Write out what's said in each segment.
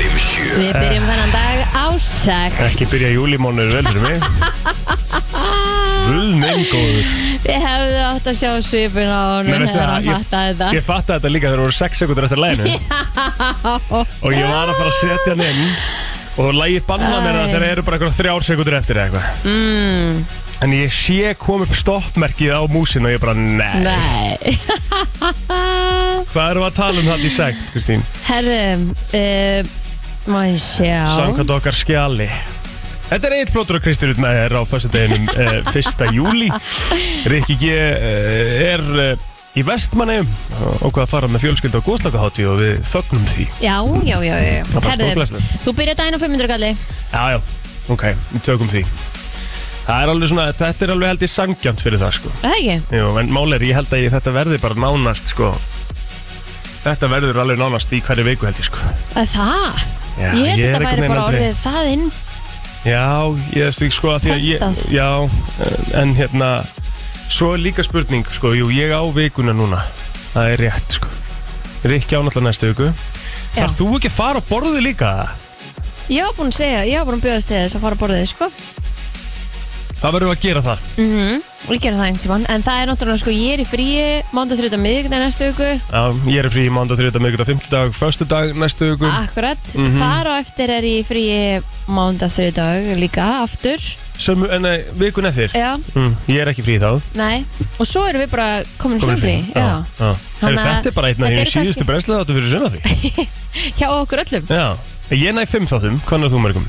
Við byrjum þennan dag á sex Ekki byrja júlimónur vel fyrir mig Guð minn góður Við hefðu átt að sjá svipun á honum Nei, veistu þegar það, hann fattaði þetta Ég fattaði þetta líka þegar það voru 6 sekundur eftir læginu Og ég var að fara að setja hann inn Og lægi banna mér það Æ. þegar það eru bara eitthvað þrjár sekundur eftir eða eitthvað mm. En ég sé kom upp stoppmerkið á músin og ég bara, nei, Nei Hvað erum við að tala um það í segt, Kristín? Herru uh, Má ég sjá Samkvæmt okkar skjali Þetta er eitt plótur og Kristín út með þér á föstudeginum uh, 1. júli Rikki G uh, er uh, í vestmanneum og hvað að fara með fjölskyldu á góðslakahátti og við fögnum því Já, já, já, já. Það er bara Herru, stórglæsilegt. þú byrjar daginn á 500 galli Já, já, ok, við tökum því Það er alveg svona, þetta er alveg held ég sangjant fyrir það sko Er Það ekki? Jú, en mál er, ég held að ég, þetta verði bara nánast sko Þetta verður alveg nánast í hverju viku held ég sko Er Það? Já, ég held ég að er þetta einhvern væri veginn bara aldrei- orðið það inn Já, ég veist ekki sko að því að ég, Prentað. Já, eh, en hérna Svo er líka spurning sko Jú, ég á vikuna núna Það er rétt sko Rikki á náttúrulega næstu viku Já. Þarf þú ekki að fara á borði líka? Ég var búin að segja, ég var búin að bjóðast til þess að fara að borðið, sko Það verður að gera það mm Og ég gera það einhvern tímann En það er náttúrulega, sko, ég er í fríi Mándag, þriðdag, miðvikna næstu viku Já, ég er frí mánda, þriðdag, miðgudag, fimmtudag, föstudag næstu viku Akkurat, Mhm. þar á eftir er ég í fríi Mándag, þriðdag líka, aftur Sömu, en nei, vikun eftir Já, mm, Ég er ekki frí þá nei Og svo erum við bara komin Komin frí Já, Já, já. Heru, Þannig að Þetta er bara einn af þetta því eru síðustu kannski- brenslega þáttu fyrir sunnafrí hjá okkur öllum Já, ég næ fimm þáttum, hvernig er þú mörgum?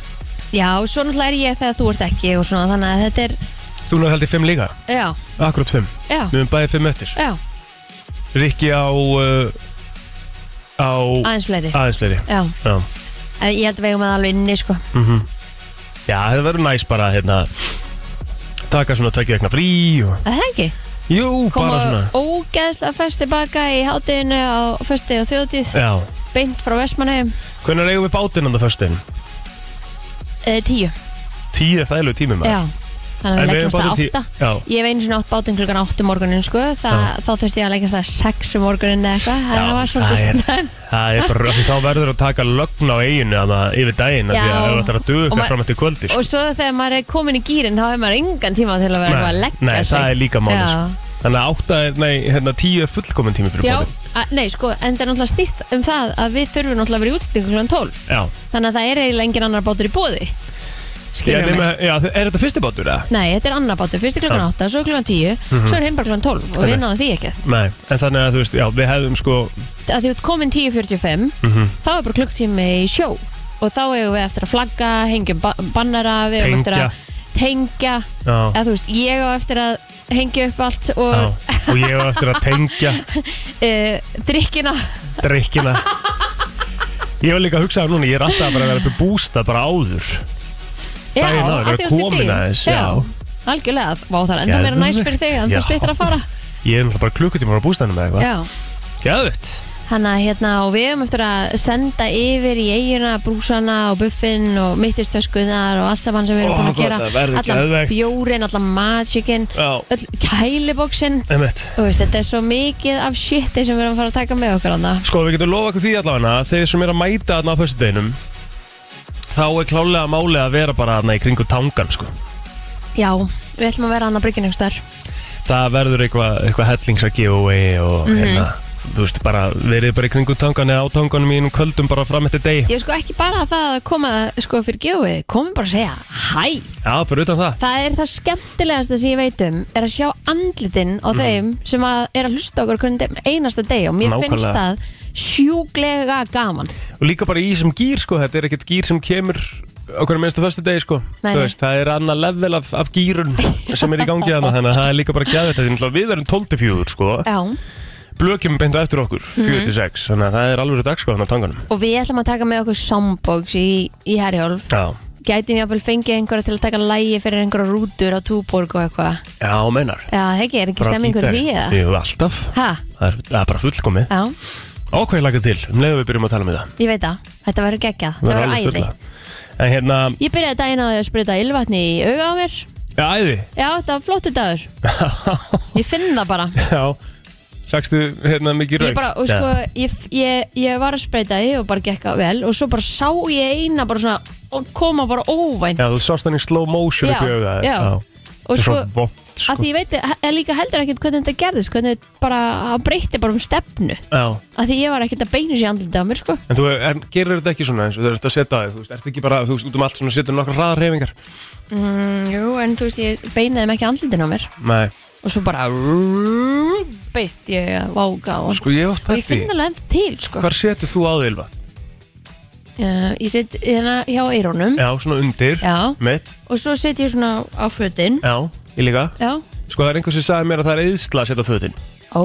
Já, svo náttúrulega er ég þegar þú ert ekki og svona, þannig að þetta er, Þú náðu held ég fimm líka, já, akkurat fimm já, Við erum bæðið fimm eftir já, Rikki á uh, á aðeins fleiri. aðeins fleiri Já, já. Mhm. en ég held að við eigum að alveg inni, sko. já, það verður næst bara hérna, taka svona tökja vegna frí og, Að það ekki? Jú, Koma bara svona ógeðslega fyrst tilbaka í hátinu á fyrsti og þjóðtíð, Já, beint frá Vestmannheim, hvernig eigum við bátinn andan föstudaginn? e, tíu, Tíu er þægilegu tími maður já, þannig að við En við eigum leggjumst að bátinn tíu átta. Já, Ég hef einu sinni átt bátinn klukkan 8 morgunin sko, Þa, þá þurfti ég að leggjast að 6 morgunin eða eitthvað, það Já, var það svolítið er- snönd. það er bara, því þá verður að taka lögn á eiginu þannig að yfir daginn af því að Já. það er að duga Og okkar maður- fram eftir kvöldi sko. Og svo þegar maður er komin í gýrin, þá hefur maður engan tíma til að vera eitthvað að leggja nei, það er líka máli sko. Þannig að átta er, nei, hérna tíu er fullkomin tími fyrir Já, bátinn að, nei sko, en það er náttúrulega snýst um það að við þurfum náttúrulega að vera í útsendingu kl. 12 Já, þannig að það er eiginlega engin annar bátur í bóði já, skilur mig nema, já, er þetta fyrsti bátur eða? Nei, þetta er annar bátur, fyrst er klukkan Já. Mhm. 8, svo klukkan 10 svo er hinn bara klukkan 12 og Nei, við nei. náðum því ekkert Nei, en þannig að þú veist, já, við hefðum sko mhm, að því út komin 10.45 þá er bara klukktími í sjó og þá eigum við eftir að flagga, hengjum ba bannara við eigum eftir Tengja. að tengja Já, eða þú veist, ég á eftir að hengja upp allt já og Og ég hef eftir að tengja e, drikkina drikkina Ég var líka að hugsa það núna, ég er alltaf bara að vera upp í bústa bara áður Já, Daginn áður, að vera því þú ert í komin fríi. aðeins, já. algjörlega, vá það er enda meira næs fyrir þig en þú Geðveikt, stýttir já. að fara Ég er náttúrulega bara klukkutíma á bústanum eða eitthvað Já, Gæðvitt hann að hérna og við höfum eftir að senda yfir í eiguna brúsana og buffin og mittistöskuðar og allt saman sem við erum Ó, búin að gott, gera það verður allan geðveikt. bjórin, allan magicin Já, öll kæliboksin einmitt Þú veist, þetta er svo mikið af shiti sem við erum að fara að taka með okkur annað Sko, við getum lofa okkur því allavega að þeir sem er að mæta þarna á föstudeginum þá er klálega máli að vera bara þarna í kringu tangan sko. Já, við ætlum að vera annað bryggjum einhvers þar það verður eitthvað eitthva hellings að giveaway og Mhm. hérna þú veist, bara verið bara í kringu tangan eða á tanganum í einum köldum bara fram eftir deg Ég sko ekki bara það að koma sko fyrir gjóið komum bara að segja hæ Já, fyrir utan það Það er það skemmtilegasta sem ég veit um er að sjá andlitin Mm. á þeim sem að er að hlusta okkur hvernig dem- einasta deg og mér finnst það Nákvæmlega. sjúglega gaman og líka bara í sem gýr sko, þetta er ekkert gýr sem kemur á hvernig minnstu föstu degi sko Nei, Þú nei. veist, það er annað level af, af gýrun sem er í gangi þarna þannig að það er líka bara gæðið þetta við verðum 12 til 4 sko Já. Mhm. blökjum beint á eftir okkur 4 til 6 þannig að það er alveg dag sko þannig á tanganum og við ætlum að taka með okkur soundbox í, í Herjólf Já, gætum jáfnvel fengið einhverja til að taka lægi fyrir einhverja rútur á Túborg og eitthvað já, meinar Já, það ekki, er ekki Bara stemmingur gítar. því eða? Jú, alltaf Ha, Það er, það er bara fullkomið já, Ákveð lakað til, um leiðum við byrjum að tala með það ég veit það Þetta verður geggjað, þetta verður verður alveg æði styrla En hérna, Ég byrjaði daginn á því að spyrja ylvatni í auga á mér já, æði Já, þetta var flottu dagur Ég finn það bara Já, Fækstu hérna mikið Ég rauk? bara, og sko, ég, ég, ég var að spreita því og bara gekk að vel og svo bara sá ég eina bara svona og koma bara óvænt Já, þú sást hann í slow motion upp í Já, auga þér. já. Þetta og er sko, svo vond, sko. að því ég veit er líka heldur ekkert hvernig þetta gerðist hvernig þetta bara, hann breytti bara um stefnu Já. að því ég var ekkert að beina sér andlita á mér sko En þú en, gerir þetta ekki svona eins og þú ert að setja þig, þú veist, ert ekki bara, þú veist, út um allt svona setja nokkra hraðarhefingar? mm, Jú, en þú veist, ég beinaði mig ekki andlitin á mér Nei, og svo bara rrrr, Mm, beitt ég að vága og, sko ég hef oft og ég pælt því, finn alveg ennþá til sko hvar setur þú að Ylva? uh, Ég set hérna hjá eirónum Já, svona undir, Já, mitt, og svo set ég svona á fötin já, ég líka. Já, Sko það er einhvers sem sagði mér að það er eðsla að setja á fötin. ó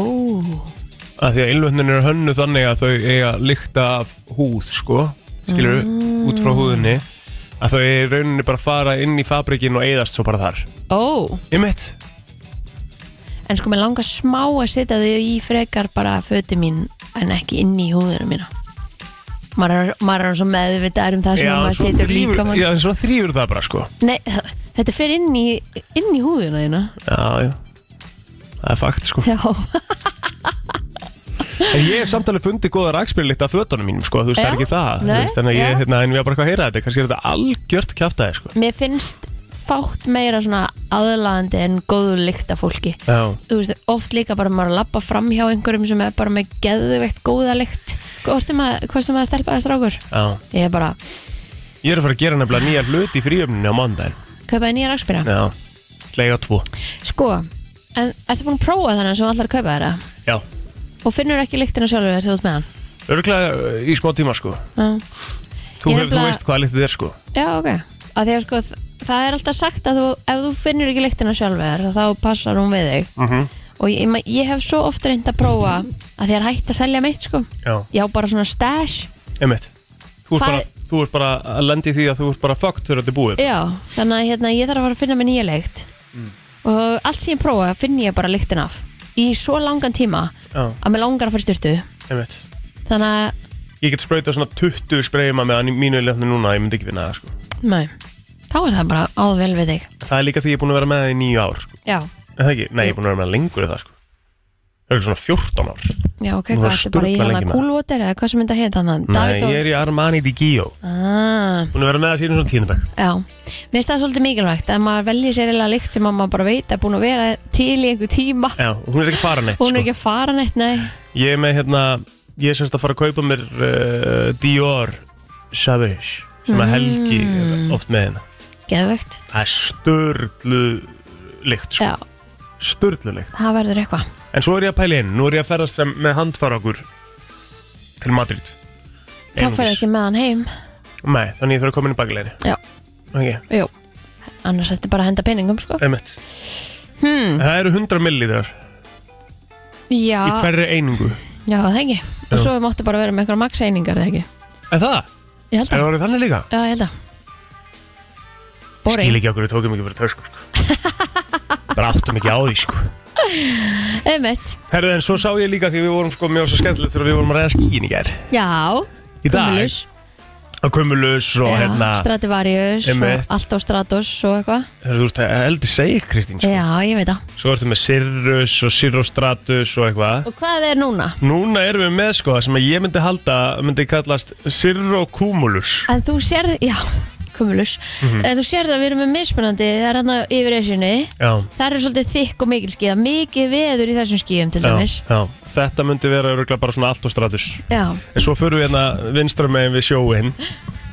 að því að ilvötnin eru hönnu þannig að þau eiga lykta af húð sko, skilur Ah. út frá húðinni að þau í rauninni bara fara inn í fabrikinn og eigðast svo bara þar Ó, Ymmit, en sko mér langar smá að setja þau í frekar bara fötin mín en ekki inn í húðina mína Maður er, maður er svo meðvitaður um það sem maður setur líka mann já, en svona þrýfur það bara sko Nei, það- þetta fer inn í, inn í húðina þína Já, já, það er fakt sko Já, En ég hef samtalið fundið góða rækspyrlikt af fötunum mínum sko, þú veist það er Já, ekki það þú nei, veist, Þannig að ég, já. hérna, en við erum bara eitthvað að heyra þetta kannski er þetta algjört kjáftæði sko mér finnst fátt meira svona aðlaðandi en góðu lykt af fólki Já, Þú veist, oft líka bara maður að lappa fram hjá einhverjum sem er bara með geðveikt góða lykt Hvort sem að, hvort sem að stelpa að strákur já Ég er bara, Ég er að fara að gera nefnilega nýja hluti í fríöfninu á mandaginn kaupaði nýja rakspýra Já, lega tvo Sko, en ertu búin að prófa þannig sem allar að kaupa þeirra Já, og finnur ekki lyktina sjálfur þegar þú ert með hann örglega í smá tíma sko Já, Þú, Ég hef, þú nefnilega- veist hvað litið er sko Já ok að Þegar sko, þ- það er alltaf sagt að þú, ef þú finnur ekki lyktina sjálfur þá passar hún við þig mm -hmm. og ég, ma- ég hef svo oft reynd að prófa að þér hætt að selja mitt sko Já, ég á bara svona stash einmitt Þú ert, Hvað bara, er- þú ert bara að lendi því að þú ert bara fucked þegar þetta er búið já, þannig að hérna, ég þarf að fara að finna mér nýja leikt Mm. og allt sem ég prófa finn ég bara lyktin af í svo langan tíma Já, að mér langar að fara í styrtu einmitt þannig að, Ég get sprautað svona 20 spreyma með hann í mínu lefni núna, ég myndi ekki finna það sko næ þá er það bara áð vel við þig Það er líka því ég er búin að vera með það í nýju ár sko. já, Er Það ekki, nei, ég er búin að vera með það lengur en það sko Það er svona 14 ár já ok, hvað Nú ertu var bara í sturla hérna lengi með. kúlvotir eða hvað sem myndi að heita hann Nei, ég er í Armani di Gio ah, Búin að vera með það síðan svona tíðnabæk já, mér finnst það svolítið mikilvægt að maður velji sér eða lykt sem að maður bara veit að búin að vera til í einhver tíma Já, og hún er ekki fara neitt hún sko. er ekki að fara neitt, nei Ég er með hérna Ég er semst að fara að kaupa mér uh, Dior Savage sem að Helgi Mm. er oft með hérna geðvögt, Það er störlu lykt sko. já, Störlu lykt það verður eitthvað En svo er ég að pæla inn, nú er ég að ferðast sem, með handfara okkur til Madrid þá fer ekki með hann heim Nei, þannig ég þarf að koma inn í bakleginni Já. okay. Jú, annars ætti bara að henda peningum sko einmitt. hmm. Það eru 100 millilitrar í Já, hverri einingu já það ekki Já. Og svo máttu bara vera með einhverja max-einingar eða ekki Er það? Ég held Er það að, orðið þannig líka? já ég held að Skil Bóri, ekki okkur, við tókum ekki bara tösku sko. Bara áttum ekki á því sko einmitt Herðu en svo sá ég líka því við vorum sko mjög svo skemmtilegt þegar við vorum að reyða skíin í gær Já, Í dag Cumulus Á Kumulus og já, hérna Stradivarius Einmitt. Sko. og Alto Stratos og eitthvað Herðu þú ert að eldi segja Kristín sko. Já, ég veit það Svo ertu með Sirrus og Sirrostratus og eitthvað Og hvað er núna? Núna erum við með sko það sem að ég myndi halda myndi kallast Sirrocumulus En þú sérð, já, Cumulus Mhm. En þú sérð að við erum með mismunandi Það er hérna yfir esjunni Já, Það eru svolítið þykk og mikil skíða Mikið veður í þessum skíðum til já, dæmis já Þetta myndi vera örgulega bara svona allt og stratus Já, En svo förum við hérna vinstra megin við sjóin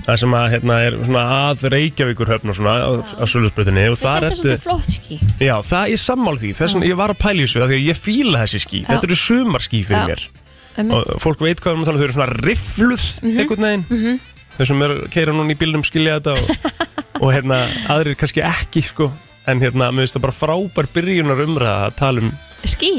Það sem að hérna er svona að Reykjavíkur höfn og svona á, á Sölusbrutinni og Mér finnst þetta það er svolítið flott skí Já, það er sammál því, þess vegna ég var að pæla í þessu af því að ég fíla þessi skí, Já. þetta eru sumarskí fyrir Já. mér Einmitt. Mhm. og fólk veit hvað við erum að tala, um, þau eru svona rifluð einhvern veginn þau sem eru keira núna í bílnum skilja þetta og, og hérna, aðrir kannski ekki sko, en hérna, mér finnst það bara frábær byrjunar umræða að tala um Skí?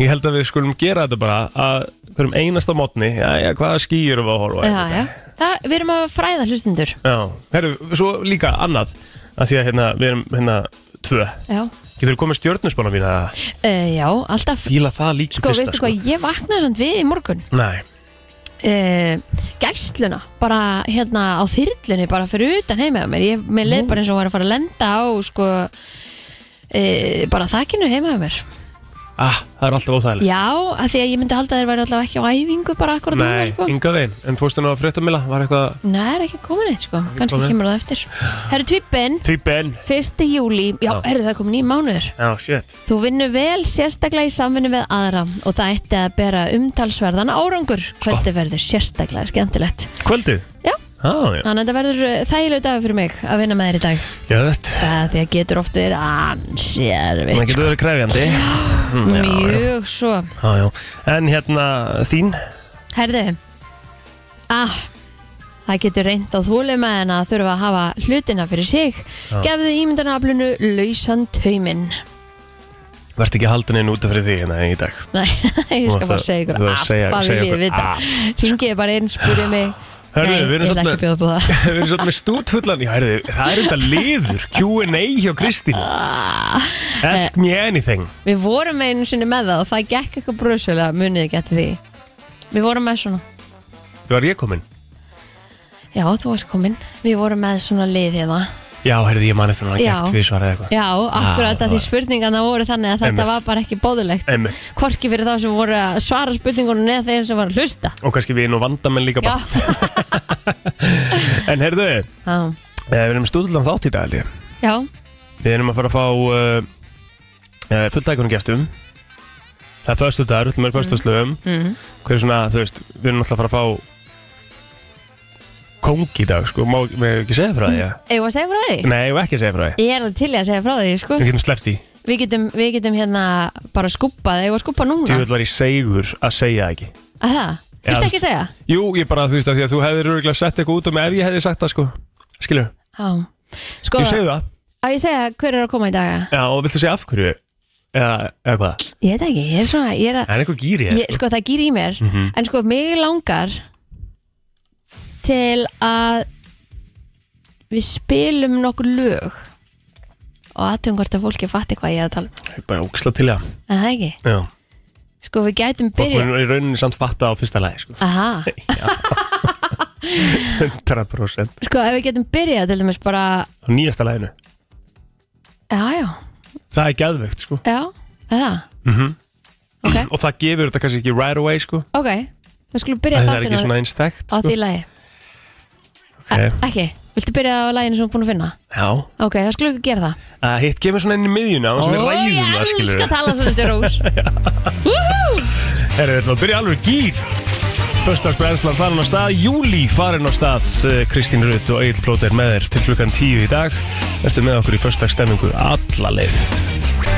ég held að við skulum gera þetta bara að hverjum einasta mótni, já, já, hvaða skí eru við að horfa á í Já, þetta? já. Það, við erum að fræða hlustundur. já, herru, svo líka annað, að því að hérna, við erum hérna, tvö, Já. getur komið stjörnusbána mín að Uh, já, alltaf. fíla það líka Sko, fyrsta, veistu hvað, ég vaknaði samt við í morgun. Nei, Uh, gæsluna, bara hérna á þyrlunni, bara fyrir utan heima á mér. Ég, mér leið bara eins eh, og var að fara að lenda á, sko, uh, bara þakinu heima á mér. ah, það er alltaf óþægilegt Já, af því að ég myndi halda að þeir væri allavega ekki á æfingu bara akkurat núna, Nei, sko. ynga veginn, en fórstu nú að fréttamila var eitthvað Nei, það er ekki komin eitt, sko. Kanski komin. kemur það eftir. Herru, tvippin, Tvíben 1. júli, já, Já. herru, það er komin í mánuður. Já, shit Þú vinnur vel sérstaklega í samvinnu við aðra og það ætti að bera umtalsverðan árangur. Sko. Kvöldi verður sérstaklega skemmtilegt. Kvöldið? Já. ah, já, Þannig að þetta verður uh, þægilegur dagur fyrir mig að vinna með þér í dag. Geðvett. Það er því að getur oft verið ansi Það erfitt. getur verið krefjandi Mm, já, já, sko. Mjög svo. já, já. En hérna þín Herðu, ah, það getur reynd á þúlema en að þurfa að hafa hlutina fyrir sig. Já. Gefðu ímyndanaflunu lausan tauminn. Vert ekki haldin inn út af fyrir því hérna í dag Nei, ég Þú skal varst bara að- segja ykkur þú varst að allt segja- hvað vil segja ég okkur vita. Ringiði bara inn, spurði mig. Hörðu, Nei, við erum ég vil svolítið ekki bjóða upp á það. Við erum svolítið með stútfullan Já, herðu, það er enda liður Q&A hjá Kristín Ah, Ask me anything Við vorum einu sinni með það og það gekk eitthvað bröðsölega, munið ekki eftir því. Við vorum með svona, Þú var ég komin já þú varst komin, við vorum með svona lið hérna. Já, herðu, ég man eftir hann Já. Gert við svaraði eitthvað Ah, Já, akkurat það að því var- spurningarna voru þannig að þetta Einmitt. var bara ekki bóðilegt. Einmitt. Hvorki fyrir þá sem voru að svara spurningunum neða þeir sem var að hlusta. Og kannski við nú vandamenn líka Já, bara En herðu, eh, já, við erum stútfullan þátt í dag held ég. já, Við erum að fara að fá uh, uh, fulltækunum gestum Það er förstu dagur, öllum er förstu slöfum mm. Hver er svona, þú veist, við erum alltaf að fara að fá Kóngi í dag, sko, má við hefum ekki segja frá því mm. eigum við að segja frá því? Nei, við ekki að segja frá því Ég er alveg til í að segja frá því, sko. Við getum sleppt í, Við getum, við getum hérna bara skuppað, eigum við að skúpa núna? tíuð var ég segur að segja það ekki Að það? Já, Viltu ekki segja? Jú, ég bara, þú veist, að því að þú hefðir örgulega sett eitthvað út um ef ég hefði sagt það, sko Skilur, Já. Sko, ég segðu það að ég segja hver er að koma í dag? eða? Já, og viltu segja af hverju? Eða, eða hvað? Ég veit ekki, ég er svona, ég er að, Það er eitthvað gýri, ég, sko það gýr í mér, Mhm. en sko mig langar til að við spilum nokkur lög og aðtugum hvort að fólki fatti hvað ég er að tala um. sko Bara óksla til það Er það ekki, Já, sko við gætum og byrja, hún er í rauninni samt fatta á fyrsta lagi, sko aha, 100% sko ef við getum byrjað til dæmis bara, á nýjasta læginu já já, það er geðveikt sko já, er það, Mhm. ok, og það gefur þetta kannski ekki right away sko ok, við skulum byrja það, það er ekki þáttina svona sko. einstækt á sko. því lagi, okay. A- ekki, viltu byrja á laginu sem við erum búin að finna? já, Ok, þá skulum við gera það. að hitt kemur svona inn í miðjuna og svona Ó, ræðum það Ég elska skilur að tala svona til Rós Woohoo! það er þetta að byrja alveg gýr Föstagsbrennslan farin á stað, júli farin á stað Eh, Kristín Rutt og Egil Plóter með þér til klukkan 10 í dag Ertu með okkur í föstagstemmingu alla leið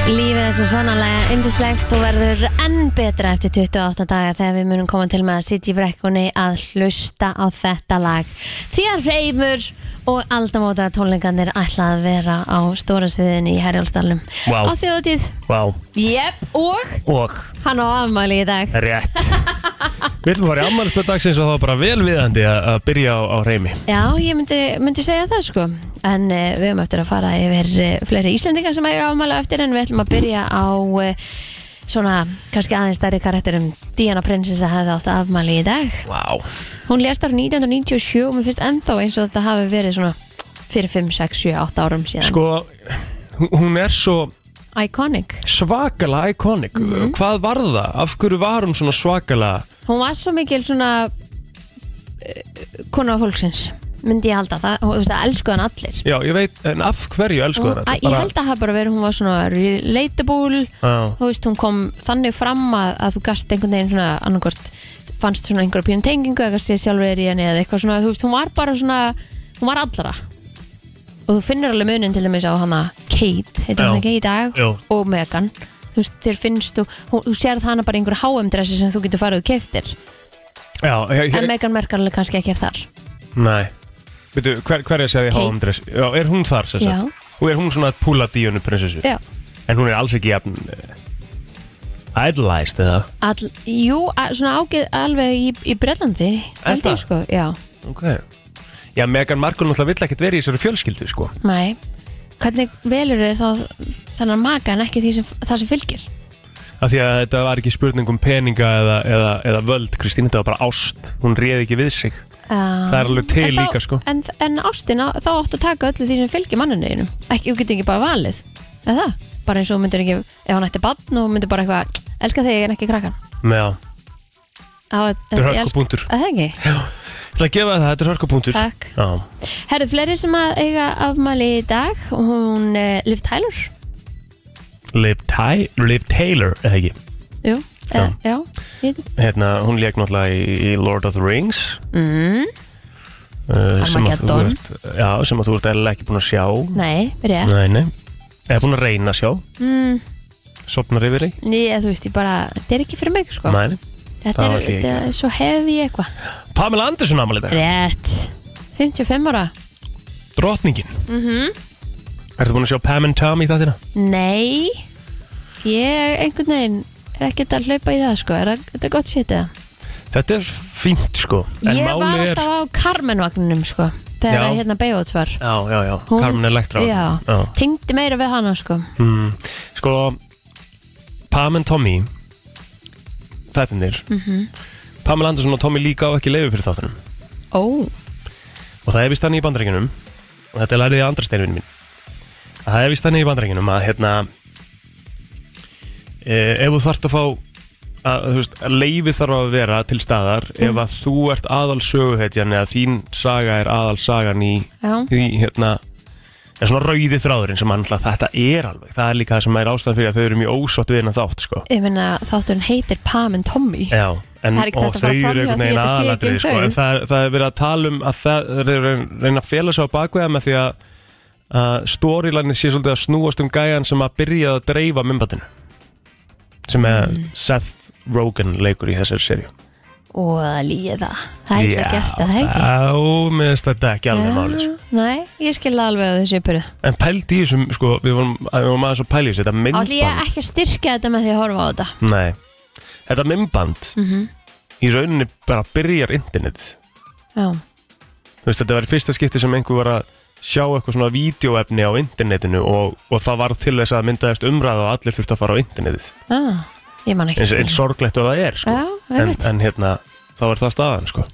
Lífið er svo sannarlega indislegt og verður enn betra eftir 28 daga þegar við munum koma til með að sitja í brekkunni að hlusta á þetta lag. Því að reymur og aldamóta tónleikanir ætla að vera á stóra sviðinu í Herjálsdalum. Vá. Á þjóðtíð, Vá, jep, og og hann á afmæli í dag. rétt Við ætlum að fara í ammælsta dagsins og það var bara velviðandi að að byrja á, á reymi Já, ég myndi, myndi segja það sko en uh, við höfum eftir að fara yfir uh, fleiri Íslendingar sem eiga ámæla eftir en við ætlum að byrja á uh, svona kannski aðeins stærri karakterum Diana Prinsessa hefði átt afmæli í dag Vá, Hún lést árið 1997 og mér finnst ennþá eins og þetta hafi verið svona fyrir 5, 6, 7, 8 árum síðan sko hún- hún er svo Iconic svakala iconic Mhm. hvað var það? af hverju var hún svona svakala Hún var svo mikil svona uh, konu á fólksins myndi ég halda það, hún, þú veist það elskuðan allir já ég veit en af hverju elsku Hún- það að- Ég held að hafa bara verið, hún var svona relatable Já. þú veist, hún kom þannig fram að, að þú gast einhvern veginn svona annarkort fannst svona einhverja pínu tengingu eða sé sjálfur er í henni eða eitthvað svona þú veist, hún var bara svona, hún var allra og þú finnur alveg munin til dæmis á hana Kate, heitir Já. hann ekki í dag Já. og Megan, þú veist, þér finnst þú, hún, þú sérð hana bara í einhverju HM-dressi sem þú getur farið og keiftir, já, ég, en ég, Megan merkar alveg kannski ekki er þar, nei Veitu, hver, hverja sér ég Kate. háum dress já, er hún þar sér Já. sagt og er hún svona púla díunu prinsessu já en hún er alls ekki jafn uh, idolized eða All, jú, a, svona ágið alveg í, í Brellandi, held það? ég sko, já ok já Megan Markle náttúrulega vill ekkert verið í þessari fjölskyldu sko Nei, hvernig velur þér þá þannig maka en ekki því sem, það sem fylgir? af því að þetta var ekki spurning um peninga eða, eða, eða völd Kristín þetta var bara ást hún réði ekki við sig Uh, Það er alveg til líka, sko. En, en ástin, á- þá áttu að taka öllu því sem fylgir manninu einum Ekki, þú getur ekki bara valið Er það? bara eins og hún myndir ekki, ef hún ætti bann og hún myndir bara eitthvað, elska þig en ekki krakkan Já, Þetta þetta er hörkupunktur Það ekki, Ég ætla að gefa það, þetta er hörkupunktur takk Já, Herðu, fleiri sem að eiga afmæli í dag hún uh, Liv Tyler Liv, Ty Liv Taylor, eða ekki Jú, já, já. ég veit- Hérna, hún lék náttúrulega í, í Lord of the Rings Mm, uh, sem að þú Armageddon. ert Já, sem að þú ert eða ekki búin að sjá Nei, rétt Nei, nei Eða búin að reyna að sjá mm, Sopnar yfir þig Ég, þú veist, ég bara, þetta er ekki fyrir mig sko. Mæni Þetta það er, var því ekki. þetta er svo hefi eitthvað Pamela Andersson ámalið þetta Rétt 55 ára Drotningin mm -hmm. Ertu búin að sjá Pam and Tom í þáttina? Nei Ég einhvern veginn er ekkert að hlaupa í það sko Er það- þetta er gott shit eða? Þetta er fínt sko En Ég var málið er- alltaf á Carmen-vagninum sko Þegar Já. að hérna Beijóts var Já, já, já Hún- Carmen Electra Já. já. Tengdi meira við hana sko Mm, sko Pam and Tommy Þættinir mm Pamela Andersson og Tommy líka á ekki leiðu fyrir þáttunum Ó, og það er vist þannig í bandarækjunum og þetta er lærið í andrasteinvinn minn að það er vist þannig í bandarækjunum að hérna e, ef þú þarft að fá að, þú veist, að leifi þarf að vera til staðar ef að þú ert aðal söguhetjan eða þín saga er aðal sagan í, já, í hérna er svona rauði þráðurinn sem hann alltaf þetta er alveg, það er líka það sem er ástæðan fyrir að þau eru mjög ósátt við hennan þátt sko ég meina þátturinn heitir Pam and Tommy Já, en, Það er ekki og hægt að þau fara eru framhjá einhvern því veginn að þetta sé ekki um aðalatriði sko, þau. en það, er- það er verið að tala um að það þeir eru að reyna að fela sig á bakveða með því að að storylæni sé svolítið að snúast um gæjan sem að byrjaði að dreifa myndbatinu sem er Seth Rogen leikur í þessari serju Og það líði það Það er ekki að gert það, það er ekki Já, mér finnst þetta ekki alveg máli sko. Nei, ég skil alveg að þessu ypuru En pældi í þessum, sko, við vorum, við vorum aðeins að pæla í þessu, þetta Allir ég myndband ekki að styrka þetta með því að horfa á þetta Nei, þetta myndband Mhm. í rauninni bara byrjar internetið Já, þú veist, þetta var í fyrsta skipti sem einhver var að sjá eitthvað svona vídeoefni á internetinu og, og það var til þess að myndaðist umræða og allir þurfti að fara á internetið ah, ég man ekki eins, eins sorglegt og það er, sko Já, en, einmitt en hérna, þá var það staðan, sko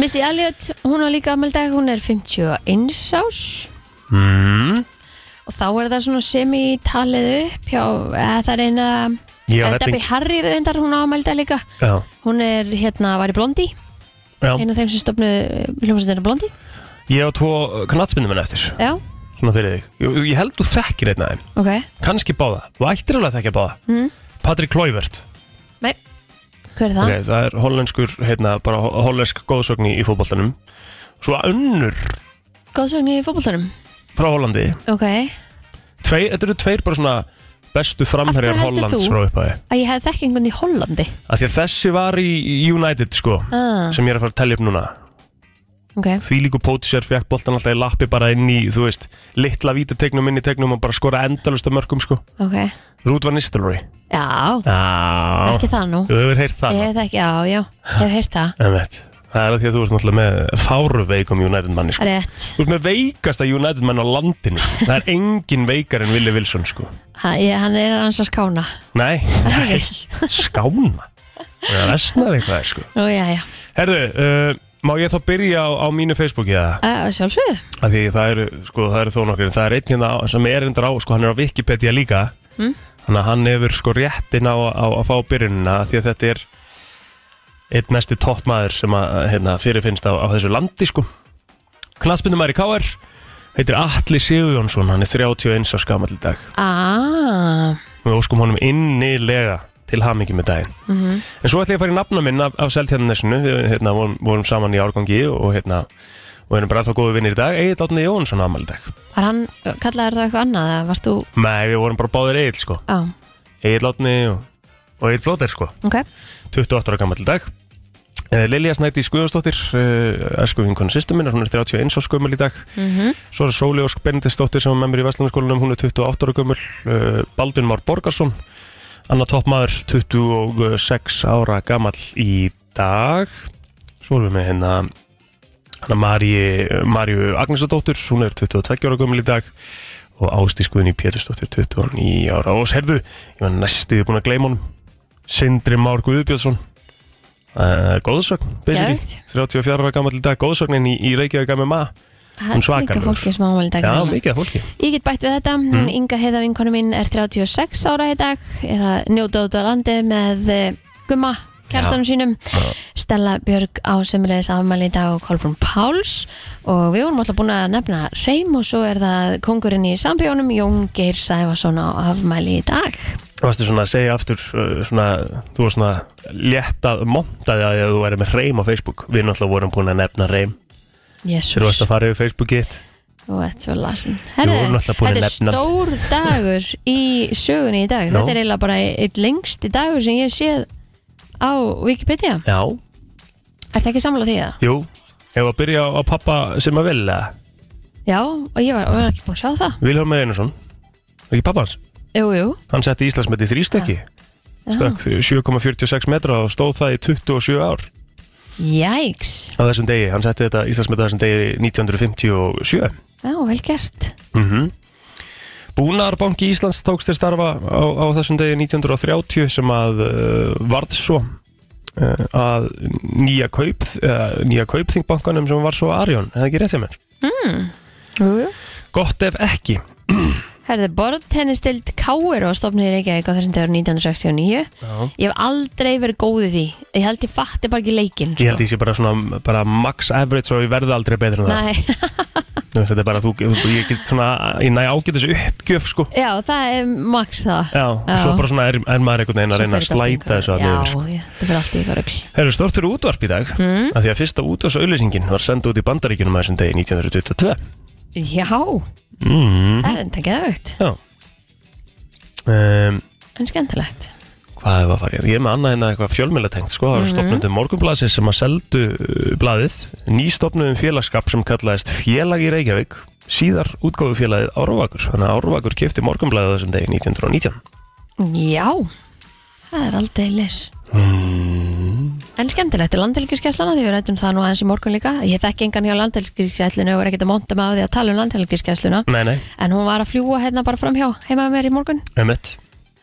Missy Elliot, hún var líka afmæli í dag, hún er 51 ás mm. og þá er það svona semi-talið upp hjá, eða það er eina Já, eh, þetta Debbie Harry reyndar, hún ámælda líka Já, hún er hérna, var í Blondi já, einu af þeim sem eh, stopnu hljómsveitina Blondi ég á tvo knatspindum en eftir, já, svona fyrir þig Ég, ég held þú þekkir einn af þeim, ok, kannski báða og ættir alveg að þekkja báða Mm. Patrick Kluivert, hver er það? okay, það er hollenskur, hérna, bara ho- hollensk góðsögn í, í fótboltanum Svo önnur Góðsögn í fótboltanum, frá Hollandi ok Tvei, þetta eru tveir bara svona bestu framherjar Af hverju heldur Hollands þú? frá upphæði að ég hefði þekkt einhvern í Hollandi Af því að þessi var í í United sko ah, sem ég er að fara að telja upp núna ok, því líku pótisjær fekk boltan alltaf í lappi bara inn í, þú veist, litla vítategnum inn í tegnum og bara skora endalust á mörgum sko ok Rúd var nistelri já, Já, ekki það nú þú hefur heyrt það ég hefði ekki, já, já, ég hef heyrt það Emmett, það er af því að þú ert náttúrulega með fáruveikum United manni sko rétt, Þú ert með veikasta United mann á landinu sko. það er engin veikar en Willi Wilson sko Ha- ég- hann er hans að skána Nei, er nei, ekki. skána Það vestnaði eitthvað sko Nú, já, já, Herðu, uh, má ég þá byrja á, á mínu Facebooki eða? að sjálfsögðu Af því það eru, sko, það eru þó nokkur Það er einn hérna á- sem er endur á, sko, hann er á Wikipedia líka Mm. Þannig að hann hefur sko réttin á, á að fá byrjunina af Því að þetta er einn mesti toppmaður sem að, hérna, fyrirfinnst á, á þessu landi, sko Knaspindumæri K.R. heitir Atli Sigurjónsson, hann er 31 á skamall í dag Ah, Við óskum honum innilega til hamingi með daginn mhm. En svo ætla ég að fara í nafna minn af, af Seltjarnasinu, við hérna, vorum, vorum saman í árgangi og hérna, og erum bara alltaf góði vinnir í dag, Egil Átni Jónsson ámæli í dag. Var hann, kallaður það eitthvað annað eða varst þú, Nei, við vorum bara báðir Egil sko, á, Egil Átni og, og Egil Blóter sko, ok 28 ára gammal í dag. Eh, Lilja Snæti Skuðarsdóttir, eh, æsku vinkonu sýstu minna, hún er 31 ára gömul í dag. mm Svo er Sóli Ósk Benedistóttir sem er með mér í Vestlunarskólanum, hún er 28 ára gömul, eh, Baldun Már Borgarsson, annar toppmaður, 26 ára gamall í dag. Svo erum við með hérna, hérna Marju, Marju Agnesadóttur, hún er 22 ára gömul í dag og Ástíð Guðni Pétursdóttir, 29 ára. Og sérðu, ég var næstu búin að gleyma honum, Sindri Már Guðbjörnsson, uh, góðsögn, basically. Geðveikt. 34 ára gammal í dag, góðsögnin í, í Reykjavík MMA Hún svakar Líka fólki sem ámæli dag Já, greinilega. mikið af fólki hérna? Mhm. Ég get bætt við þetta, hún Inga Heiða vinkonu mín er 36 ára í dag, er að njóta út á landi með eh, Gumma, kjærstanum sínum, Stella Björg á sömulegis afmæli í dag og Kolbrún Páls og við vorum alltaf búin að nefna Reym og svo er það kongurinn í sambjónum Jón Geir Sæfason á afmæli í dag. Varstu svona að segja aftur uh, svona, Þú var svona létt að montaði að þú væri með reym á Facebook Við náttúrulega vorum búin að nefna reym Þeir Jésús, varst að fara yfir Facebookið þú ert svo lasin. vorum Herðu, náttúrulega búin að þetta er nefna. stór dagur í sögunni í dag, Nó. þetta er eiginlega bara eitt lengsti dagur sem ég hef séð á Wikipedia. Já, Ertu ekki sammála því það? jú Hefur að byrja á, á pappa sem að vilja Já, og ég var, var ekki búin að sjá það Vilhelm Einarsson Ekki pappa hans Jú, jú Hann setti Íslandsmeti í þrýstökki Stökk 7,46 metra og stóð það í 27 ár Jæks, á þessum degi, hann setti þetta Íslandsmeta þessum degi 1957 já, vel gert mm -hmm. Búnaðarbanki Íslands tókst til starfa á, á þessum degi 1930 sem að uh, varð svo uh, að nýja kaup uh, nýja kaupþingbankanum sem var svo Arjón, er það ekki rétt hjá mér? Hmm. Jú, jú Gott ef ekki Herðu, borðtennistild Káir og stopnið í Reykjavík á þessum dagur 1969 Já. Ég hef aldrei verið góð í því Ég held ég fatti bara ekki leikinn sko. Ég held ég sé bara svona bara max average og ég verði aldrei betur en það Nei, Þú veist, Þetta er bara þú, þú ég get svona ég næ ágætt þessu uppgjöf sko já, það er max það Já, og svo bara svona er, er maður einhvern veginn að reyna að Svo fer þetta allt í slæta þessu að einhverju- niður sko. Já, já, það fyrir allt í ykkur öll Það eru stort fyrir útvarp í dag mm. að því að fyrsta útvarpsauðlýsingin var senda út í bandaríkjunum að þessum degi 1922 Já, mm. það er enda ekki aukt Já um, En skemmtilegt Hvað hefur að fara í það? Ég er með annað en eitthvað fjölmjölatengt sko, það var stopnundum morgunblasið sem að seldu uh, blaðið, nýstopnundum félagskap sem kallaðist Félag í Reykjavík síðar útgáfu félagið Árvakur þannig að Árvakur kefti morgunblaðið á þessum degi 1919 Já, það er aldrei lis mm. En skemmtilegt, landhelgiskesslana, því við rættum það nú aðeins í morgun líka. Ég þekki engan hjá landhelgiskesslinu og er ekkert að monta með á því að tala um landhelgiskessluna. Nei, nei, En hún var að fljúa hérna bara framhjá heima með mér í morgun. ömmett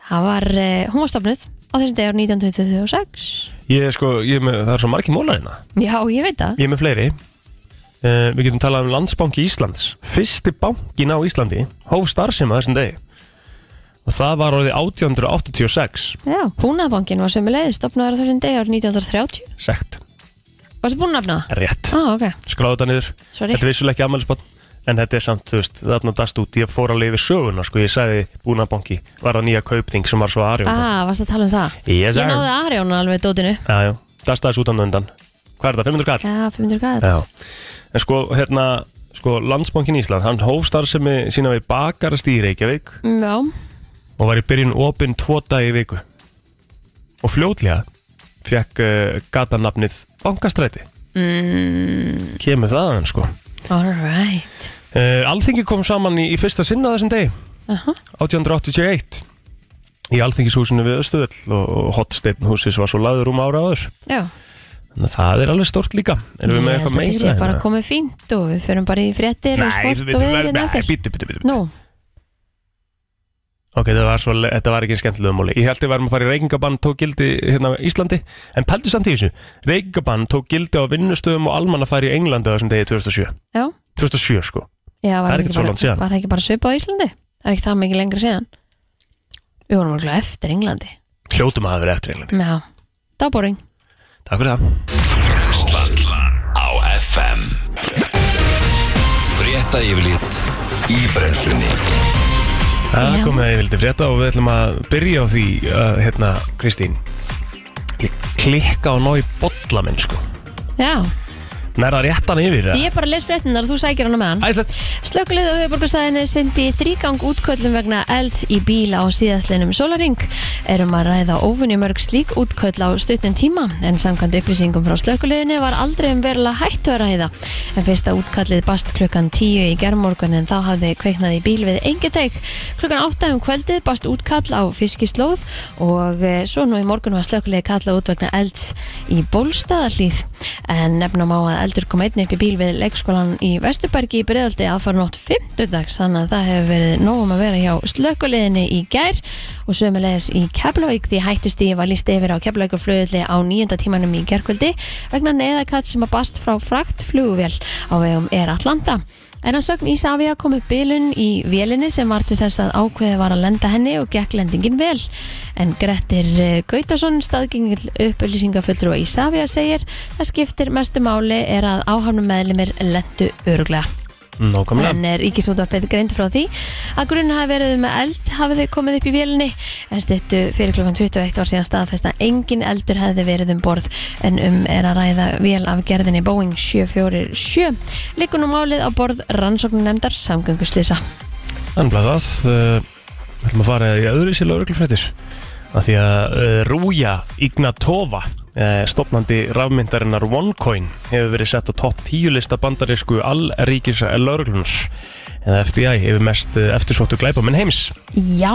Það var, eh, hún var stopnud á þessum degur 1926. Ég er sko, ég er með, það er svo margir mólar hérna Já, ég veit það. Ég er með fleiri uh, Við getum talað um landsbanki Íslands Fyrsti bankin á Íslandi Hóf starfsema þessum degi Og það var orðið 1886 Já, búnaðbankin var sömulegið stopnaður á þessum degur 1930. Sekt, Varstu búin að nafna það? rétt Á, ok, Skráðu þetta niður sorry. Þetta er vissulega ekki afmælisbott En þetta er samt, þú veist, þarna dast út Ég fór alveg yfir söguna, sko Ég sagði búnabanki Var það nýja kaupting sem var svo aðrjón Ah, varstu að tala um það? Yes, Ég sir náði Arjón alveg dótinu. Já, já Dast aðeins út á undan Hvað er það, 500 kall? Já, 500 gæðið. Já, en sko hérna sko landsbankin Ísland, hann hóf starfsemi sína við bakarst í Reykjavík Mm, Já, og var í byrjun opinn tvo dagi í viku og fljótlega fekk uh, gatanafnið bankastræti mm. kemur það aðeins sko all right. uh, Alþingi kom saman í, í fyrsta sinna þessum degi Aha. 1881 í Alþingishúsinu við Östuðell og, og hotsteinn húsis var svo laður um ára áður Já. þannig að það er alveg stort líka erum við með eitthvað meira Ég held að þetta sé bara hérna? komið fínt og við förum bara í fréttir og Nei, sport og veðurinn eftir. bítu, bítu, bítu Nú, Ok, þetta var, svo, þetta var ekki skemmtilega múli. Ég held að við varum að fara í reykingabann tók gildi hérna á Íslandi, en pældu samt í þessu. Reykingabann tók gildi á vinnustöðum og almannafæri í Englandi á þessum degi 2007. já, 2007 sko. já Það er var, ekkert ekki svo bara, langt síðan. var ekki bara svipa á Íslandi? Það er ekki það mikið lengra síðan. Við vorum alveg eftir Englandi. Hljótum að hafa verið eftir Englandi. Já, dábóring. Takk fyrir það. Brennslan á FM Frétta yfirlit í brennslunni Það Já. er komið að ég vildi frétta og við ætlum að byrja á því, uh, hérna, Kristín. Ég klikka á nói bolla minn sko. Já, Nærða réttan yfir. eða? ég bara les fréttinar og þú sækir hana með hann. Æðislegt. Slökulið á höfuborgarsæðinu sendi þrýgang útköllum vegna elds í bíla á síðastlinum Solaring. Erum að ræða ófunjumörg slík útköll á stutnum tíma en samkvæmt upplýsingum frá slökuliðinu var aldrei um verulega hættu að ræða. En fyrsta útkallið bast klukkan 10 í gerðmorgun en þá hafði kveiknað í bíl við engeteik. Klukkan 8 um kvöldið bast útkall á fiskislóð og eh, svo nú í morgun var slökuliði kallað út vegna elds í bólstaðarlíð. En nefnum á að eldur kom einnig upp í bíl við leikskólan í Vesturbergi í Breiðaldi aðfara nótt 50 dags þannig að það hefur verið nóg um að vera hjá slökkuliðinni í gær og sömulegis í Keflavík því hættustíði var líst yfir á Keflavíkurflugulli á nýjunda tímanum í gærkvöldi vegna neðakall sem að bast frá frakt flugvél á vegum Air Atlanta. En að sögn Ísafja kom upp bilun í vélinni sem var til þess að ákveði var að lenda henni og gekk lendingin vel. En Grettir eh, Gautason, staðgengil upplýsingafullur og Ísafja segir að skiptir mestu máli er að áhafnum meðlumir lendu öruglega. Nákvæmlega En er Ríkisúndvarpið greind frá því að grunn hafi verið með eld hafið þau komið upp í vélinni en stuttu fyrir klokkan 21 var síðan staðfest að engin eldur hefði verið um borð en um er að ræða vél af gerðinni Boeing 747 liggur nú málið á borð rannsóknunemdar samgönguslýsa. Þannig að það uh, Við ætlum að fara í öðru sér lauruglufrættir Af því að uh, Rúja Ignatova uh, stopnandi rafmyndarinnar OneCoin hefur verið sett á topp 10 lista bandarísku allríkis lauruglunar eða FDI hefur mest uh, eftirsóttu glæpamenn heims Já,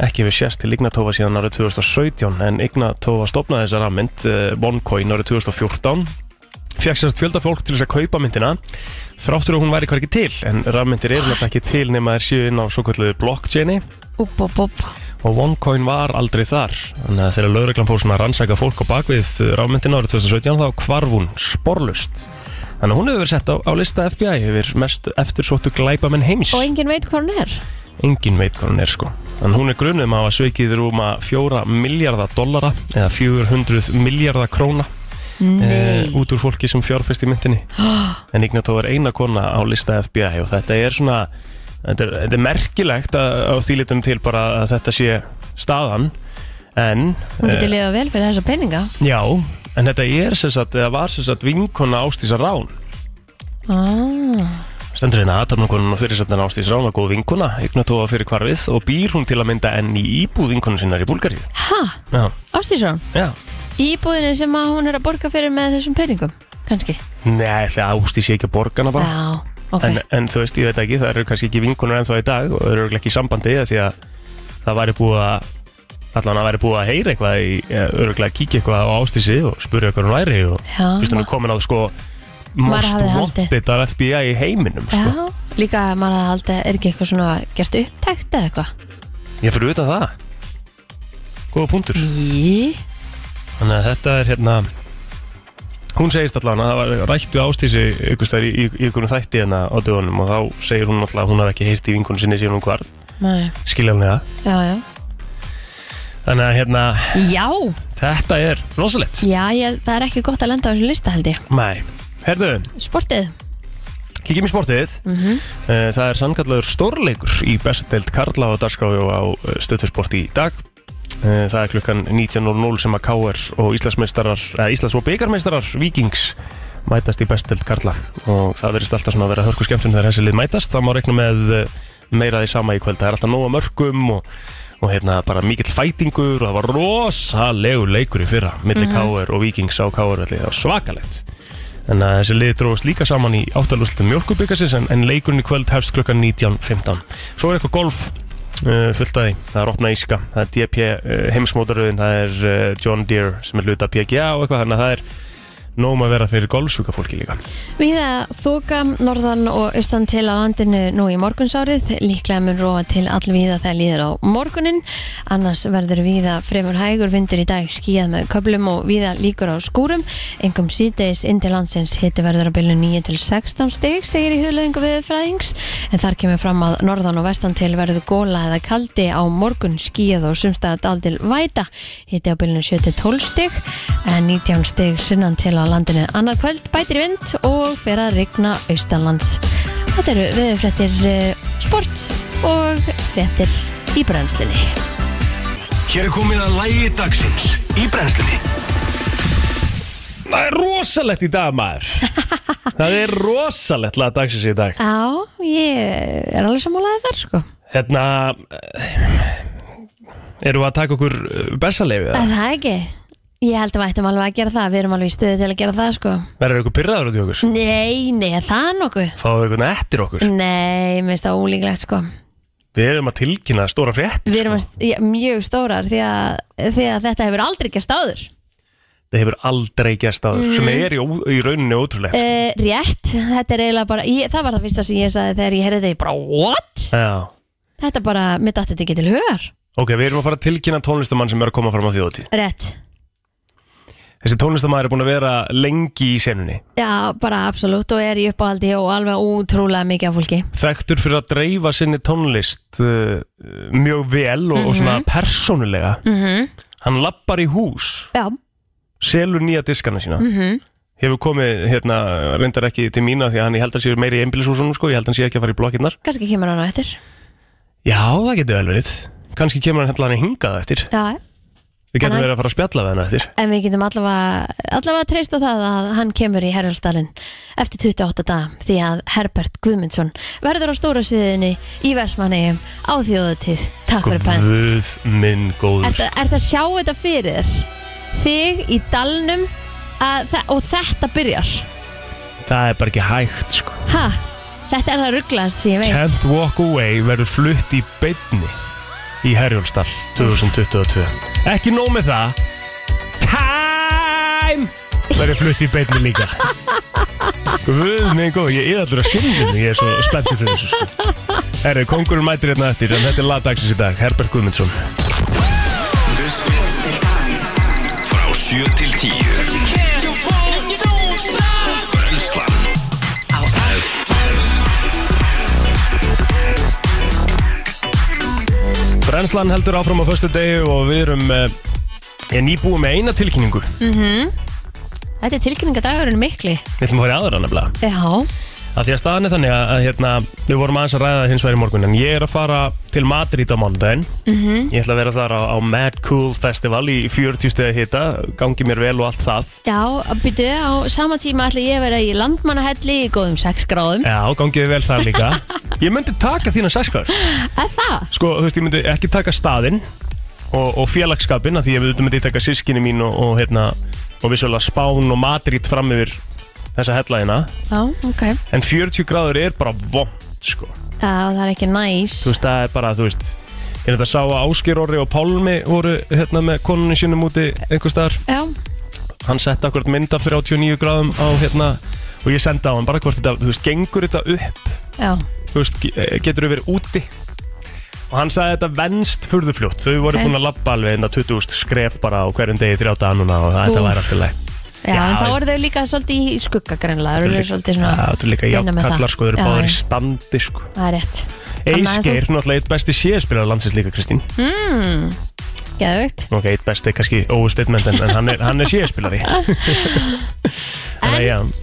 ekki við sérst til Ignatova síðan árið 2017 en Ignatova stopnaði þessa rafmynd uh, OneCoin árið 2014 fekk sérst fjölda fólk til þess að kaupa myndina þráttur að hún væri hver ekki til en rafmyndir eru nefnilega ekki til nema þær séu inn á svo kallu blockchaini upp, upp, upp. og OneCoin var aldrei þar þannig að þegar lögreglan fór svona að rannsaka fólk á bakvið rafmyndina árið 2017 þá hvarf hún sporlust þannig að hún hefur verið sett á, á lista FBI hefur mest eftirsóttu glæpamenn heims Og engin veit hvað hún er. engin veit hvað hún er sko en hún er grunuð um að hafa sveikið rúma 4 miljardar dollara eða 400 miljardar króna Nei. eh, út úr fólki sem fjárfest í myndinni en Ignató er eina kona á lista FBI og þetta er svona þetta er, þetta er merkilegt að, á því litum til bara að þetta sé staðan en Hún Eh. getur lifað vel fyrir þessa peninga. já, en þetta er sem sagt, eða var sem sagt vinkona Ástísar Rán Ah. Stendur hérna aðtapnakonan og fyrirsættan Ástís Rán var góð vinkona, Ignatóa fyrir hvarfið og býr hún til að mynda enn í íbúð vinkonu sinnar í Búlgaríu. Ha, Já, Ástísson, já. íbúðinni sem að hún er að borga fyrir með þessum peningum, kannski? Nei, það Ástís sé ekki að borga hana bara. Já, ok. En, en þú veist, ég veit ekki, það eru kannski ekki vinkonur ennþá í dag og eru örugglega ekki í sambandi af því að það væri búið að allan að væri búið að heyra eitthvað í, öruglega kíkja eitthvað á Ástísi og spurja hvað hún væri og Já, þú veist, hún er komin á sko most hafði haldið. wanted af FBI í heiminum sko. Já, líka að maður hafði aldrei, er ekki eitthvað svona gert upptækt eða eitthvað? ég fyrir auðvitað það góða punktur Í, Þannig að þetta er hérna Hún segist allavega að það var rætt við ástísi ykkurstæðar í, í, í ykkur þætti hérna á dögunum og þá segir hún alltaf að hún hafi ekki heyrt í vinkonu sinni síðan hún hvarf, nei, skiljanlega já, já. Þannig að hérna, Já, þetta er rosalegt já, ég, það er ekki gott að lenda á þessum lista held ég. Nei, herðu, Sportið, kíkjum í sportið Mhm. Eh, Það er sannkallagur stórleikur í bestdelt Karla á Darskráju á stöðfjörsport í dag Eh, Það er klukkan 19.00 sem að KR og Íslandsmeistarar, eða Íslands og byggarmeistarar Víkings mætast í bestdelt Karla og það verðist alltaf svona að vera hörku skemmtun þegar þessi lið mætast, það má reikna með eh, meira því sama í kvöld, það er alltaf nóga mörgum og, og hérna bara mikill fætingur og það var rosalegur leikur í fyrra, milli KR og Víkings á KR velli, það var svakalegt en að þessi lið dróðast líka saman í áttalúslutum mjölkubikarsins en, en leikurinn í kvöld hefst klukkan 19.15 svo er eitthvað golf uh, fullt að því, það er opna íska það er DP uh, heimsmótaröðin, það er uh, John Deere sem er hluta PGA og eitthvað þannig að það er nóg um að vera fyrir golfsjúka fólki líka Víða þoka norðan og austan til á landinu nú í morgunsárið, líklega mun róa til allvíða þegar líður á morgunin, annars verður víða fremur hægur vindur í dag skíðað með köplum og víða líkur á skúrum, engum síðdeis inn til landsins hiti verður á bylnu 9 til 16 stig, segir í hugleðingu viðfræðings, en þar kemur fram að norðan og vestan til verður góla eða kaldi á morgun skíðað og sumstaðar daldil væta, hiti á bylnu 7 til 12 stig, en 19 stig sunnan til á landinu annað kvöld bætir í vind og fer að rigna austanlands. Þetta eru viðfréttir eh, sport og fréttir í brennslinni. Hér er komið að lægi dagsins í brennslunni Það er rosalegt í dag maður Það er rosalegt laða dagsins í dag Já, ég er alveg sammálaðið þar sko. Hérna Erum við að taka okkur eh, bessalefið Er það ekki? Ég held að við ættum alveg að gera það, við erum alveg í stöðu til að gera það sko. Verður ykkur pyrraður út í Mm. okkur? Nei, nei, er það nokkuð? Fáðu ykkur eftir okkur? Nei, mér finnst það ólíklegt sko. Við erum að tilkynna stóra frétt Við erum að, st- já, mjög stórar því að, því að þetta hefur aldrei gerst áður. Það hefur aldrei gæst áður Sem Mm. er í, ó- í rauninni ótrúlegt sko. Uh, rétt, þetta er eiginlega bara, ég, það var það fyrsta sem ég sagði þegar ég heyrði þeir bara, what? Já Þetta bara, mér dætti þetta ekki til hugar. Ok, við erum að fara að tilkynna tónlistamann sem er að koma fram á þjóðutíð Rétt, Þessi tónlistamæður er búin að vera lengi í senunni Já, bara absolutt og er í uppáhaldi og alveg útrúlega mikið af fólki Þekktur fyrir að dreifa sinni tónlist uh, mjög vel og, og svona persónulega Mhm. Hann lappar í hús, Já, selur nýja diskana sína Mhm. Hefur komið, hérna, reyndar ekki til mína því að hann ég held að sé meiri í einbýlishúsunum sko, ég held að hann sé ekki að fara í blokkinnar kannski kemur hann á eftir Já, það getur vel verið Kanski kemur hann hérna hingað eftir Já, Við getum Hann- verið að fara að spjalla við hann eftir en við getum allavega, allavega treyst á það að hann kemur í Herjólfsdalinn eftir 28 daga því að Herbert Guðmundsson verður á stóra sviðinu í Vestmannegjum á þjóðatíð Takk fyrir pænt Guð minn góður Er þetta að sjá þetta fyrir þér þig í dalnum að, þe- og þetta byrjar Það er bara ekki hægt sko ha, þetta er það rugglaðast sem ég veit Can't Walk Away verður flutt í beinni í Herjólfsdal 2022 Ekki nóg með það Time verður flutt í beinni líka Guð minn góð, ég er allur að skilja mig, ég er svo spenntur fyrir þessu sko. Herri, kongurinn mætir hérna eftir en þetta er lagdagsins í dag, Herbert Guðmundsson Frá 7 til 10 Brenslan Á F Brennslan heldur áfram á föstu degi og við erum eh, ég nýbúið með eina tilkynningu Við Mhm. þetta er tilkynningadagurinn mikli ætlum að fara í aðra nefnilega já, Af því að staðan er þannig að, að hérna, við vorum aðeins að ræða hins vegar í morgun en ég er að fara til Madrid á mánudaginn Mhm. Ég ætla að vera þar á, á Mad Cool Festival í 40 stegi hita gangi mér vel og allt það já, byrju á sama tíma ætla ég að vera í landmannahelli í góðum 6 gráðum Já, gangi þið vel þar líka Ég myndi taka þína sæskar er það? Sko, þú veist, ég myndi ekki taka staðinn og, og félagskapin af því ég myndi, myndi taka sískinni mín og, og, hérna, og vissulega Spán og Madrid fram yfir þessa hellaðina já, ok En 40 gráður er bara vond sko. já, það er ekki næs Þú veist, það er bara, þú veist Ég er þetta að sá að Ásker Orri og Pálmi voru hérna með konunni sínum úti einhvers staðar já, Hann setti akkurat mynd af 39 gráðum á hérna Og ég sendi á hann bara hvort þetta, þú veist, gengur þetta upp já, Þú veist, ge- eh, getur þau verið úti Og hann sagði þetta venst furðufljótt Þau Ok. voru búin að labba alveg hérna 20 skref bara á hverjum degi þrjá daga núna Og það þetta Úff. væri alltaf leið já, Já, en þá ég- eru þau líka svolítið í skugga greinlega, þau eru svolítið Já, svona þetta er líka vinna með það. jákallar sko, þau eru Já, báðir já. í standi sko það er rétt, Annað en þú? Eisgeir, náttúrulega eitt besti séspilar landsins líka, Kristín Hmm. geðvögt Ok, eitt besti, kannski óusteytment en, en hann er, hann er séspilari En- Þannig að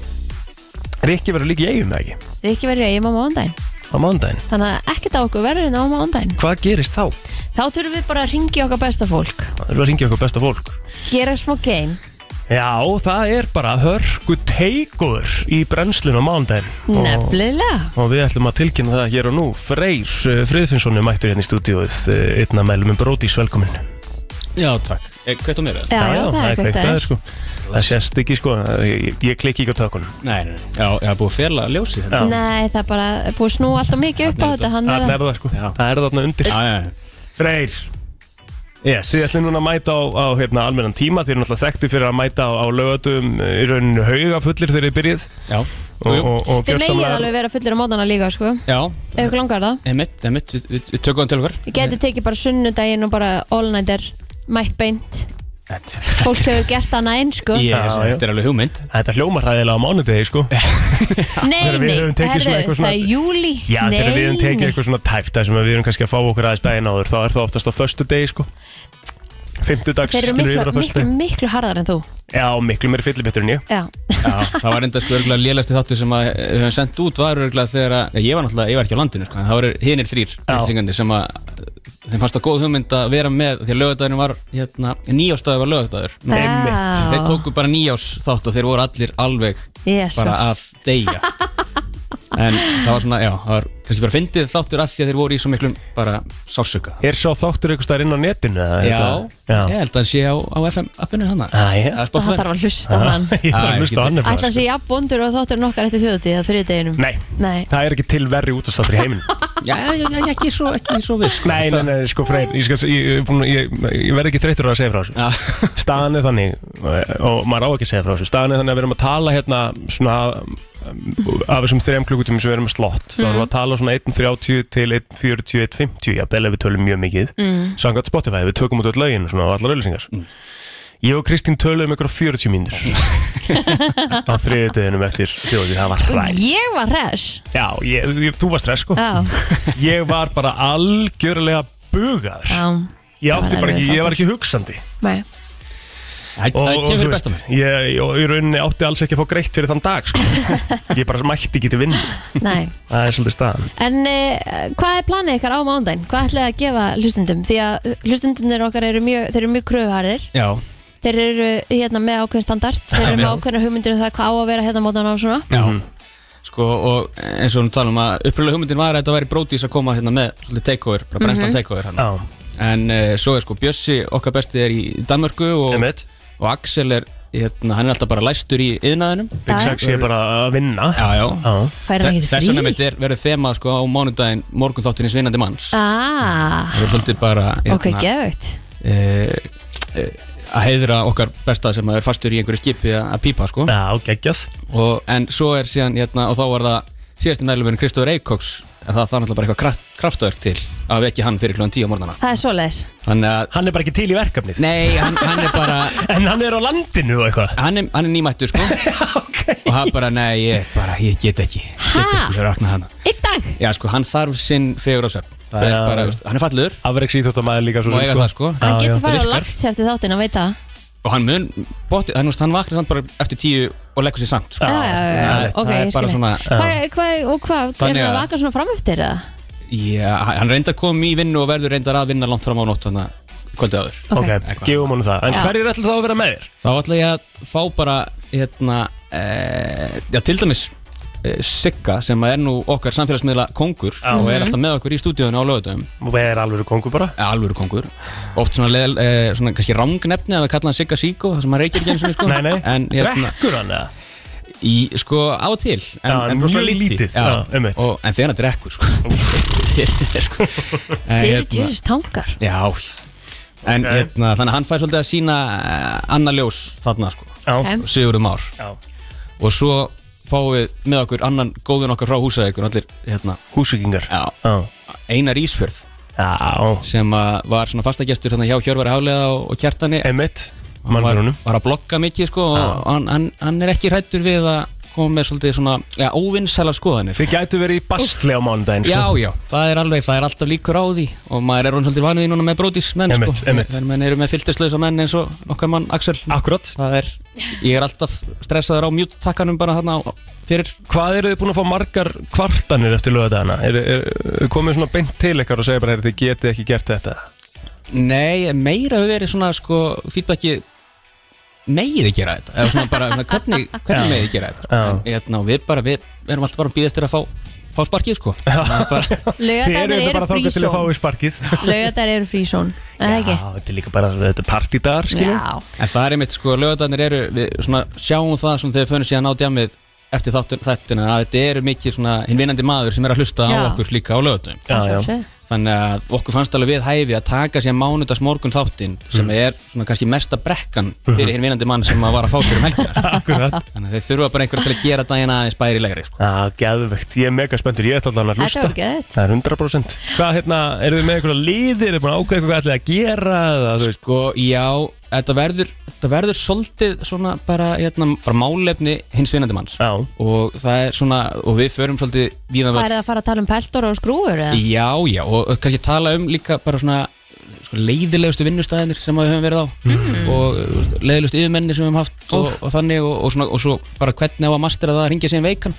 Rikki verður líka í eigum það ekki Rikki verður í eigum á mándaginn á mándaginn þannig að ekkert á okkur verður hérna á mándaginn Hvað gerist þá? þá þurfum við bara að ringi okkar besta fólk Það eru að ringja okkur besta fólk gera smá game Já, það er bara hörku teikur í brennslun á mándaginn og, nefnilega og við ætlum að tilkynna það hér og nú Freyr uh, Friðfinnssoni mættur hérna í stúdíóið uh, einna meðlum um Bródís, velkomin Já, takk. Eh, Hvert á mér eða? já, já, það er kveikt aðeins aðeins sko Það sést ekki sko, ég, ég klikki ekki á tökunum Nei, nei, nei. Já, ég hafa búið að fela hérna. að ljósi þetta. Já. nei, það er bara búið að snúa alltaf mikið upp á þetta hann er Þarna að er það sko, Já. það er þarna undir Já, já, já. Freyr, Yes. Þið ætlum núna að mæta á, á hérna, almennan tíma Þið eru náttúrulega þekktu fyrir að mæta á, á lögatum í rauninu hauga fullir þegar þið byrjið Já. og, Jú, jú. og, og þið megið gjörsamlega- alveg vera fullir á mótana líka sko ef Já, ykkur langar það emitt, emitt, við, við, við tökum hann til okkar. við getum tekið bara sunnudaginn og bara all-nighter mætt beint Þetta fólk hefur gert annað einn sko Ég- Já, já. þetta er alveg hugmynd. Þetta hljómar hræðilega á mánudegi sko nei, Þegar við nei, höfum tekið svona eitthvað herðu, svona- það er júli Já, þegar við höfum tekið eitthvað svona tæft Það sem að við erum kannski að fá okkur aðeins daginn áður Þá er það oftast á föstu degi sko Fymtudags þeir eru miklu, miklu, miklu harðar en þú Já, miklu meiri fyllibettur en ég já, Já, það var enda sko örgulega lélasti þáttur sem að eh, við höfum sendt út var örgulega þegar að, ég var náttúrulega, ég var ekki á landinu sko, en það voru hinir þrýr lýsingandi sem að þeim fannst það góð hugmynd að vera með því að lögadagurinn var, hérna, nýjástaður var lögadagur. Já. Þeir tóku bara nýjás þátt og þeir voru allir alveg Jesus. bara að deyja. En það var svona, já, það var kannski bara fyndið þáttur að því að þeir voru í svo miklum bara sásöka. Er sá þáttur einhvers staðar inn á netinu? eða er Já, þetta- ég Já Ah, held að hann sé á, á FM appinu hana. Æ, já. Það er það Spotify. þarf að hlusta á hann Ég var að hlusta á hann sko- Ætla að sé jafn vondur og þáttur nokkar eftir þjóðutíð á þriðdeginum Nei, Nei. það er ekki til verri útastáttur í heiminum Já, já, já, já, ekki svo, ekki svo viss. sko. Nei, nei, nei, sko Freyr, ég, skal, ég, ég, er búinn að- ég, ég verð ekki þreyttur á að segja frá þessu Já. staðan er þannig eh, og maður á ekki að segja frá þessu staðan er þannig að við erum að tala hérna svona um, af þessum þrejum klukkutími sem við erum að slott þá Mhm. erum við að tala svona 1.30 til 1.40, Mhm. 1.50 jafnvel ef við tölum mjög mikið mm. samkvæmt Spotify, við tökum út öll lögin svona, og allar auðlýsingar Ég og Kristín töluðum ykkur á 40 mínútur á þriðutöðinum eftir þjóðið, það var Sko, hræð ég var hress Já, ég, ég, þú var stress sko Já, Ég var bara algjörlega bugaður já það Ég var átti bara erfiður ekki, ég var ekki hugsandi Nei. Það það og kemur þú veist, bestan ég, og í rauninni átti alls ekki að fá greitt fyrir þann dag sko. Ég bara mætti ekki til vinn Nei. Það er svolítið staðan En uh, hvað er planið ykkar á mándaginn? Hvað ætlaði að gefa hlustundum? Því að hlustundunir okkar eru mjög, þeir eru mjög kröfuharðir Já, Þeir eru hérna með ákveðin standart Þeir eru með ákveðina hugmyndir um það hvað á að vera hérna mótan á svona já Mhm. Sko, og eins og við talum um að uppröðlega hugmyndin var að þetta væri brótis að koma hérna með svolítið takeover, bara Mhm. brennslan takeover hann Já, En uh, svo er sko Bjössi, okkar besti er í Danmörku og, emitt og Axel er, hérna, hann er alltaf bara læstur í yðnaðinum Big Já. Sex ég er bara að vinna Já, já Já, Fær hann ekki Þess frí? vegna mitt er verið þema sko á mánudaginn morgun þátturins vinnandi manns Ah, Það er svolítið bara hérna, ok, geðvögt eh, eh, að heiðra okkar besta sem er fastur í einhverju skipi að að pípa sko já geggjað og, En svo er síðan, hérna, og þá var það síðasti nælumurinn Kristóður Eikóks en það það er náttúrulega bara eitthvað kraft, kraftverk til að vekja hann fyrir klúan tíu á morgnana Það er svoleiðis Þannig að, Hann er bara ekki til í verkefnið nei, hann, hann er bara En hann er á landinu og eitthvað hann er, hann er nýmættur sko Ok og hann bara, nei, ég, bara, ég get ekki get Ha? ekki fyrir að rakna hana Einn dag Já, sko, hann þarf sinn fegur á söfn Það er Já. bara, veist, hann er fallegur Afreks íþjóttamæður líka svo Má eiga það, sko. Hann Já, já. getur farið og virkar. lagt sér eftir þáttin að veita og hann mun, bóti, hann, veist, hann vaknar hann bara eftir tíu og leggur sér samt sko. Já, Já, já, já, það já, er- ok, það er ég bara skil svona- Hvað, hvað, og hvað, er Þannig hann að að- vaka svona fram eftir eða? Já, hann reyndar kom í vinnu og verður reyndar að vinna langt fram á nótt þannig að kvöldið aður Ok, Ok. gefum honum það En Já. hverjir ætla þá að vera með þér? Þá ætla ég að fá bara hérna, e, já, til dæmis e, Sigga sem er nú okkar samfélagsmiðla kongur Já. Mhm. og er alltaf með okkur í stúdíóinu á lögutum Og er alveg kongu bara alvöru kongur, oft svona, leðal, e, svona kannski rángnefni að við kalla hann Sigga Síko það sem hann reykir ekki eins og sko Nei, nei, en hérna, drekkur hann eða? í, sko á og til en, Já, en mjög rosalega lítið, já, já, einmitt. og, en þegar hann drekkur sko, Fyrir, sko. En, Þeir eru hérna, djöðs tangar Já En Ok. hérna, þannig að hann fær svolítið að sína Anna Ljós þarna sko Já, Ok. Sigurður Már já Og svo fáum við með okkur annan góðun okkar frá húsæðingur Allir hérna Húsvíkingar já, Já, Einar Ísfjörð já sem að var svona fastagestur hérna hjá Hjörvari Hálega og, og Kjartani Emmett, Hann var, mannfyrir honum var að blogga mikið sko og hann, hann, hann er ekki hrættur við að koma með svolítið svona já, óvinnsæla skoðanir Þið gætu verið í basli á mánudaginn sko. Já, já, það er alveg, það er alltaf líkur á því og maður er orðinn svolítið vanið í núna með brótis menn sko, Einmitt, einmitt. þegar menn eru með filterslösa menn eins og okkar mann Axel Akkurat það er, ég er alltaf stressaður á mjút takkanum bara þarna á- fyrir Hvað eru þið búin að fá margar kvartanir eftir lögadagana? Er, er, er komið svona beint til ykkar og segja bara "Heyrðu, Þið getið ekki gert þetta nei, meira hefur verið svona sko, feedbacki megið þið gera þetta, eða svona bara svona, hvernig, hvernig megið þið gera þetta sko. Já. en, hérna, og við bara, við, við erum alltaf bara að býða eftir að fá, fá sparkið sko Það er bara, Þið eru Laugardagar þetta eru bara þangað til að fá frísón í sparkið Laugardagar eru frísón Það er ekki Já, þetta er líka bara þetta er partídagar skilur Já, En það er einmitt sko, lögadarnir eru, við svona sjáum það svona þegar við fönum síðan á djamið eftir þáttun þættina að þetta eru mikið svona hinn vinnandi maður sem er að hlusta Já. á okkur líka á lögatum. Já, já. sjálfsögðu. Þannig að okkur fannst alveg við hæfi að taka síðan mánudags morgun þáttin sem Mm. er svona kannski mesta brekkan fyrir hinn vinnandi mann sem að var að fá sér um helgina. Mm-hmm. Akkurat Þannig að þeir þurfa bara einhverja til að gera daginn aðeins bærilegri sko. Já, geðvegt, ég er mega spenntur, ég ætla allan að Þetta hlusta var geðveikt. Það er 100% Hvað hérna, eru þið með einhverja liði, eru þið búin að ákveða eitthvað hvað ætlið að gera eða, þú veist, Sko, já, þetta verður, þetta verður svolítið svona bara, hérna, bara málefni hins vinnandi manns. Já, Og það er svona, og við förum svolítið víðan Hvað völl. er það að fara að tala um peltor og skrúur? eða? Já, já, og kannski tala um líka bara svona sko, leiðilegustu vinnustæðinir sem við höfum verið á Mm. og uh, leiðilegustu yfirmennir sem við höfum haft og, og þannig og, og, svona, og svo bara hvernig á að mastera það að ringja sig inn veikan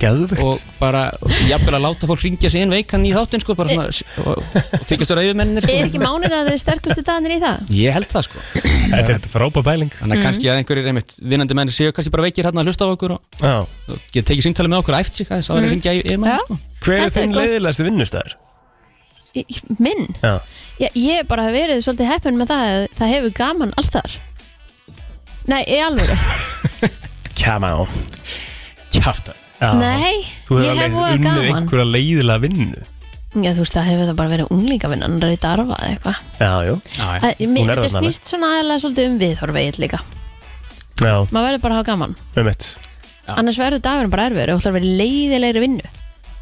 geðvegt og bara jafnvel að láta fólk ringja sig inn veikan í þáttinn sko, bara svona s- og, og þykjast vera yfirmennir sko. Er ekki mánudagur sterkustu dagarnir í það? Mhm. Ég held það sko Þetta er þetta frábæð bæling Þannig að kannski að einhverjir einmitt vinnandi mennir séu kannski bara veikir hérna að hlusta á okkur og, Já. og geta tekið símtali með okkur að æft sig aðeins að það er að ringja í yfirmennir Já. sko. Hver Mhm. Þetta er er þinn gott. leiðilegasti vinnustæður? Í- í- Minn? Já, Ég, ég bara hef verið svolítið heppin með það að það hefur gaman alls þar Nei, í alvöru come on Kjafta Já. Nei, Þú hefur ég hef alveg voða unnið gaman einhverja leiðilega vinnu Já, þú veist, það hefur það bara verið unglingavinn annar í darfa eða eitthvað Já, jú Já, Það- mér- Hún er Þetta þarna, snýst svona aðalega svolítið um viðhorfið líka Já, Maður verður bara að hafa gaman með mitt Já. Annars verður dagurinn bara erfiður og þú ætlar að vera í leiðilegri vinnu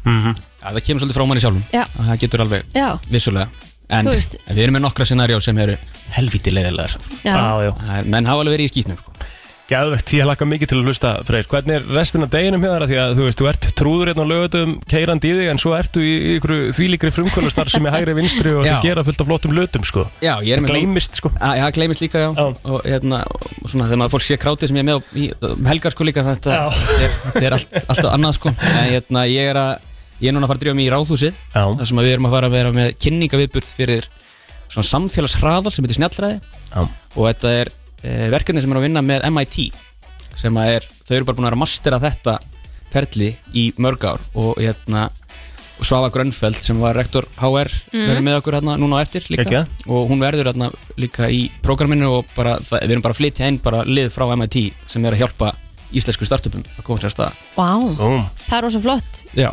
Mhm. það kemur svolítið frá manni sjálfum Já, Það getur alveg já Vissulega En, Þú veist. en við erum með nokkra scenarjó sem eru helviti leiðilegar Já. Já, já, Það er- Menn hafa alveg verið í skýtnum sko. gæðvegt, ég hlakka mikið til að hlusta Freyr, hvernig er restin af deginum hérna því að þú veist, þú ert trúður hérna á lögutum keirandi í þig, en svo ertu í, í ykkur þvílíkri frumkvölustar sem er hægri vinstri og Já. þú gera fullt af flottum lötum, sko Já, ég er með Gleimist, sko Á, Já, gleymist líka, já, Já. og hérna, og svona þegar maður fólk sé krátið sem ég er með á, í, um helgar sko líka þetta Já. þetta er, þetta er allt, alltaf annað sko en hérna, ég er að ég er núna að fara að drífa mig í ráðhúsið Já, þar sem að við erum að fara að vera með kynningaviðburð fyrir svona samfélagsraðal sem heitir Snjallræði já, og þetta er e, verkefni sem er að vinna með MIT sem að er, þau eru bara búin að vera að mastera þetta ferli í mörg ár og hérna og Svava Grönfeld sem var rektor HR verður með okkur hérna núna á eftir líka Geggjað. og hún verður hérna líka í prógraminu og bara, það, við erum bara að flytja inn bara lið frá MIT sem er að hjálpa íslensku startupum að koma sér að staða Vá, búm það er ósum flott Já,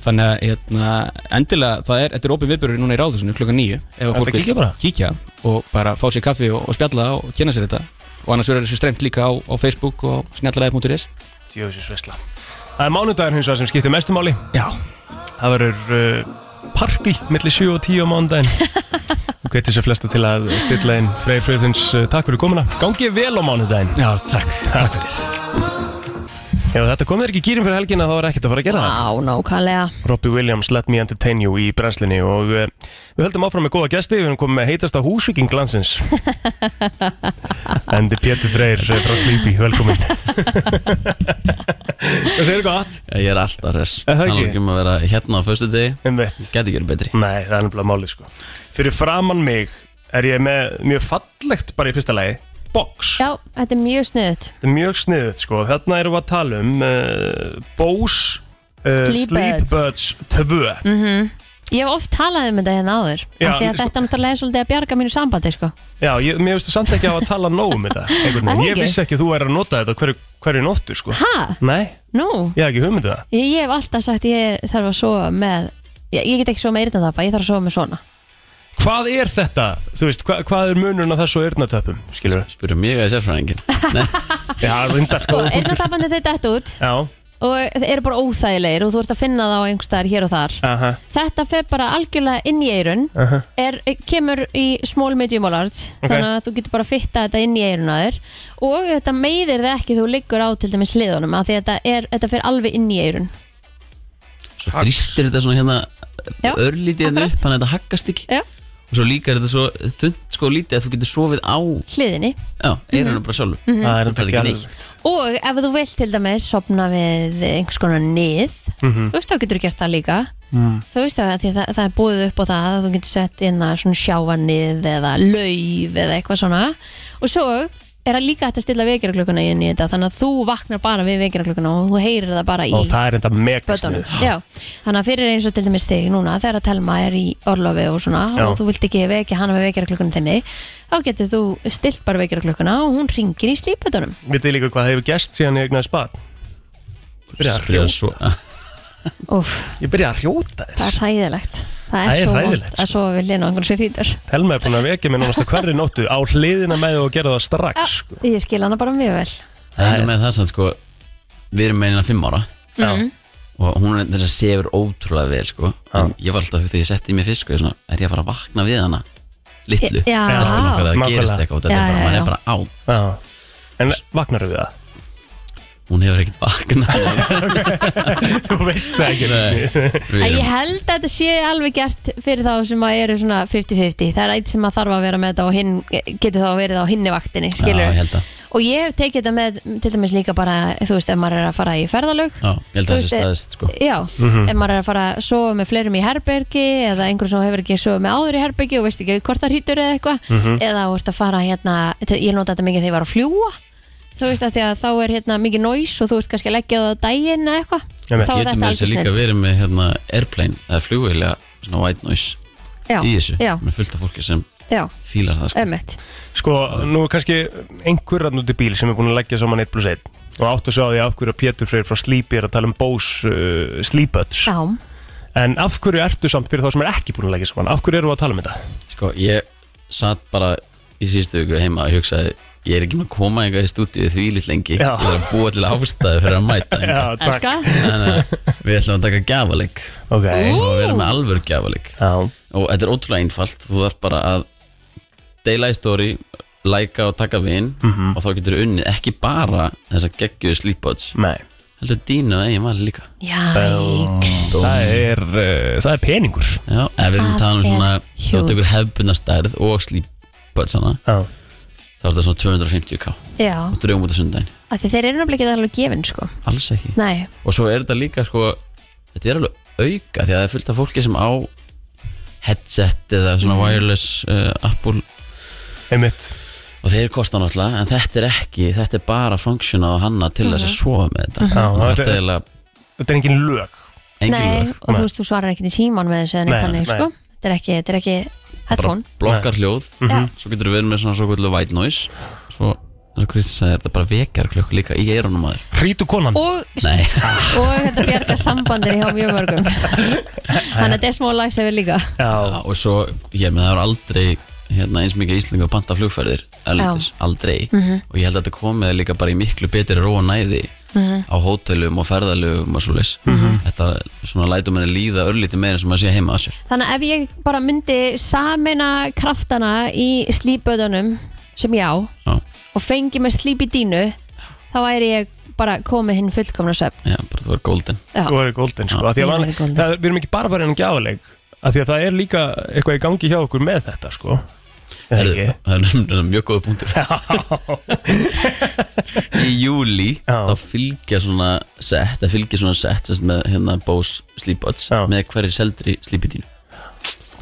þannig að hérna, endilega það er, þetta er opið viðbjörður núna í ráðhúsinu klukkan nýju ef að Ertu fólk að kíkja bara? kíkja og bara fá sér kaffi og, og spjalla og kynna sér þetta og annars verður þessu streymt líka á, á Facebook og snjallalæði.is Djöfisins veistla Það er mánudagur hins vegar sem skiptir mestu máli Já, Það verður uh, partí millir 7 og 10 á mánudaginn Þú getur sér flesta til að stilla inn Freyr Freyðins, uh, takk fyrir komuna Gangi þér vel á mánudaginn já, takk, takk fyrir Ef þetta kom þér ekki í gýrin fyrir helgina þá er ekkert að fara að gera það Vá, nákvæmlega Robbie Williams, Let Me Entertain You í brennslinni og uh, við höldum áfram með góða gesti við erum komið með heitasta húsvíking glansins Endi Pétur Freyr eh, frá Sleepy, velkomin Það segir gott Ég er alltaf res Er það Tala ekki? ekki um að vera hérna á föstu degi Einmitt. Gæti ekki verið betri Nei, það er nefnilega máli sko Fyrir framann mig er ég með mjög fallegt bara í fyrsta lagi Box, Já, þetta er mjög sniðut þetta er mjög sniðut sko Þarna erum við að tala um uh, Bose uh, Sleep Sleepbirds 2 Mhm. Ég hef oft talað um þetta hérna áður Já, af Því að sko- þetta náttúrulega er svolítið að bjarga mínu sambandi sko. Já, ég, mér finnst þú samt ekki á að tala nóg um þetta einhvern Er það veginn, ég ekki? vissi ekki að þú væri að nota þetta hverju, hverju nóttu sko Ha? Nei, Nú? ég hef ekki hugmyndu það Ég, ég hef alltaf sagt ég þarf að sofa með Ég, ég get ekki sofa með eyrnatappa, ég þarf að sofa með svona Hvað er þetta? Þú veist, hva, hvað er munurinn á þessu eyrnatöpum? Skilur við? Spyrir mig að ég sér frá enginn Já, reynda Sko, sko eyrnatappan þetta er dætt út Já, og þeir eru bara óþægilegir og þú ert að finna það á einhverstaðar hér og þar aha, Þetta fer bara algjörlega inn í eyrun aha er, kemur í small medium og large Ok. þannig að þú getur bara að fitta þetta inn í eyrun á þér og þetta meiðir það ekki þú liggur á til dæmis hliðunum af því að þetta, er, þetta fer alveg inn í eyrun Svo þrýstir þetta svona hérna Já, Örlítið hérna akkurat. upp Þannig að þetta haggast ekki Já. Og svo líka er þetta svo þund sko lítið Að þú getur sofið á hliðinni Já, Mhm. eirunum bara sjálfur Það Það er þetta er ekki ekki alveg neitt og ef þú vilt til dæmis sopna við einhvers konar nið Mhm. þú veist þá getur þú gert það líka Mm. þú veist það, því að það, það er búið upp á það að þú getur sett inn að svona sjávanið eða lauf eða eitthvað svona og svo er það líka hægt að stilla vekjaraklökunna inn í þetta þannig að þú vaknar bara við vekjaraklökunna og þú heyrir það bara í Og það er þetta mega bötunum sniðugt. Já, þannig að fyrir eins og til dæmis þig núna þegar að Telma er í orlofi og svona Já. og þú vilt ekki vekja hana með vekjarklökunum þinni þá getur þú stilt bara vekjarklökunna og hún ringir í slípötunum Vitið þið líka hvað hefur gerst síðan ég egnaði spad? Ég byrjaði að Byrjar hrjóta. svo- Úf, Ég byrjaði að hrjóta það er þess hræðilegt Það er, Það er svo hræðilegt, vont að sofa við lina á einhvern sér hýtur Telma er búin að vekja mér náttúrulega hverri nóttu á hliðina með og gera það strax sko. Ég skil hana bara mjög vel Það er einu með það sem sko Við erum með eina fimm ára Mm. Já. Og hún er þess að sefur ótrúlega vel sko En ég var alltaf þegar ég setti í mig fyrst sko, ég svona, Er ég að fara að vakna við hana Litlu Já. Stelpuna okkar að það Nákvæmlega. gerist eitthvað og þetta Já, er bara- já, maður já. er bara á Já. En vaknar við það? Hún hefur ekkert vaknað Þú veist það ekki einu sinni. Við Ég erum- held að þetta sé alveg gert fyrir þá sem að eru svona 50-50 Það er eitt sem að þarf að vera með þetta og hinn getur þá verið á hinni vaktinni Já, skilur ég held að Og ég hef tekið þetta með til dæmis líka bara, þú veist, ef maður er að fara í ferðalög Já, ég held Þú að það sé veist, eh, staðist sko Já, Mhm. ef maður er að fara að sofa með fleirum í herbergi eða einhver sem þú hefur ekki sofa með áður í herbergi og veist ekki hvort það hýtur eða eitthvað Mhm. eða þú ert að fara hérna, til- ég nota þetta mikið þegar ég var að fljúa þú veist að því að þá er hérna mikið næs og þú ert kannski að leggja það á daginn eða eitthvað Einmitt. þá er Getur þetta alveg með þessi líka snilt verið með hérna airplane eða flugvélja svona white noise já, í þessu já, með fullt af fólki sem já, fílar það sko ömmett Sko, nú er kannski einhverjarn út í bíl sem er búin að leggja saman 1 plus 1 og átt að sjá því af hverju að Pétur Freyr frá Sleepy er að tala um Bose uh, Sleeputs já, en af hverju ertu samt fyrir þá sem er ekki búin að leggja saman af hverju eru að tala um þetta? Sko, ég satt bara í síðustu viku heima og hugsaði ég er ekki með að koma einhvað í stúdíu því lít lengi Já. og það er að búa til ástæði fyrir að mæta hingað. eh, elska Þannig að við ætlum að taka gjafalik ok og vera með alvör gjafalik Já, og þetta er ótrúlega einfalt þú þarf bara að deila í story læka og taka vin Mhm. og þá getur unnið ekki bara þess að geggjuðu sleepbots Nei heldur dínu að eigin vali líka Jæks Það er, uh, það er peningur Já, ef við erum Það talað um svona er þá huge. tekur hefbunna stærð og sleepbots hana Já þá er þetta svona 250k Já, og drögum út af sundaginn af því þeir eru náttúrulega ekki alveg gefin sko alls ekki Nei, og svo er þetta líka sko þetta er alveg auka því að það er fullt af fólki sem á headset eða svona wireless uh, Apple Mm. Einmitt og þeir kosta náttúrulega en þetta er ekki, þetta er bara funksjona og hanna til þess að Mhm. sofa með þetta Mhm. Já, og þetta þetta er- er eiginlega Þetta er engin lög nei, engilvög og þú veist, þú svarar ekki til síman með þessu en Nei, þannig nei. sko Þetta er ekki, þetta er ekki bara headphone blokkar hljóð Mhm. Já. svo getur við verið með svona svo kvöldu white noise svo, eins og Chris sagði, þetta bara vekjar klukku líka í eyrunum aður Hrítu konan Og, nei, og þetta bjargar sambandir hjá mjög mörgum Þannig að þetta er smá lagsefi líka Já og svo, ég með það var aldrei hérna, eins mikið íslengu að panta flugferðir erlendis, aldrei Mhm. og ég held að þetta komið líka bara í miklu betri ró og næði á hótelum og ferðalögum og svo leis Mhm. þetta svona lætur manni líða örlítið meira sem maður sé heima á sér Þannig að ef ég bara myndi samina kraftana í slípöðunum sem ég á Já. og fengi mér slíp í dínu þá væri ég bara komið hinn fullkomna svefn Já, bara það var golden Já, Þú verður golden sko af því að Ég van- verður golden. það- Við erum ekki bara bara ennum gjáleik Því að það er líka eitthvað í gangi hjá okkur með þetta sko Er það Herðu, ekki? Það er nefnilega mjög góða punktur Í júli Já. þá fylgja svona sett það fylgja svona sett sem sagt, með hérna Bose Sleepbots Já. með hverri seldri sleepitínu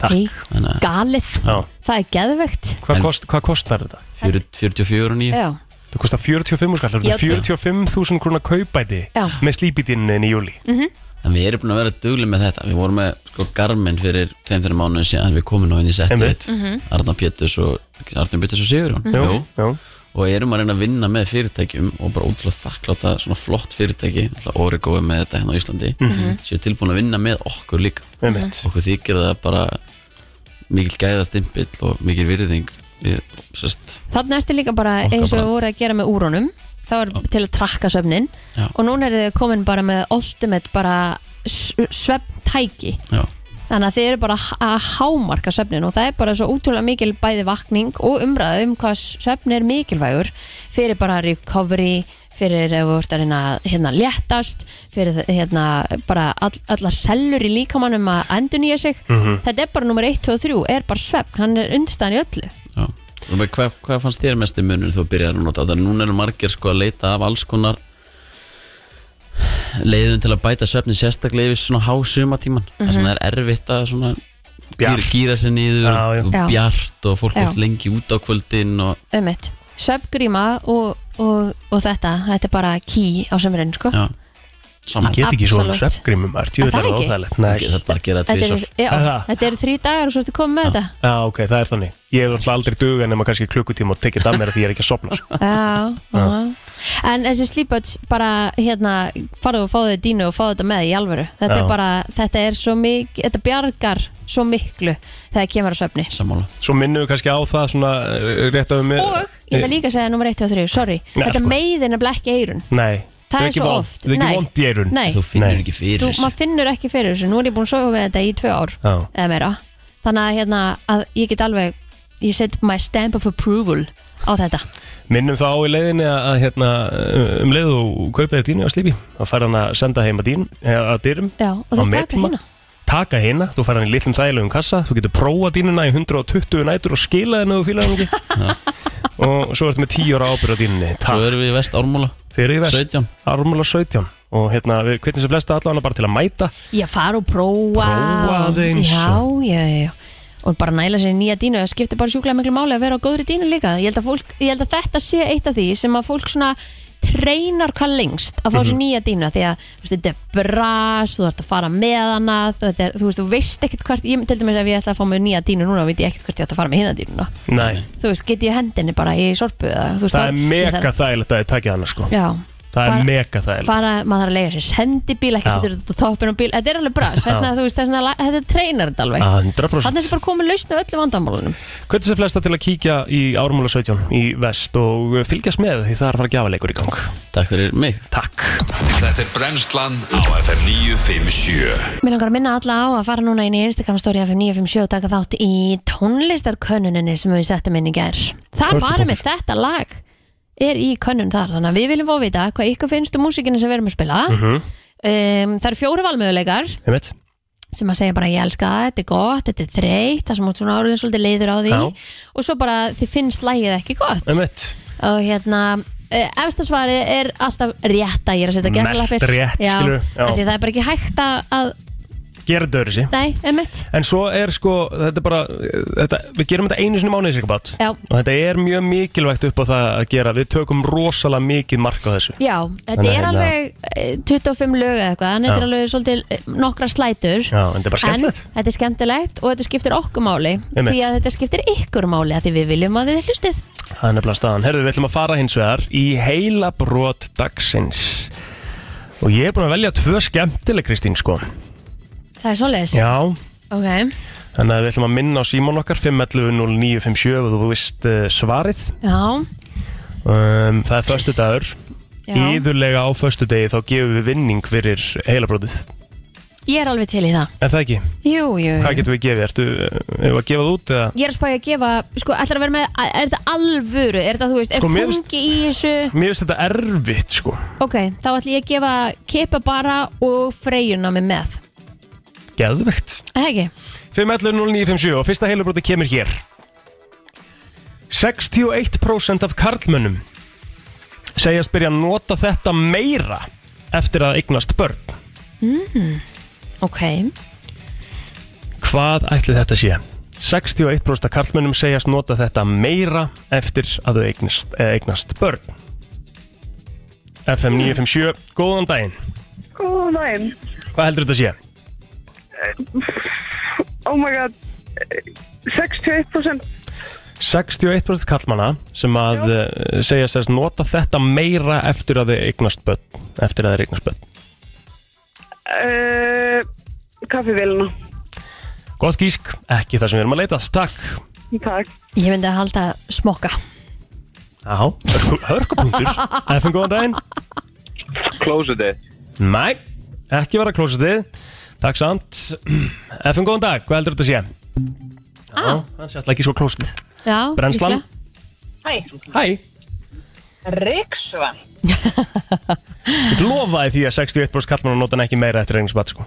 hei, Þannig að galið Já Það er geðvegt Hvað, En- kost, hvað kostar þetta? 40 44 og 9 Já, Það kostar 45 skall Já, það- 45.000 krónar kaupæti Já. með slípidinnin í júli Mhm. en við erum búin að vera dugli með þetta við vorum með sko Garmin fyrir 2-3 mánuðin síðan við komum nú inn í Einmitt. settið Arna Péturs og Arna Péturs og Sigurjón Jú. Jú. og erum að reyna að vinna með fyrirtækjum og bara útrúlega þakkláta svona flott fyrirtæki alltaf Origo er með þetta hérna á Íslandi séu tilbúin að vinna með okkur líka Mhm. Einmitt. okkur þykir það bara mikil gæðastimpill og mikil virðing við, sérst, þannig ertu líka bara Okkar eins og brand. við voru að gera með úrónum þá er til að trakka svefnin Já. og núna eru þau komin bara með ultimate bara s- svefntæki já, þannig að þið eru bara að hámarka svefnin og það er bara svo útrúlega mikil bæði vakning og umræðu um hvað svefn er mikilvægur fyrir bara recovery fyrir ef þú ert að reyna að, hérna léttast fyrir þ- hérna bara all, allar sellur í líkamannum að endur nýja sig þetta er bara nummer 1, 2 og 3 er bara svefn, hann er undstæðan í öllu já. Og með Hvað, hvað fannst þér mest í munum þú byrjar að nota á það? Núna eru margir sko að leita af alls konar leiðum til að bæta svefni sérstaklega yfir svona hásumatíman mm Mhm. þar sem það er erfitt að svona gýra, Bjart. gýra sér niður Já, já. og Já. bjart og fólk Já. er lengi út á kvöldin og ummitt, um svefngríma og, og, og þetta, þetta er bara key á sömurinn sko já, saman Get ekki svona Absolutt. sveppgrímum er Er það tjóðlega ekki? óþægilegt það Nei er bara að gera það þetta tvisvar eru- já, Er það? þetta eru þrý dagar og svo ertu komið með þetta Já ok, það er þannig Ég hef náttúrulega aldrei duga nema kannski klukkutíma og tekið það mér að því ég er ekki að sopna sko. Já, já. En þessi slípöts bara hérna farðu og fáðu þér dínu og fáðu þetta með í alvöru Þetta Já. er bara, þetta er svo mikið Þetta bjargar svo miklu þegar kemur á svefni sammála Svo minnum við kannski á það svona eh, rétt að við með Og ég ætla líka að segja nummer 1 og 3, sorry Nei, Þetta sko. meiðir nefnilega ekki eyrun Nei Það er ekki svo vont- oft. Það er Nei. ekki vond í eirun Nei, þú finnur Nei. ekki fyrir þú, þessu. maður finnur ekki fyrir þessu Nú er ég búin að sofa með þetta í tvö ár Já eða meira Þannig að hérna, að ég get alveg Ég set my stamp of approval á þetta Minnum þá á í leiðinni að, að hérna, um leið og kaupið dínu á slípi þá fær hann að senda heim að, dín, að dyrum Já, og Á þú ert metum ekki að- hérna taka hérna, þú fær hann í litlum þægilegum kassa þú getur prófa dínuna í 120 nætur og skila henni og fíla henni ekki og svo ertu með 10 ára ábyrð á dínunni Svo Takk, erum við í vest ármúla þeir eru í vest 17 Armúla 17 og hérna, við hvernig sem flesta allavega bara til að mæta Ég fara og prófa Prófa aðeins Já, já, já, já og bara næla sér í nýja dínu það skiptir bara sjúklega miklu máli að vera á góðri dínu líka ég held, að fólk, ég held að þetta sé eitt af því sem að fólk svona treynar hvað lengst að fá sér Mhm. nýja dínu því að þú veist, þetta er bras, þú ert að fara með hana þú, þetta er, þú veist, þú veist ekkert hvert ég til dæmis ef ég ætla að fá mér nýja dínu núna veit ég ekkert hvert ég ætla að fara með hina dínuna Nei, þú veist, get ég hendinni bara í sorpu eða, þú veist, það er ég mega þarf- þægilegt að þið takja hana sko Já, það Fara- er mega þægilegt fara, maður þarf að leiða sér sendibíl ekki Já. setja þetta á toppin á bíl, þetta er alveg brast þess Já. að þú veist, þess að þetta treinar þetta alveg Ah, þannig 100% er þetta bara komið lausn á öllu vandamálunum Hvernig sem flesta til að kíkja í ármála 17 í vest og fylgjast með því það er að fara gjafaleikur í gang Takk fyrir mig Takk Þetta er brennslan á FM 957 Mér langar að minna alla á að fara núna inn í Instagram story F957 og taka þátt í tónlistarkönnuninni sem við settum inn í gær Það Hörpu var punktur. með þetta lag er í könnun þar, þannig að við viljum fá að vita hvað ykkur finnst um músikina sem við erum að spila Mhm. um, Það eru fjóru valmöguleikar Einmitt. sem að segja bara ég elska það, þetta er gott, þetta er þreytt það sem út svona áriðin svolítið leiður á því Já. og svo bara þið finnst lægið ekki gott Einmitt. og hérna eh, efsta svarið er alltaf rétta ég er að setja Merkt gæsalappir rétt, skilurðu, já. af því það er bara ekki hægt að, að Gera þetta öðru nei, emitt En svo er sko, þetta er bara þetta, Við gerum þetta einu sinni mánuðið sér Já. Og þetta er mjög mikilvægt upp á það að gera Við tökum rosalega mikið mark á þessu já, þetta Þannig er að hérna- alveg eh, 25 lög eða eitthvað, en þetta Já. er alveg svolítið eh, nokkra slætur Já, en þetta er bara En skemmtilegt þetta er skemmtilegt og þetta skiptir okkur máli Einmitt. því að þetta skiptir ykkur máli að því við viljum að þið hlustið Það er nefnilega staðan. Herðu, við ætlum að fara hins vegar í heila brot dagsins. Og ég er búin að velja tvö skemmtileg, Kristín, sko. Það er svoleiðis Já. Ok, Þannig að við ætlum að minna á símón okkar, 511-0957, og þú veist uh, svarið. já, Um, það er föstu dagur. já. Íðurlega á föstu degi þá gefum við vinning fyrir heila brotið. Ég er alveg til í það Er það ekki? Jú, jú, jú. Hvað getum við gefið? Ertu, hefur að gefa það út eða? Ég er að spája að gefa, sko, ætlar að vera með Er þetta alvöru, er þetta, þú veist, Sko, mér er finnst- þungi í þessu Mér finnst þetta erfitt, sko. Ok, þá ætla ég að gefa Kepa bara og freyjuna með með Geðvegt. Það ekki? 511-0957 og fyrsta heilabróti kemur hér 61% af karlmönnum segjast byrja að nota þetta meira eftir að eignast börn Mm-hmm. Ok, Hvað ætli þetta sé? 61% af karlmönnum segjast nota þetta meira eftir að þau eignast, eh, eignast börn FM 957, góðan daginn Góðan daginn. Eh, Hvað heldur þetta sé? Oh my god. eh, 61% 61% kallmanna sem að eh, segja sérst nota þetta meira eftir að þið eignast börn eftir að þið eignast börn. uh, kaffivélina. Gott gísk, ekki það sem við erum að leita Takk Takk. ég myndi að halda smokka Já, hörku, hörkupunktur FN góðan daginn Closetið Nei, ekki vera klósitið Takk samt FN góðan dag, hvað heldur þetta sé? Já, Ah. það sé alltaf ekki svo klósitið Já, Brennslan líklega. Hæ, Hæ, Ríksvan. ég lofaði því að 61% kallmanna nota hann ekki meira eftir eignast börn sko.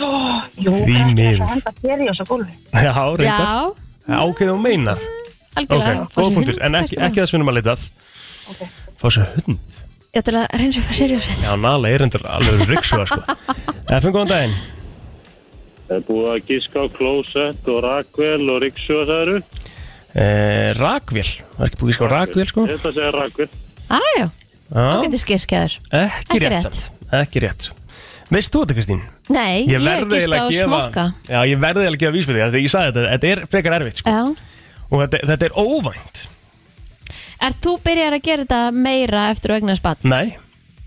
Ó, Jú, Því það er ekki miður. að henda þér í þessu gólfi. Já, reyndar Já, Ákveð og meinar algjörlega Ok, góða punktur, en ekki, ekki það sem við erum að leitað Fá sér hund Ég ætla að reynsa upp að serjósið Já, Nala er endur alveg ryksuga sko. Efum góðan daginn Það er búið að gíska á klósett og rakvél og ríksjóa, sagður eh, Rakvél, það er ekki búið að ská rakvél sko. Ég ætla að segja rakvél. Æjó, Já, það getur skirskjaður ekki Ekki rétt rétt. samt. Ekki rétt Veist þú þetta Kristín? Nei, ég, ég verð giska eiginlega á smokka Já, ég verði eiginlega að gefa vísbyrði Þegar ég sagði þetta, þetta er frekar erfitt sko. Já Og þetta, þetta er óvænt Er þú byrjar að gera þetta meira eftir að eignast batn? Nei,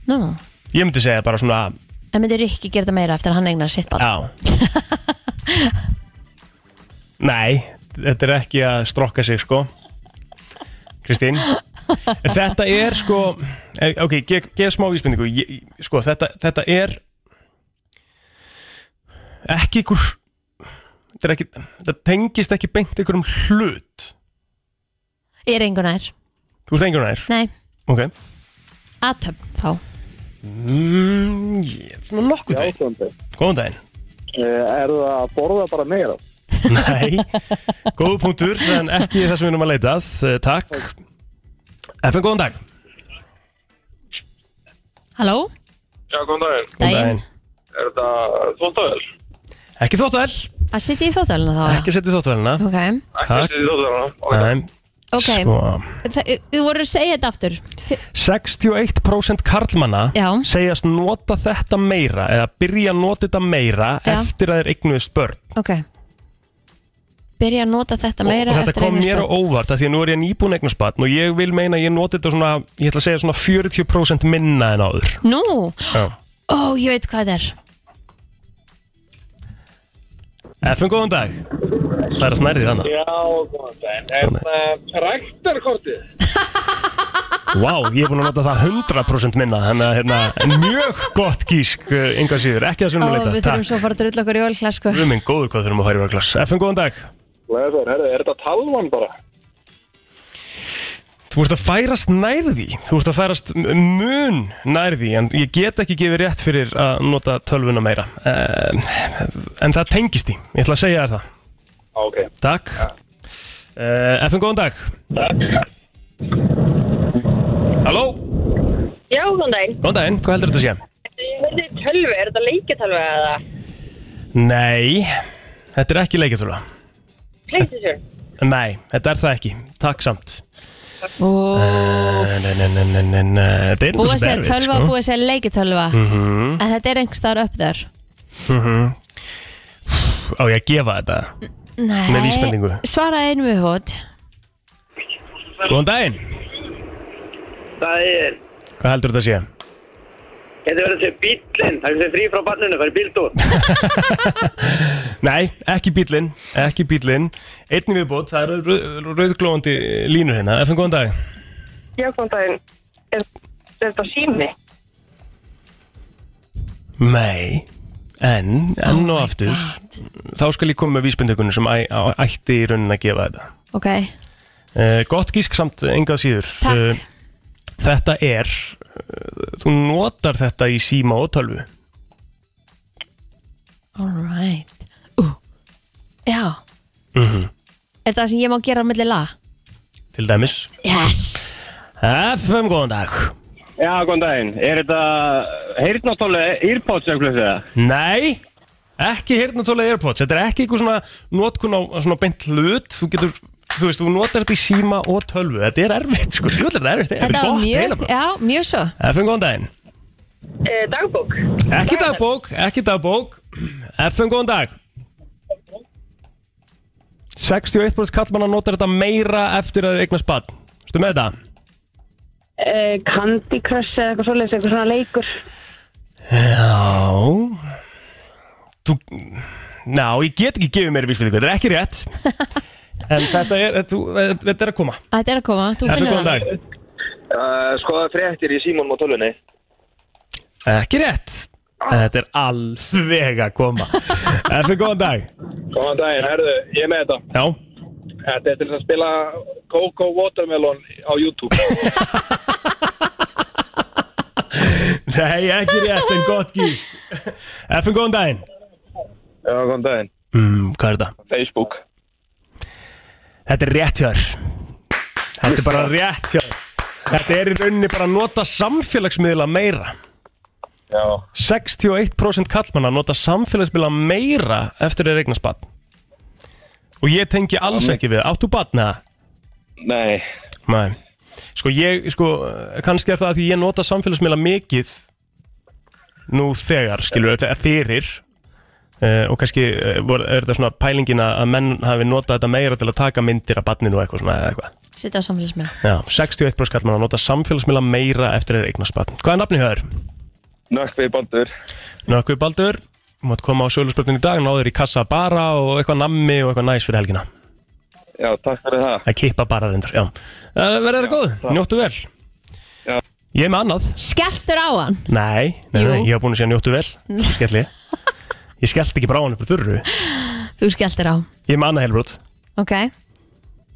Nú, ég myndi segja bara svona en myndir ekki gera þetta meira eftir að hann eignast sitt batn? Já Nei, þetta er ekki að strokka sig sko Kristín Þetta er sko eh, Ok, gef, gef smá vísbendingu Ég- ég- Sko, þetta, þetta er Ekki ykkur Þetta, er ekki, þetta tengist ekki beint ykkur um hlut Ég er einhvern veginn Þú veist einhvern veginn Nei, Ok aðtöfn þá mm, Ég er svona nokkuð veginn Ástandi Góðan daginn Eh, Er það að borða bara meira? Nei, góð punktur en ekki það sem við erum að leita að Eh, Takk FN, góðan dag Halló, Já, góðan daginn Góðan daginn Er það þóttavel? Ekki þóttavel, Að sitja í þóttalina þá? ekki setið þóttavelina Ah. Ok, Takk, Þessi þóttavel Nei, ok sko Þa- Þú voru að segja þetta aftur F 61% karlmanna Já. segjast nota þetta meira eða byrja að nota þetta meira Já. eftir að þeir eignuðist börn Ok byrja að nota þetta meira og þetta eftir kom mér á eignarspöld. óvart af því að nú er ég nýbúin eignarspatn og ég vil meina að ég noti þetta svona, ég ætla að segja svona 40% minna en áður Nú, Já. ó, ég veit hvað þetta er FN, góðan dag Það er að snærði þannig Já, góðan daginn. En traktarkortið? Vá, ég er búin að nota það 100% minna Þannig að hérna, mjög gott gísk uh, Inga síður, ekki að Ó, sunnum leita við þurfum svo að fara að drulla okkur í ölkla sko. Við minn góður hvað þurfum að fara í verklass FN, góðan dag Leður, herðu, er þetta talvan bara? Þú ert að færast nærði Þú ert að færast m- mun nærði En ég get ekki gefið rétt fyrir að nota tölvuna meira uh, En það tengist því Ég ætla að segja þér það Ok. Takk uh, FN, góðan dag Halló, Já, góðan daginn. góðan daginn, hvað heldur þetta að sé? Þetta er tölvi, er þetta leikjatölvi eða? Nei, þetta er ekki leikjartölva Playstation? Nei, þetta er það ekki, takk samt Ó, Nei, nei, nei, nei, nei, nei, nei, Þetta Eh, sko? Búið að er einhvers segja verfið tölva, búið að segja leikitölva Mhm. En þetta er einhvers staðar upp þar Á ég að gefa þetta Nei, Með vísbendingu. svaraði einu við hót Góðan daginn, Það er, hvað heldur þetta að sé? þetta verður sem bíllinn. Það er sem frí frá barninu, það er bíldóð. Nei, ekki bílinn, ekki bílinn Einnig viðbót, það eru rauð- rauðglóandi línur hérna Efum góðan dag Já, góðan daginn. Er, er þetta sími? Nei, en, Oh enn og aftur Þá skal ég koma með vísbendingunum sem æ, á, ætti í raunin að gefa þetta Ok, Uh, gott gísk samt engað síður Takk. Eh, Þetta er uh, Þú notar þetta í síma og tölvu alright uh. Já, er það sem ég má gera á milli lag? Til dæmis Yes FM, góðan dag Já, góðan daginn. Er þetta heyrnatólu earpods eða hvað það? Nei, ekki hirtnatólega Airpods Þetta er ekki eitthvað svona notkun á á svona beint hlut Þú getur, þú veist, þú notar þetta í síma og tölvu Þetta er erfitt, sko, djúlega þetta er erfitt Þetta er var gott mjög, heila já, mjög svo FM, góðan daginn Eh, dagbók? Ekki dagbók, ekki dagbók FM, góðan dag 61% kallmanna notar þetta meira eftir að eigna spann Stu með þetta? Eh, Candy Crush eða eitthvað svoleiðis, eitthvað svona leikur. Já Þú Ná, ég get ekki gefið mér vísbyrðingu, þetta er ekki rétt En þetta er, þú, þetta er að koma Þetta er að koma, þú FM, finnur góðan það dag Uh, skoða fréttir í símónum og tölvunni. Ekki rétt Þetta er alveg að koma FM, góðan dag Góðan daginn, herðu, ég er með þetta. Já, Þetta er til þess að spila Coco Watermelon á YouTube. nei, ekki rétt en gott gíl FM, góðan daginn Já, góðan daginn. mm, Hvað er þetta? Facebook. Þetta er rétt hjá þér Þetta er bara rétt hjá þér Þetta er í rauninni bara að nota samfélagsmiðla meira Já. 61% kallmanna nota samfélagsmiðla meira eftir að regna spatt og ég tengi alls ekki við áttu batn eða? Nei. Nei Sko ég, sko, kannski er það að því ég nota samfélagsmiðla mikið nú þegar, skilur, þegar fyrir uh, og kannski uh, vor, er þetta svona pælingin að að menn hafi notað þetta meira til að taka myndir af batninu og eitthvað svona eða eitthvað Sitt á samfélagsmynda Já, 61% kallmanna nota samfélagsmiðla meira eftir að eigna spatt. Hvað er nafni höður? Nökkvið bandur. Nökkvi Baldur, þú mátt koma á söluspörnum í dag, náður í kassa bara og eitthvað nammi og eitthvað næs fyrir helgina. Já, takk fyrir það. Það kippa bara reyndar, já. Uh, Verður það góð, njóttu vel. Já. Ég er með annað. Skelltur á hann Nei, nei, Jú. nei ég hef búin að segja njóttu vel. Skelli. Ég skellt ekki bara á hann upp á þurru. Þú skelltur á Ég er með annað helbrot. Ok,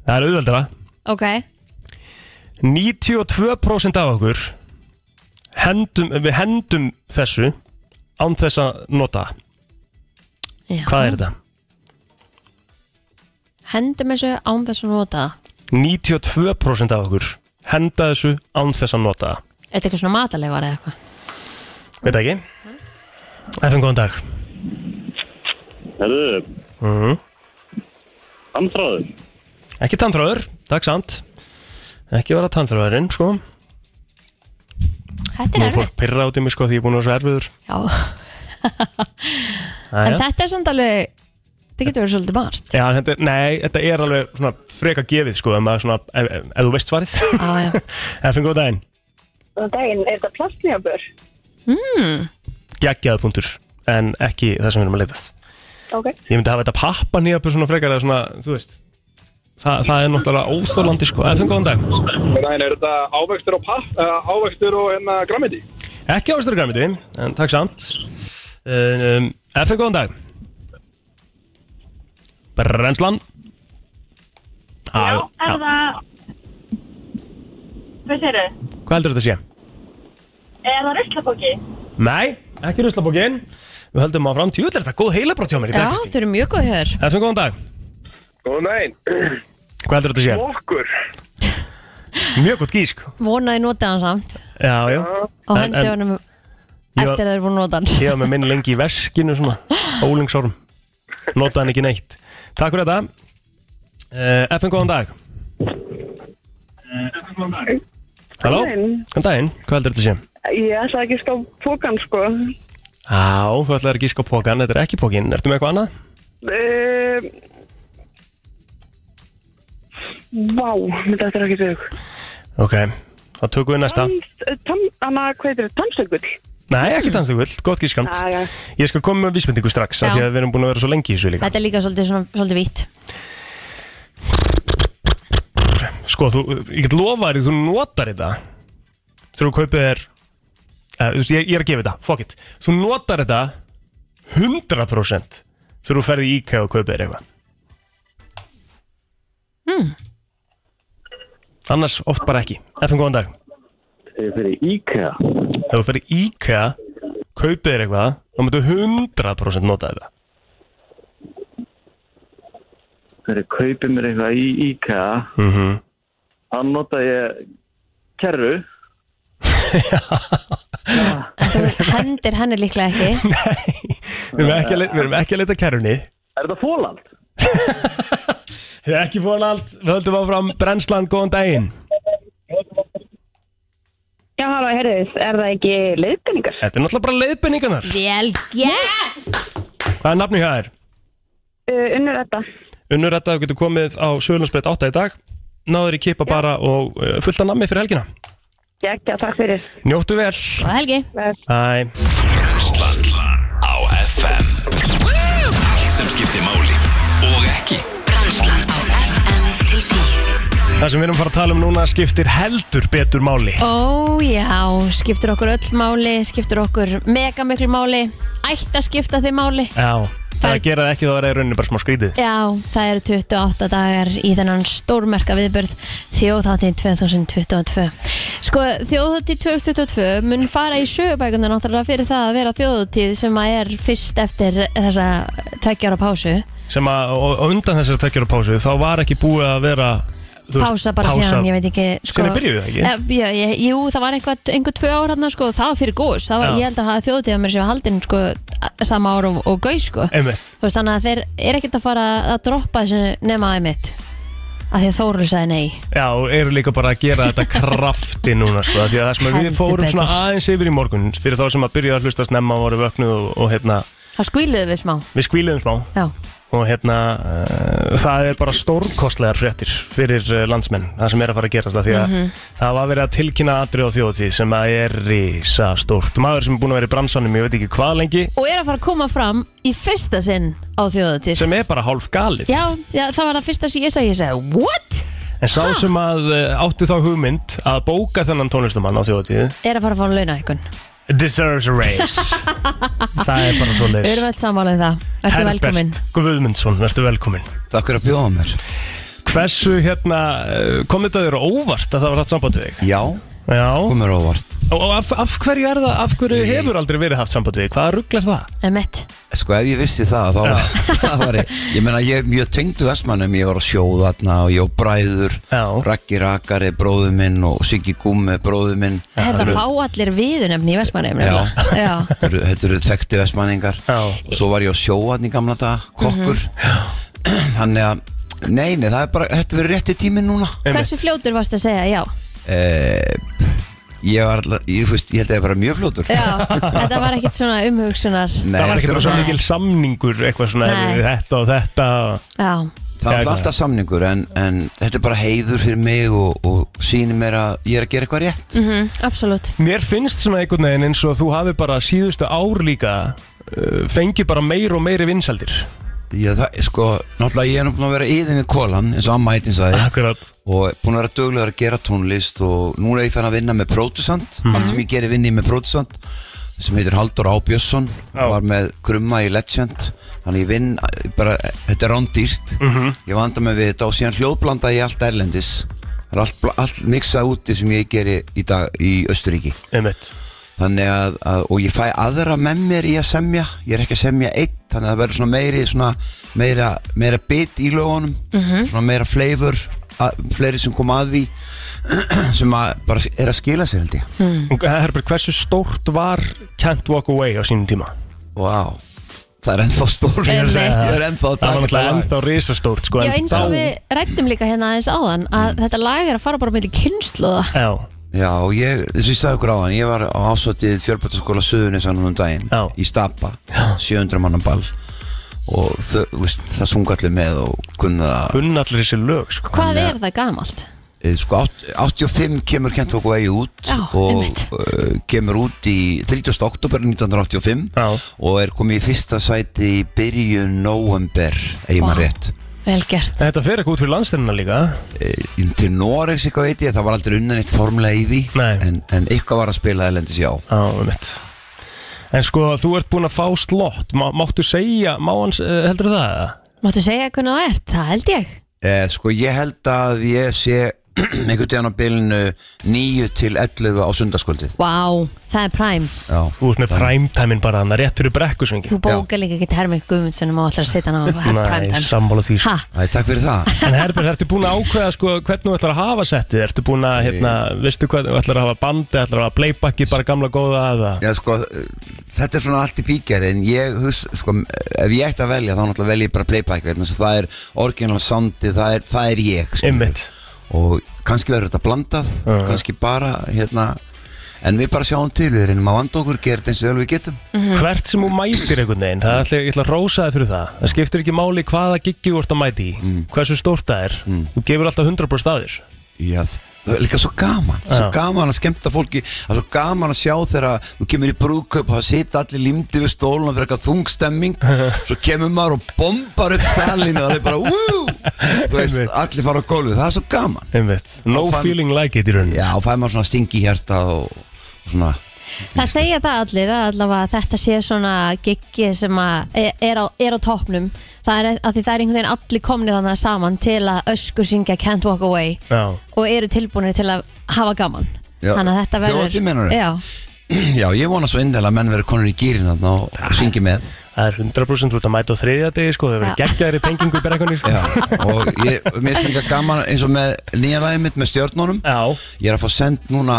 Það er auðveldara. ok 92% af okkur hendum, við hendum þessu án þess að nota það. Já. Hvað er þetta? Hendum þessu án þess að nota það 92% af okkur henda þessu án þess að nota það. Er þetta eitthvað svona mataleifar eða eitthvað? Veit það ekki? FM, góðan dag. Herðu, andráður. Ekki tannþráður, takk samt. Ekki vera tannþráðurinn, sko. Þetta Nú er er fólk erfitt pyrra út í mig, sko, því ég er búin að vera svo erfiður. Já, Æja, en þetta er samt alveg Það getur verið svolítið margt Já, þetta, nei, þetta er alveg svona freka gefið sko, ef, maður svona, ef, ef, ef þú veist svarið Já, já. Efinn, góð daginn Góðan daginn, er þetta plastnjábur? Gekkjaðu punktur, en ekki það sem við erum að leitað Ok. Ég myndi hafa þetta pappa nýja svona frekar eða svona, þú veist Þa, það er náttúrulega óþólandi sko Efinn, góðan dag Daginn, er þetta ávextur og papp, eh, uh, ávextur og hérna grammiti? Ekki ávistur græmiti, en takk samt um, Efinn, góðan dag Brennslan Já, Er það... Hvað séru? Hvað heldur þetta að sé? Er það ruslapóki? Nei, ekki ruslabókin Við höldum áfram tjú, þetta er góð heilabrótt hjá mér í Já, dag, Kristín þau eru mjög góð hér Efinn, góðan dag Góðan daginn. Hvað heldur þetta að Okkur. sé? Mjög gott gísk Vonaði nota hann samt Já, já Og En- hendi en- honum eftir að þeir eru búin að nota hann Ég var með minn lengi í veskinu svona Ólingsorm Notaði hann ekki neitt Takk fyrir þetta uh, FN, góðan dag Halló, Góðan daginn. góðan daginn Hvað heldur þetta að sé? Ég ætla ekki að ská pókan, sko. Já, þú ætlaði að gíska á pókan, þetta er ekki pókin Ertu með eitthvað annað? Uh, vá, myndi þetta er ekki þau. Ok, þá tökum við næsta Anna, Eh, hvað heitir þetta? Tannsökull? Nei, ekki tannstugull, gott gískamt já. Ég skal koma með vísbendingu strax af Já. Því að við erum búin að vera svo lengi í þessu líka Þetta er líka svolítið, svona, svolítið vitt Sko, þú, ég get lofa þér, þú notar þetta Þegar þú kaupir þér eh, Þú veist, ég, ég er að gefa þetta, fuck it Þú notar þetta 100% Þegar þú ferði í IKEA og kaupir þér eitthvað mm. Annars oft bara ekki Efum góðan dag Fyrir IKEA Ef þú ferði í IKEA, kaupir þér eitthvað Þá myndu 100% nota þetta Fyrir kaupið mér eitthvað í IKEA mm Hann nota ég kerru En þú hendir henni líklega ekki Við erum ekki að leita, við erum ekki að leita að kerrunni Er þetta fóland? Við erum ekki búin allt Við höldum áfram brennslan, góðan daginn Já, hálfa, heyrðis, er það ekki leiðbendingar? Þetta er náttúrulega bara leiðbenningarnar Vel gert Hvað er nafni hjá þér? Uh, unnur þetta. Unnur þetta þú getur komið á Söðlandsbreyt 8 í dag Náður í kipa bara og uh, fullt að nammi fyrir helgina Já, ekki, takk fyrir. Njóttu vel Og Helgi Æ, Brennslan á FM Allt sem skiptir máli og ekki Brennslan á FM til 10 það sem við erum að fara að tala um núna skiptir heldur betur máli Ó já, skiptir okkur öll máli Skiptir okkur mega miklu máli Ætt að skipta þið máli Já, það Það að er- gera það ekki þá er það í rauninni bara smá skrítið Já, það eru 28 dagar í þennan stórmerka viðbörð Þjóðháttið 2022 Sko, Þjóðháttið 2022 mun fara í sögubækundar náttúrulega fyrir það að vera þjóðháttið sem að er fyrst eftir þessa tveggjara pásu Sem að og, og undan þessari tveggjara pásu þá var ekki búið að vera þú veist, Pása bara síðan, ég veit ekki sko, Hvenær byrjuðu það ekki? Eh, Já, ég, jú, það var einhver, einhver tvö ár hann sko, það var fyrir góðs, það var, Já. ég held að hafa þjóðháttið að mér séu haldin sko, sama ár og, og gauð sko. Einmitt, Þú veist, þannig að þeir eru ekkert að fara að droppa þessu nema aðeimitt að því að Þóru sagði nei já, og eru líka bara að gera þetta krafti núna sko, því að það sem að við Heldur fórum svona betur. aðeins yfir í morgun fyrir þá sem að byrja að hlusta snemma og voru vöknuð og, og hérna, Það skvíluðu við smá við skvíliðum smá Já, og hérna uh, það er bara stórkostlegar fréttir fyrir uh, landsmenn, það sem er að fara að gerast það því að Mhm. það var verið að tilkynna atrið á þjóðtíð sem að er risa stórt maður sem er búin að vera í bransanum, ég veit ekki hvað lengi og er að fara að koma fram í fyrsta sinn á þjóðatíð sem er bara hálf galið já, já, það var það fyrsta sem ég sagði Ég sagði, what? en sá sem að uh, áttu þá hugmynd að bóka þennan tónlistamann á þjóðtíð Er að fara að fá launa ykkur deserves a raise það er bara svo Við leis erum öll sammála um það Ertu velkominn Guðmundsson, verður velkomin Takk fyrir að bjóða mér Hversu hérna, uh, kom þetta þér á óvart að það var hatt samband við þig? Já, Já, kom mér á óvart Og, og af, af hverju er það, af hverju hefur aldrei verið haft samband við, hvaða rugglar það? Emmett Sko ef ég vissi það, þá það var ég Ég meina, ég er mjög tengd úr Vestmannum Ég var á sjóð þarna og ég á bræður Já. Raggi Rakari, bróður minn Og Siggi Gúmi, bróður minn Er það fá allir viðunefni í Vestmannum Já. já. Þetta eru- þetta eru þekkti Vestmanningar Já. Mm. Og svo var ég á sjóð þarna í gamla dag Kokkur Þannig að, nei, Mhm. nei, það er bara Þetta verið rétti tími núna Hversu fljótur varst að segja já? Eh, Ég var alltaf, ég, þú veist, ég held að ég var mjög flótur Já, þetta var ekkert svona umhugsunar Nei, það var ekki þetta bara var svo svona- mikil samningur eitthvað svona Nei. ef við þetta og þetta Já, Það Já, var eitthvað. alltaf samningur en, en þetta er bara heiður fyrir mig og, og sýnir mér að ég er að gera eitthvað rétt mm absolutt Mér finnst svona einhvern veginn eins og þú hafi bara síðustu ár líka uh, fengið bara meir og meiri vinsaldir Já, það, sko, náttúrulega ég er nú búin að vera yðin við kolan eins og amma heitin sagði Akkurat og búin að vera dögulegur að gera tónlist og núna er ég fann að vinna með producent Mhm. allt sem ég gerir vinni með producent sem heitir Haldur Ábjörnsson var með krumma í Legend þannig ég vinn, eh, bara, eh, þetta er rándýrt Mhm. ég vanda mig við þetta og síðan hljóðblanda ég allt erlendis það er allt, bla- allt miksað úti sem ég geri í dag í Östuríki Einmitt. þannig að, að, og ég fæ aðra með mér í að semja ég er ekki að semja eitt, þannig að það verður svona meiri svona meira, meira bit í lögunum Mhm. svona meira flavor að, fleiri sem kom að því sem að bara er að skila sér held ég Og Herbert, hversu stórt var Can't Walk Away á sínum tíma? Vá, það er ennþá stórt Einmitt. Það er ennþá Það var náttúrulega ennþá risastórt sko, Já, en eins og þá- við rættum líka hérna aðeins áðan að þetta lag er að fara bara með kynnslóða Já Já, og ég, þess að ég sagði okkur á hann Ég var á ásvöldið fjölbættaskóla Suðunisann um daginn Já. Í Stapa, 700 manna ball Og þau, þú veist, það sunga allir með Og kunna það Kunna allir þessi lög sko. Hvað er það gamalt? Eh, sko, átt- 85 kemur Kent Vokk vegi út Já, og einmitt. uh, kemur út í 30. oktober 1985 Já. og er komið í fyrsta sæti í byrjun november, eigi maður rétt Vel gert Þetta fer ekki út fyrir landstennina líka Eh, til Noregs eitthvað veit ég, það var aldrei unnan eitt formlega í því en, en eitthvað var að spila elendis já Já, um mitt En sko, þú ert búin að fá slott Má, Máttu segja, má hans, uh, heldur það? eða? Máttu segja hvernig það ert? Það held ég eh, sko ég held að ég sé einhvern tíðan á bylunu 9 til 11 á sundarskvöldið Vá, það er præm já, Þú ert með primetime bara hann, rétt fyrir brekkusvingi Þú bókar líka ekki Hermik Guðmundsson og allar að setja hann á Nei, præm sammála því sko. Ha, Æ, takk fyrir það En Herbert, ertu búin að ákveða sko, hvernig þú ætlar að hafa settið? Ertu búin að, hérna, veistu hvað, ætlar að hafa bandi, ætlar að hafa playbacki, bara gamla góða eða? Já, sko, eh, þetta er svona allt í píkjari en ég, hus, sko, ef ég ætti að velja þá náttúrulega velja ég bara playback vegna þess að það er orginal soundi, það er, það er ég sko. Einmitt Og kannski verður þetta blandað, kannski bara, hérna En við bara sjáum til, við reynum að vanda okkur, gera þetta eins og vel við getum Mhm. Hvert sem þú mætir einhvern veginn, það ætla, ég ætla að rósa þið fyrir það Það skiptir ekki máli hvaða giggi þú ert að mæti í Mm. Hversu stórt það er Þú gefur alltaf 100% að þér Já, það er líka svo gaman Svo Já. gaman að skemmta fólki Það er svo gaman að sjá þegar að þú kemur í brúðkaup og það sita allir límdi við stólun og fyrir eitthvað þungstemming Svo kemur maður og bombar upp salinu og það er bara wú Þú veist, allir fara á gólfið, það er svo gaman Einmitt. No feeling like it í rauninni Já, og fæði maður svona stingi hjarta og, og svona Það segja það allir að allavega þetta sé svona giggið sem að e- er- er á, er á toppnum Það er að því það er einhvern veginn allir komnir hann saman til að öskur syngja Can't Walk Away Já, og eru tilbúinir til að hafa gaman Já, Þannig að þetta verður þjóðhátíð meinarðu? Já, Já, ég vona svo indilega að menn verður konur í gýrin þarna og, og syngi með Ah. það er 100% þú ert að mæta á þriðja degi sko, það verður geggjaðir í pengingu í brekkunni sko. og ég, mér finnst líka gaman eins og með nýja lagið mitt með stjórnunum Já. ég er að fá send núna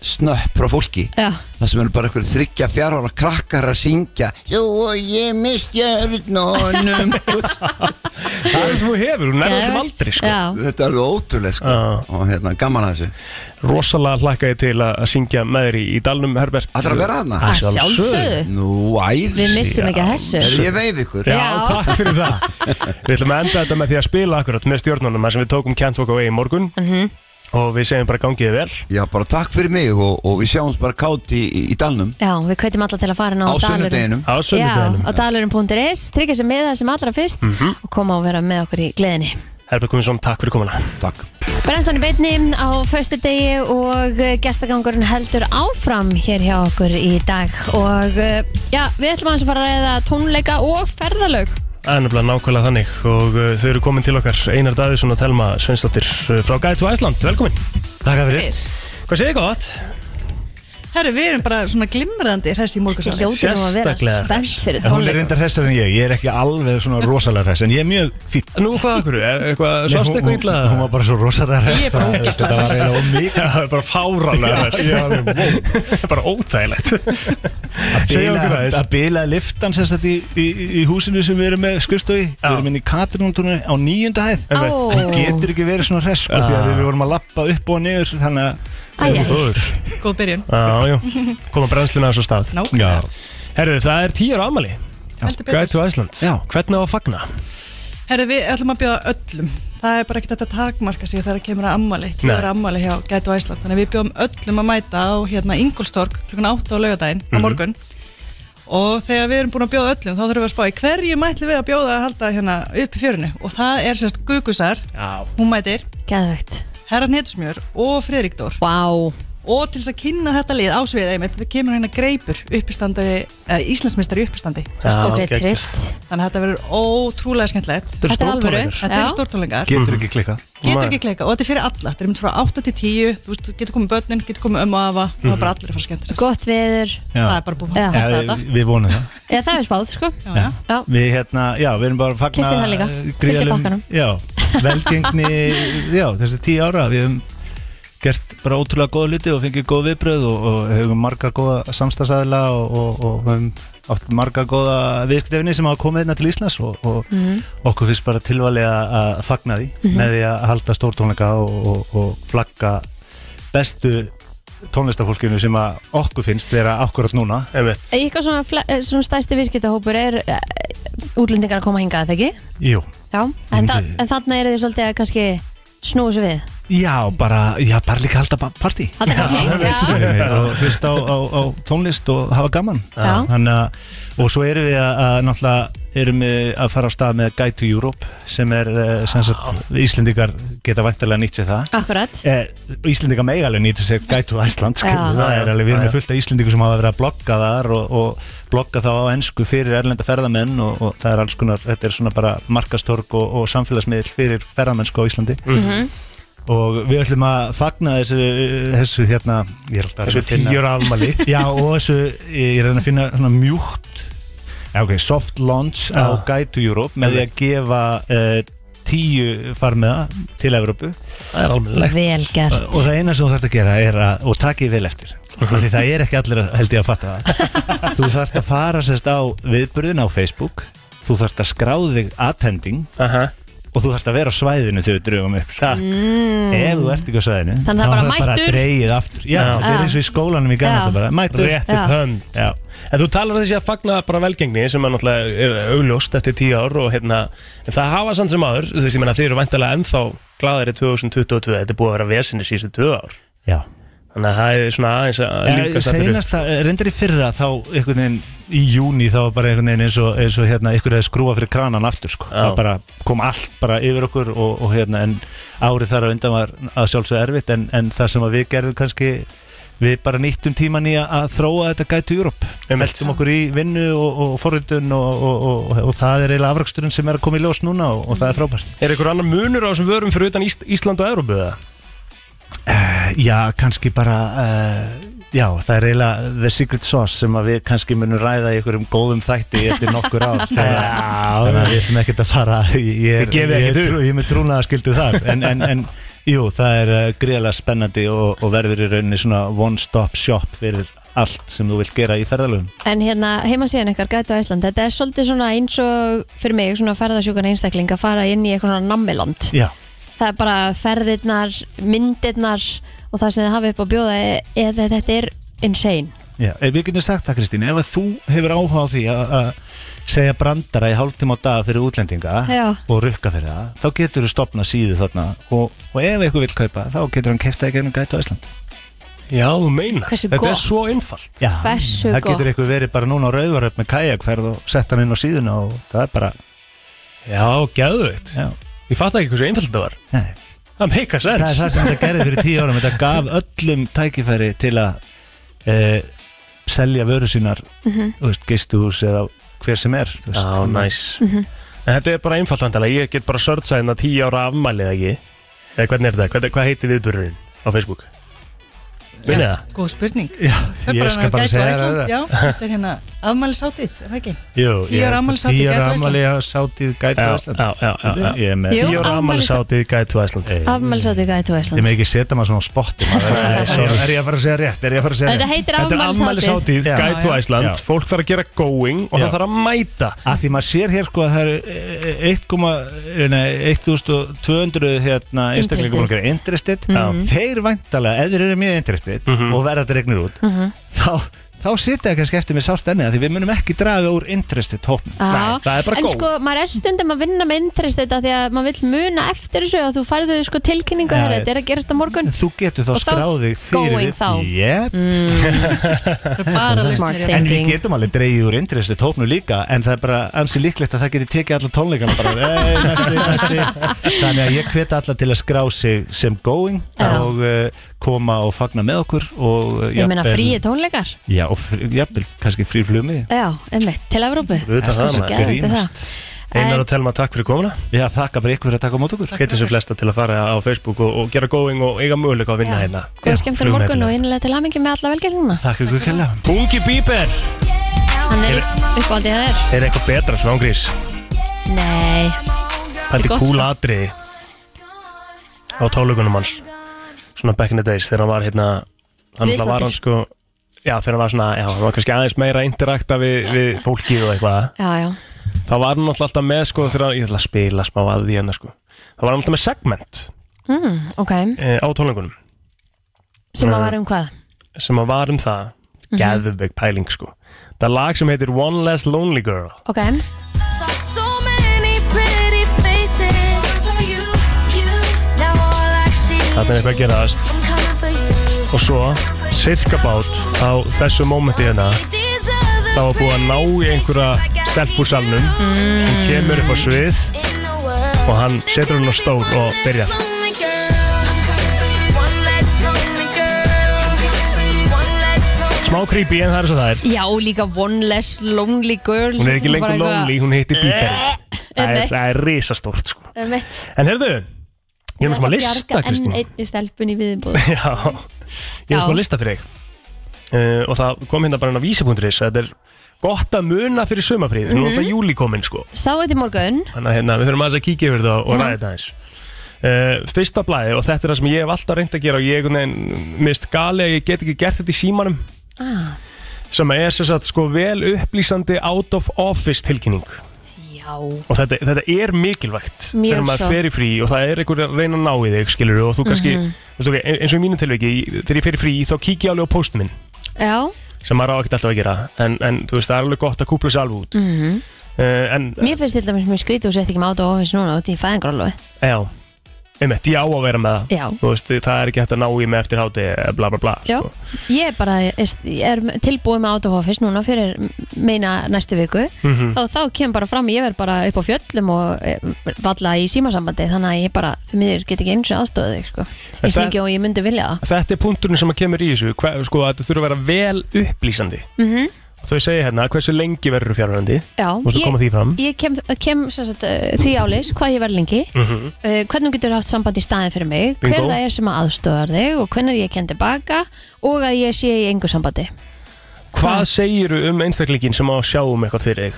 snöpp frá fólki Já. það sem eru bara einhverju þryggja fjara ára krakkar að syngja Jú og ég misti örnunum Það er sem þú hefur, hún er þessum aldrei sko. Þetta er alveg ótrúlega sko. og hérna, gaman að þessu Rosalega hlakka ég til að að syngja með þér í, í dalnum Herbert Ætlarðu að vera þarna? Að Að sjálfsögðu. sjálfsögðu. Nú, æð Við missum ekki af þessu. Heyrðu, Ég veif ykkur Já, takk fyrir það Við ætlum að enda þetta með því að spila akkurat með stjórnunum þar sem við tókum Can't Walk Away í morgun Mhm. og við segjum bara gangiði vel Já, bara takk fyrir mig og, og við sjáumst bara kátt í, í, í dalnum já, við kveitum alla til að fara inn á Á sunnudeginum. Á sunnudeginum. Já, á dalurum.is, tryggja sér með það sem allra fyrst og koma og vera með okkur í gleðinni Mhm. Herbert Guðmundsson, takk fyrir komuna Takk Brennstan í beinni á föstudegi og eh, gestagangurinn heldur áfram hér hjá okkur í dag og eh, já, við ætlum aðeins að fara að reyða tónleika og ferðalög Það er nefnilega nákvæmlega þannig og uh, þau eru komin til okkar Einar Davíðsson og Telma Sveinsdóttir uh, frá Guide to Iceland, velkomin Takk fyrir Hvað segir gott? Herru, við erum bara svona glimrandi hressi í morgunsal Þið hljótið nú að vera Sérstaklega spennt hress. fyrir En Hún er tónleikum. reyndar hressar en ég, ég er ekki alveg svona rosalega hress En ég er mjög fýtt Nú hvað okkur, eitthvað, sástu eitthvað illa? Hún var bara svo rosalega hress Ég er bara að- ógeðslega Þetta var hress. reyna og mikið Það er bara fáralega Já, já, alveg, Bara óþægilegt Segja okkur bila- aðeins. Að bila liftan sem sagt í, í, í húsinu sem við erum með skrifstofi Við erum inn í Katrinúntunni á nýjunda hæð Einmitt. Ó. Hún getur ekki verið svona hress sko, Því að Ah. við vorum að lappa upp og niður Þannig að Æ, æ. Góður. Góð byrjun Já, já, koma brennsluna þessu stað Nákvæmlega. Herru, það er tíjar ámali Heldur betur. Gætu Æsland já. Hvernig á að fagna? Herri, við ætlum að bjóða öllum Það er bara ekkert að takmarka sig þegar það kemur að ammali Nei. Tíðar ammali hjá Gætu Æsland Þannig að við bjóðum öllum að mæta á hérna Ingolstorg klukkan 8 á laugardaginn á Mhm. morgun Og þegar við erum búin að bjóða öllum þá þurfum við að spá í hverju mætli við að bjóða að halda hérna upp í fjörinu Og það er sérst Gugusar, Já. hún mætir Gæðvegt Herran Hetusmjör og Friðrik Dór wow. Og til þess að kynna þetta lið á sviðið einmitt Við kemur hérna greipur uppistandi Íslandsmeistar í uppistandi Já, Ok, geggjað. tryllt. Þannig að þetta verður ótrúlega skemmtilegt Þetta eru Þetta er alvöru, stórtónleikar. Þetta já. eru stórtónleikar Getur ekki klikkað Getur ekki kleika og þetta er fyrir alla Þetta er mynd frá 8 til 10 Þú veist, þú getur komið börnin, getur komið ömmu og afa og Það er Mhm. bara allir að fara skemmt Gott veður Já. Það er bara búið Já. að hætta Já, þetta við, við vonum það Já, það er spáð, sko Já. Já. Við hérna, já, við erum bara að fagna Klipptu það líka. eh, Fylgja gríðarlegum- pakkanum. Já, velgengni, já, þessi tíu ára Við hefum gert bara ótrúlega góða luti og fengið góð viðbröð og, og hefum marga góða samstagsæðla og, og, og hefum átt marga góða viðskiptefinni sem hafa komið einna til Íslands og, og Mhm. okkur finnst bara tilvalið að að fagna því Mhm. með því að halda stórtónleika og, og, og flagga bestu tónlistafólkinu sem að okkur finnst vera akkurat núna Einmitt. Eitthvað svona, fle- eh, svona stærsti viðskiptahópur er uh, útlendingar að koma hingað, þegar ekki? Jú, Já, en, þa en þarna eru þið svolítið að kannski snúa svo við Já, bara, já, bara líka halda pa- partí Halda partí, Já, já. það veitum við, Og hlusta á, á, á tónlist og hafa gaman Já. Þannig að, og svo erum við að, að náttúrulega erum við að fara á stað með Guide to Europe sem er, eh, sem sagt, Íslendingar geta væntalega nýtt sér það Akkurat Eh, Íslendinga mega alveg nýta sér gætu Æsland skilur Já. við, það er alveg, við erum Já, með já. fullt af Íslendingu sem hafa verið að blogga þar og, og blogga þá á ennsku fyrir erlenda ferðamenn og, og það er alls konar, þetta er svona bara markastorg og, og samfélagsmiðl fyrir ferðamennsku á Íslandi Mhm. og við ætlum að fagna þessu, þessu hérna ég er alltaf að reyna Þessu að finna- tíu ára afmæli. já og þessu, ég er að reyna að finna svona mjúkt Já, ok, soft launch á Já. Guide to Europe með því að gefa uh, tíu farmiða til Evrópu Það er almennilegt. Vel gert. Og það eina sem þú þarft að gera er að, og takið vel eftir af Því það er ekki allir að- held ég að fatta það Þú þarft að fara sérst á viðburðin á Facebook Þú þarft að skráði þig attending Og þú þarft að vera á svæðinu þegar við drögum upp sko. Takk Mm. Ef þú ert ekki á svæðinu Þannig það er þá bara bara mættur. dreigið aftur Já, Já. þetta er eins og í skólanum í Já. gana bara Mættur Rétt upp hönd Já. En þú talar um þessi að fagna bara velgengni sem er náttúrulega er augljóst eftir tíu ár og hérna, en það hafa samt sem aður þess að þið eru væntalega ennþá glæðari 2022, þetta er búið að vera vesinni síðustu tvö ár Já Þannig að það er svona aðeins að ljúka sattur upp Seinasta, eh, reyndar í fyrra þá einhvern veginn í júni þá var bara einhvern veginn eins og, eins og hérna, einhvern veginn skrúa fyrir kranan aftur sko. það bara kom allt bara yfir okkur og, og hérna en árið þar á undan var að sjálfsögðu erfitt en, en það sem að við gerðum kannski við bara nýttum tíman í að að þróa þetta gætu Júrup, meldum okkur í vinnu og, og forritun og, og, og, og það er eiginlega afraksturinn sem er að koma í ljós núna og, og það er frábært Er einhver annar munur á þessum vörum fyrir utan Ís Ísland og Európu eða? Já, kannski bara uh, Já, það er eiginlega The Secret Sauce sem að við kannski munum ræða í einhverjum góðum þætti eftir nokkur ár Þannig að- þannig að við ætlum ekkert að fara Ég ég Þið er, gefið ég ekkert er, upp. trú- ég er með trúnaða skildu þar en, en, en jú, það er uh, gríðarlega spennandi og, og verður í rauninni svona one-stop shop fyrir allt sem þú vilt gera í ferðalöfum En hérna heimasíðan ykkar gæti á Ísland Þetta er svolítið svona eins og fyrir mig svona ferðasjúkan einstakling að fara inn í eitthvað svona nammiland Já, Það er bara ferðirnar, myndirnar og það sem þið hafið upp að bjóða e- eða þetta er insane já, Eh, við getum sagt það Kristín ef að þú hefur áhuga á því að að segja brandara í hálftíma á dag fyrir útlendinga Já. og rukka fyrir það þá getur þú stopna síðu þarna og, og ef eitthvað vil kaupa þá getur hann kefta í gegnum gæti á Ísland Já, þú meina Hversu Þetta gott. er svo einfalt Já, Hversu það gott. getur eitthvað verið bara núna á rauvaröf með kajakferð og sett hann inn á síðuna og það er bara Já, geðveitt Já. Ég fatt ekki hversu einfalt þetta var Nei. Það meika sens það er það sem þetta gerði fyrir tíu árum þetta gaf öllum tækifæri til að e, selja vöru sínar mm Mhm. veist, gistuhús eða hver sem er þú veist. Já, næs Mhm. En þetta er bara einfalt vandalega, ég get bara sörtsa hérna 10 ára afmælið ekki Eða hvernig er þetta, hvernig, hvað heitir viðburðurinn á Facebook? Minni það? Góð spurning Já, Það er ég bara skal að bara gæta segja á þér Ísland, það. Já, þetta er hérna afmælisátið, er það ekki? Jú, Tíu ára afmælisátið Tíu gæta ára á Ísland afmæli á sátíð gæti á Já, Ísland já, já, já, já. Ég er með Jú, Tíu ára afmælis- afmælisátið gæti á Ísland Afmælsátið gæti á Eh. Ég með Ísland ekki setja maður svona á spotti Er ég að fara að segja rétt? Er ég að fara að segja Þetta rétt? heitir Þetta er afmælishátíð. afmælishátíð, Guide to Iceland. Fólk þarf að gera going og það þarf að mæta Að því maður sér hér sko að það eru eh, eh, 1,000, nei, 1.200 hérna Interested. einstaklingum okkar interested Mhm. Þeir væntalega, ef þeir eru mjög interested og verða dregnir út Mhm. þá, þá sitja kannski eftir með sárt ennið því við munum ekki draga úr interested hópnum Já, Það er bara en góð sko maður er stundum að vinna með interest þetta því að maður vill muna eftir þessu og þú færðu þau sko tilkynningu Já, herra, ég- þetta er að gerast á morgun Þú getur þá Og þá skráðið fyrir going þá. Mm. Jep bara Smart lausnir, já. En við thinking. getum alveg dreigið úr interesti tópnu líka En það er bara ansi líklegt að það geti tekið alla tónleikana bara, "Ey, næsti, næsti. Þannig að ég hveti alla til að skrá sig sem going Og uh, koma og fagna með okkur og, uh, Ég meina jafnvel- fríi tónleikar Já, og frí, jafnvel, kannski frí flumi Já, einmitt, til Evrópu Auðvitað það, maður. Grínast Einar og Telma, takk fyrir komuna Já, þakka bara ykkur fyrir að taka á mót okkur Getur sem flesta til að fara á Facebook og, og gera going og eiga möguleika að vinna hérna Góð skemmtileg morgun og innlega til hamingi með alla velgerðina Takk ykkur kella Bungi Bíber Hann er uppáldið það er Er eitthvað betra svona ángrís? Nei Pældi Gott, sko. cool atriði á tólugunum hans svona back in the days þegar hann var hérna Viðstaddur. hann alltaf var hann sko já þegar hann var svona já hann var kannski aðeins meira að interakta við, við fólkið og eitthvað Já, já þá var hann náttúrulega alltaf með sko þegar hann ég ætla að spila smá að því hann sko þá var hann alltaf með segment mm, Ok, e, á tólugunum sem að var um hvað? sem að var um það mm Mhm. pæling sko það er lag sem heitir One Less Lonely Girl Ok So many pretty faces for you, you. Now all I see Þarna er eitthvað að gerast I'm coming for you. og svo sirkabát á þessu mómenti hérna þá var búið að ná í einhverja stelp úr salnum hún kemur upp á svið og hann setur hún á stól og byrjar Lonely girl. One less lonely girl. One less lonely smá creepy en það er svo það er Já, líka one less lonely girl hún er ekki lengur Bara eitthvað- Eh, lonely, hún heiti Bíber það er, einmitt. það er risastórt sko Einmitt. en herðu, ég er með smá lista Kristín En einni stelpun í viðbúð Já, ég er Já. smá lista fyrir þig uh, og það kom hérna bara inn á vísi.is þetta er gott að muna fyrir sumafrið mm -hmm. Mhm. nú er það júli komin sko Sá þetta í morgun Þannig að hérna, við þurfum aðeins að kíkja yfir þetta og Mhm. ræða þetta aðeins uh, Fyrsta blæði og þetta er það sem ég hef alltaf reynd að gera og ég nein, mist gali að ég get ekki gert þetta í símanum ah, sem er sem sagt sko vel upplýsandi out of office tilkynning Já og þetta, þetta er mikilvægt Mjög þegar maður svo. fer í frí og það er einhver að reyna að ná í þig skilur og þú kannski, mm Mhm. -hmm. eins og í mínu tilveiki þegar ég fer í frí þá kíkja alveg á postin minn Já sem maður á ekkert alltaf að gera en, en þú veist það er alveg gott að kúpla sér alveg út Mhm. uh, en Mér finnst til dæmis mjög skrítið og sett ekki máta á ofis núna út í fæðingarólu Já, einmitt, ég á að vera með það Já. Þú veist, það er ekki hægt að ná í mig eftir háti bla bla bla Já, ég bara er, er tilbúið með autofoffice núna fyrir meina næstu viku Mhm. og þá kem bara fram, ég verð bara upp á fjöllum og eh, valla í símasambandi þannig að ég bara, þau miður get ekki eins og aðstóðið þig sko, eins það- mikið og ég myndi vilja það Þetta er punkturinn sem að kemur í þessu hver, sko, að þetta þurfa að vera vel upplýsandi mm og þau segja hérna, hversu lengi verður fjárhandi Já, Mástu koma því fram ég, ég kem, kem sem sagt, eh, því ális hvað ég verð lengi Mhm. Uh, hvernig þú getur haft samband í staðin fyrir mig Bingo. hver það er sem að aðstöðar þig og hvernig ég kem tilbaka og að ég sé í engu sambandi Hvað segiru um einstaklingin sem á að sjá um eitthvað fyrir þig?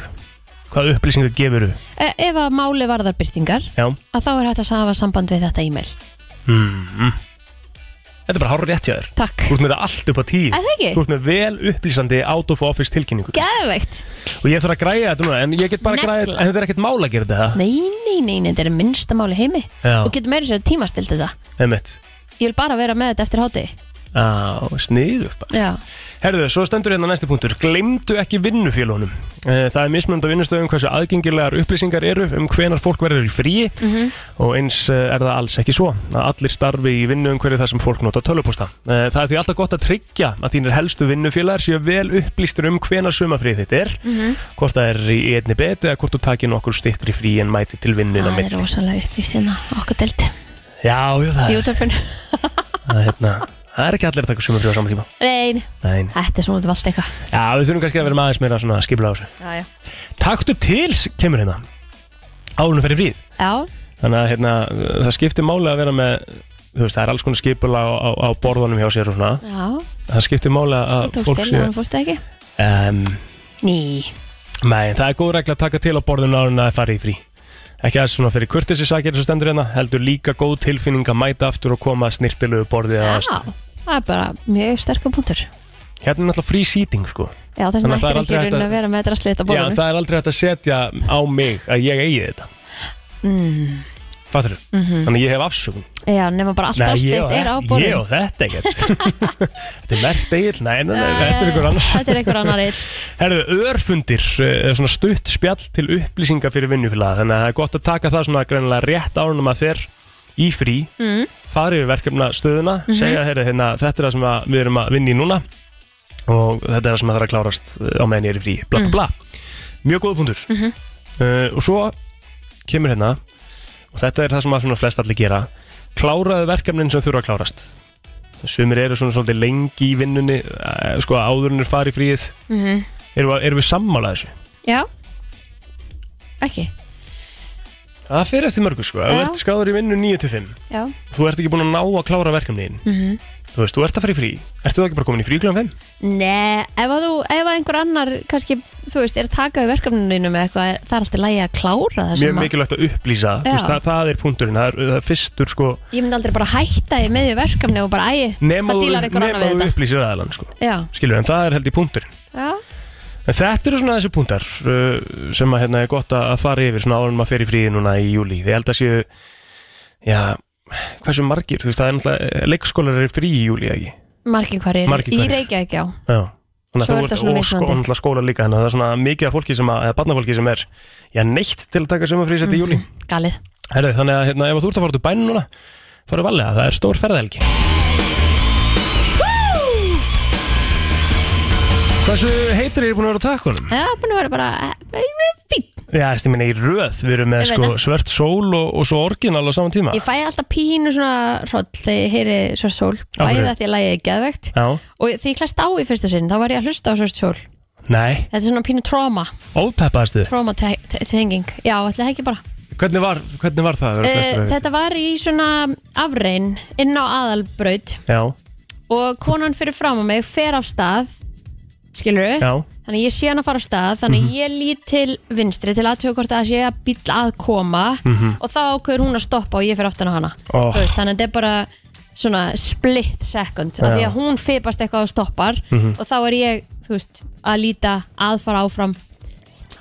Hvað upplýsingar gefuru? Eh, ef að máli varðar byrtingar Já að þá er hægt að safa samband við þetta e-mail mm. Þetta er bara hár rétt hjá þér Takk Þú ert með þetta allt upp á tíu Er það ekki? Þú ert með vel upplýsandi out of office tilkynningu Gæðveikt Og ég þarf að græja þetta núna En ég get bara græja Negla. En þetta er ekkert mála að gera þetta Nei, nei, nei, nei, þetta er minnsta máli heimi Ah. Já. Og getur meira sér að tímastilt þetta Einmitt Ég vil bara vera með þetta eftir háti Á, sniðugt bara Já, Herðu, svo stendur hérna næsti punktur Glemdu ekki vinnufélunum Það er mismönd á vinnustöðum hversu aðgengilegar upplýsingar eru um hvenar fólk verður í fríi Mhm. og eins eh, er það alls ekki svo að allir starfi í vinnu umhverju þar sem fólk nota tölvupústa Eh, Það er því alltaf gott að tryggja að þínir helstu vinnufélagar séu vel upplýstur um hvenar sumafrið þitt er Mhm. hvort það er í einni beti eða hvort þú takir nokkur stittri frí en mæti til vinnuna það er milli. rosalega upplýst hérna á Okkur delt Já, jú, það í er, útvarpinu það er, hérna, það er ekki allir að taka sumafrið á saman tíma Nein, Nein. þetta er svona út um allt eitthvað Já, við þurfum kannski að vera með aðeins meira svona skipulega á þessu Já, já. Taktu til kemur hérna Árunum fyrir fríð Já, Þannig að hérna, það skiptir máli að vera með þú veist, það er alls konar skipula á, á, á borðunum hjá sér og svona Já, það skiptir máli að þú tókst fólk inn sé en þú fórst ekki um, Ný Nei, það er góð regla að taka til á borðinu áður en það er farið í frí Ekki aðeins svona fyrir kurtisi sakir sem stendur hérna heldur líka góð tilfinning að mæta aftur og koma að snirtilegu borði Já, ja. það er bara mjög sterkur punktur Hérna er náttúrulega frí sýting sko Já, þess vegna Þannig að það er ættir ekki raunin aldrei hægt að- að vera með þetta slit á Já, borðinu það er aldrei hægt að setja á mig að ég eigi þetta mm. Fattur Mhm. Þannig að ég hef afsökun Já, nema bara allt Nei, ég á afslitt er á þetta- Ég borðinu og þetta ekkert Þetta er mert eigill, nei, nei, nei, Nei, þetta er ykkur annars þetta er einhver annar einn. Herðu, örfundir eh, er svona stutt spjall til upplýsinga fyrir vinnufélaga Þannig að það er gott að taka það svona greinilega rétt árunum að fer í frí Mm. Fara yfir verkefna stöðuna Mhm. Segja, heyrðu, hérna, þetta er það sem að við erum að vinna í núna Og þetta er það sem að það er að klárast eh, á meðan ég er í frí Bla, Mm. bla, bla Mjög góð punktur Mhm. uh, Og svo kemur hérna Og þetta er það sem að svona flest allir gera Kláraðu verkefnin sem þurfa að klárast Sumir eru svona svolítið lengi í vinnunni eh, Sko áðurinnir fari í fríið Mhm. Erum við, erum við sammála þessu? Já Ekki, Það fyrir eftir mörgu sko Ef Þú Já. ert skráður í vinnu 9 til 5 já Þú ert ekki búin að ná að klára verkefniðin Mhm. Þú veist, þú ert að fara í frí Ertu þú ekki bara komin í frí kl. 5? Nei, ef að þú, ef að einhver annar kannski, þú veist, er að taka við verkefninu með eitthvað, er- það er alltaf lægi að klára það Mjög sem að, mikilvægt að upplýsa Þú veist, Já. það, það er punkturinn Það er, það er fyrstur sko ég myndi aldrei bara hætta í meðju verkefni og bara, æ, Nema það þú, dílar einhver annar nema við þú þetta upplýsir aðalann sko Já, Skilur, en það er held í punkturinn já, En þetta eru svona þessi punktar uh, sem að hérna er gott að að fara yfir svona árum að fer í fríði núna í júli. Ég held að séu, já, hversu margir, þú veist, það er náttúrulega, leikskólar eru frí í júli, ekki? margir hverjir, Margir í hverjir. Reykjavík, já Já. Svo er Þannig að þú þetta ert- svona og sko- mismunandi. og náttúrulega skóla líka, þannig að það er svona mikið af fólki sem að, eða barnafólki sem er, já, neitt til að taka sumarfrís þetta í júli. Mhm. galið Herðu, þannig að hérna, ef að þú ert að fara til bænum núna, farðu valega, það er stór ferðahelgi. Hversu heitur er búin að vera á takkunum? Já, búin að vera bara, eh, ég veit, fín Já, þessi minna í röð, við erum með Ég veit sko, það. svört sól og, og svo orginal á saman tíma Ég fæ alltaf pínu svona hroll þegar ég heyri svart sól, Af hverju? bæði að því að lægi er geðvegt Já, og því ég klæst á í fyrsta sinn, þá var ég að hlusta á svart sól nei, Þetta er svona pínu tróma, óteppaðastu tróma tenging Já, ætli það ekki bara hvernig var, hvernig var það? að vera Eh, flestur að Þetta var í svona afrein inn á aðalbraut við? Já, og konan fyrir fram á mig fer af stað skilur við Já. þannig ég sé hann að fara af stað þannig Mhm. ég lít til vinstri til aðtöku hvort það sé að bíl að koma Mhm. og þá ákveður hún að stoppa og ég fer aftan á hana Oh. Þú veist, þannig að þetta er bara svona split second af Já. því að hún fipast eitthvað og stoppar Mhm. og þá er ég þú veist, að líta að fara áfram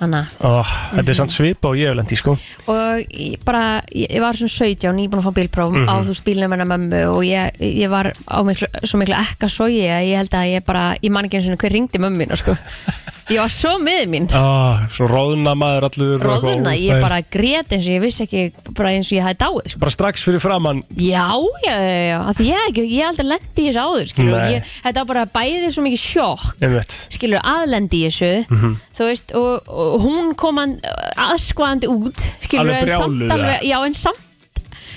hana Ó, þetta er Mhm. samt svipa og ég hef lendi sko og ég bara, ég, ég var svona 17 ég er búin að fá bílpróf Mhm. á þú spílnum hennar mömmu og ég, ég var á miklu, svo miklu ekka svo ég að ég held að ég bara ég man ekki eins og hver ringdi mömmu mín sko. ég var svo með mín ah, Svo róðuna maður allur og eitthvað róðuna, ég óþægilegt. bara grét eins og ég vissi ekki bara eins og ég hafi dáið sko. Bara strax fyrir framann já, já, já, já, af því ég, hef ekki, ég hef aldrei lendi í þessu áður skilur, Nei. ég, þetta var bara bæðið svo mikið sjokk einmitt skilur aðlendi í þessu Mhm. þú veist, og, og hún kom hann aðskvaðandi út skilur, Alveg en brjáluð, samt alveg, eða? já en samt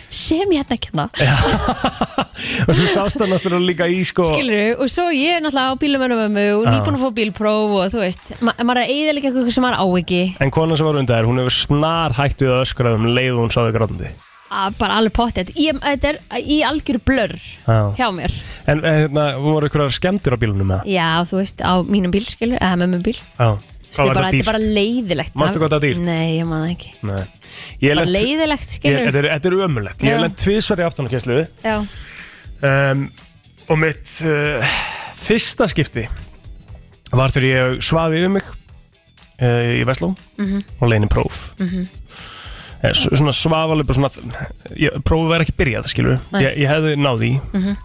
sem ég hérna kenna Og þú sást það náttúrulega líka í sko skilur, og svo ég er náttúrulega á bílumönumömmu og Já. nýbúin að fá bílpróf og þú veist, ma maður er eða líka eitthvað sem maður á ekki En konan sem var undan þér, hún hefur snar hætt við að öskra um leið og hún sáðu grátandi að bara alveg pottet, ég, þetta er í algjöru blörr Já. hjá mér En en, hérna, voru ykkur skemmtir á bílunum með það? já, þú veist, á mínum bíl, skilur, eða mömmu bíl Já, Þú veist, þetta er bara- þetta er bara leiðilegt Manstu hvað það var dýrt? nei, ég man það ekki, Nei. Ég bara lent- leiðilegt, skilur Ég- Þetta er- þetta er ömulegt, ég Já. hef lent tvisvar í aftanarkenslu já, um, Og mitt uh, fyrsta skipti var þegar ég svaði yfir mig uh, í Vestló Mhm. og leiðin í próf mm Eh, s- Svona svafalega, bara svona, ég, prófið væri ekki byrjað, skilur Nei. ég, ég hefði náði í, Mhm.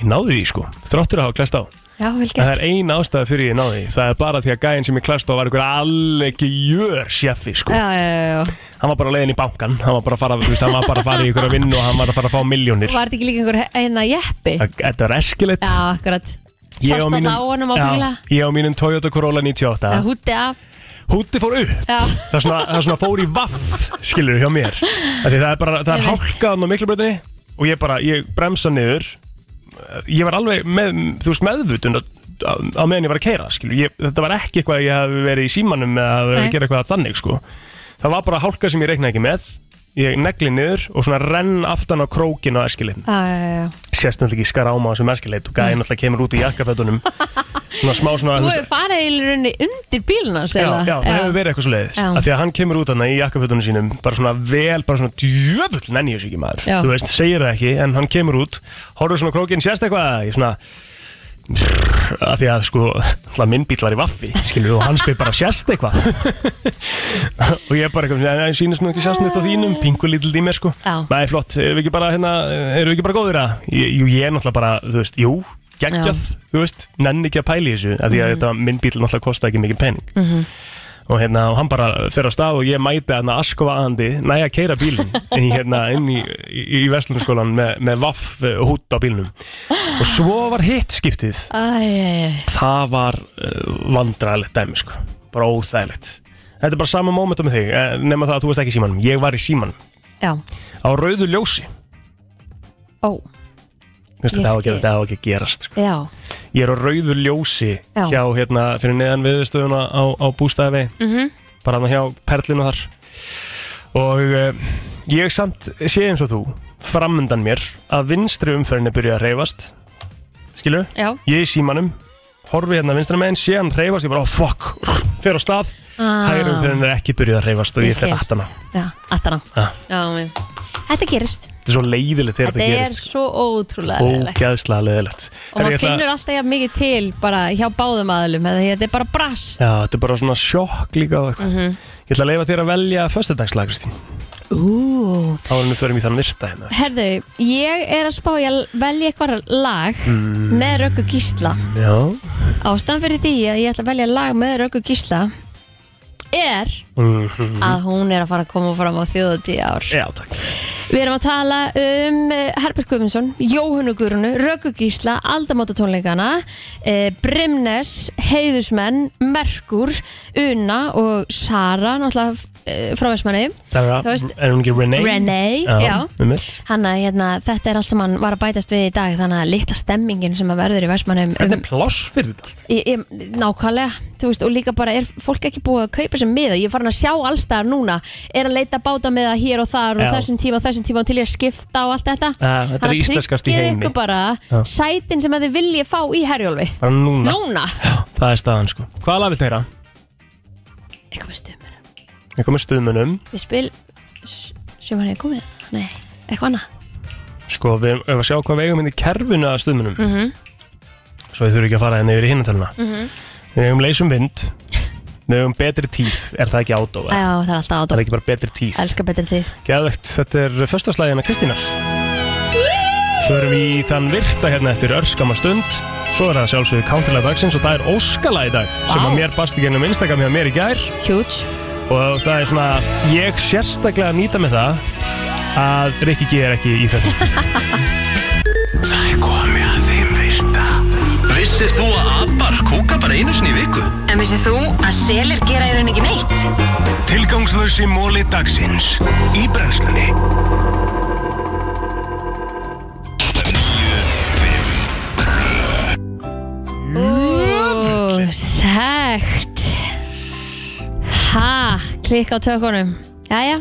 ég náði í sko, þráttur að hafa klæst á já, vel En gert það er ein ástæða fyrir ég náði, því. það er bara því að gæinn sem ég klæst á var ykkur alveg jör sjefi sko já, já, já, já. Hann var bara leiðin í bankan, hann var bara að fara, þú veist, hann var bara að fara í ykkur að vinna og hann var að fara að fá miljónir Var þetta ekki líka einhver hérna jeppi? Þetta var eskilegt Já, akkurat Ég Sást á alltaf mínum- á honum á Já, bíla Ég á mínum Toyota Corolla Eða 98 húti af Húti fór upp Já, Það er svona, það er svona fór í vaff Skilur hjá mér Af því Það er bara, það er hálkaðan á miklubröðinni Og ég bara, ég bremsa niður Ég var alveg með, þú veist, meðvutund á, á á meðan ég var að keira skilur. ég, Þetta var ekki eitthvað að ég hafi verið í símanum Eða að Nei. gera eitthvað þannig sko. Það var bara hálka sem ég reiknaði ekki með ég negli niður og svona renn aftan á krókin á eskilinn Já, já, já, já. sérst náttúrulega ekki skaráma á þessum eskileit og gæði náttúrulega kemur út í jakkafötunum svona smá svona Þú þú hefur veist- farið í rauninni undir bíluna Já, já, það hefur verið eitthvað svo leiðis Já. Því að hann kemur út hann í jakkafötunum sínum Bara svona vel, bara svona djöfull nenni ég þessu ekki maður Já. Þú veist, segir það ekki, en hann kemur út Horfður svona á krókinn, sérst eitthvað Ég svona að því að sko, alltaf minn bíl var í vaffi skilur og hans bíl bara sérst eitthvað og ég er bara eitthvað "Nei, nei, sýnist mér ekki sérst neitt á þínum, pingu lítill í mér sko, Já. næ flott, erum við ekki bara hérna, erum við ekki bara góðir að jú, ég er náttúrulega bara, þú veist, jú geggjað, þú veist, nenni ekki að pæli þessu Mm. af því að þetta minn bíl náttúrulega kosta ekki mikið pening Mhm. og hérna, og hann bara fer á stað og ég mæti hann askovaðandi, næja að keira bílinn inn í, hérna, inn í, í, í Vestlunarskólan með, með vaff eh, hút á bílnum og svo var hitt skiptið Æ, það var uh, vandræðilegt dæmi sko, bara óþægilegt þetta er bara sama mómentum með þig eh, nema það að þú veist ekki í símanum, ég var í símanum já, á rauðu ljósi Ó. Vistu, Ég það var ekki, skil. þetta á ekki að gerast sko. já ég er á rauðu ljósi Já. hjá hérna fyrir neðan viðstöðuna á, á bústæði Mhm. bara hann hjá perlinu þar og uh, ég samt sé eins og þú framundan mér að vinstri umferðinni byrja að reyfast skilu, Já. ég í símanum horfi hérna vinstra meginn, sé hann reyfast ég bara, oh fuck, fer á stað Ah. hægri umferðin er ekki byrjuð að reyfast og Ég ég fer skil. aftana Já, aftana Ah. Já, men Þetta gerist þetta er svo leiðilegt þegar Þetta þetta er gerist svo ótrúlega leðilegt ógeðslega leiðilegt Og maður finnur alltaf jafn mikið til bara hjá báðum aðlum eða því að Þetta er bara brass Já, þetta er bara svona sjokk líka og eitthvað Mhm. Ég ætla að leifa þér að velja föstudagslag, Kristín Ú Þá erum við förum í þann virta hérna Herðu, ég er að spá ég að velja eitthvað lag Mm. með Röggu Gísla Já Ástæðan fyrir því að ég ætla að velja lag með Röggu Gísla er Mhm. að hún er að fara að koma fram á þjóðu tíu ár Já, takk Við erum að tala um eh, Herbert Guðmundsson, Jóhannu Guðrunu, Röggu Gísla, Aldamóta tónleikana, eh, Brimnes, Heiðusmenn, Merkur, Una og Sara, náttúrulega eh, frá Vestmanni. Sarah, Þú veist- er hún ekki Renee? Renee, já. um Hanna, hérna, þetta er allt sem hann var að bætast við í dag, þannig að litla stemmingin sem að verður í Vestmannum um, Hvernig er pláss fyrir þetta? allt? Ég, ég, nákvæmlega, þú veist, og líka bara er fólk ekki búið að kaupa sem miða, ég er farin að sjá allstaðar núna, er að leita báta miða hér og þar og Já. þessum tíma og þessum tíma og til ég að skipta og allt þetta Já, þetta er Þannig að íslenskast í tryggið heimi. ykkur bara Já. sætin sem að þið viljið fá í herjólfi Bara núna Núna, Það er staðan sko Hvaða lag viltu heyra? eitthvað með stumur Eitthvað með stuðmunum Við spil, sem hann er komið Nei, eitthvað annað Sko, við erum erum að sjá hvað við eigum inn í kerfinu að stuðmunum mm -hmm. Svo við þurfum ekki að fara henni yfir í hinnatöluna mhm. Við eigum leysum vind Við eigum betri tíð Er það ekki átóða? Já, það er alltaf Það er ádóf ekki bara betri tíð Elskar betur þið Gæðvegt, þetta er föstarslæðina Kristínar Förum í þann virta hérna eftir örskama stund Svo er það sjálfsögðu counterlega dagsins og það er óskala í dag sem að mér basti gennum Instagram hjá mér í gær Huge Og það er svona, ég sérstaklega nýta með það að Rikki G er ekki í þessu Það er komið að þeim virta Vissir þú að abar kúka bara einu sinni í viku? En vissið þú að selir gera í rauninni ekki neitt? Tilgangslösi móli dagsins Í brennslunni Ú, Sækt Ha, klikk á tökunum Jæja,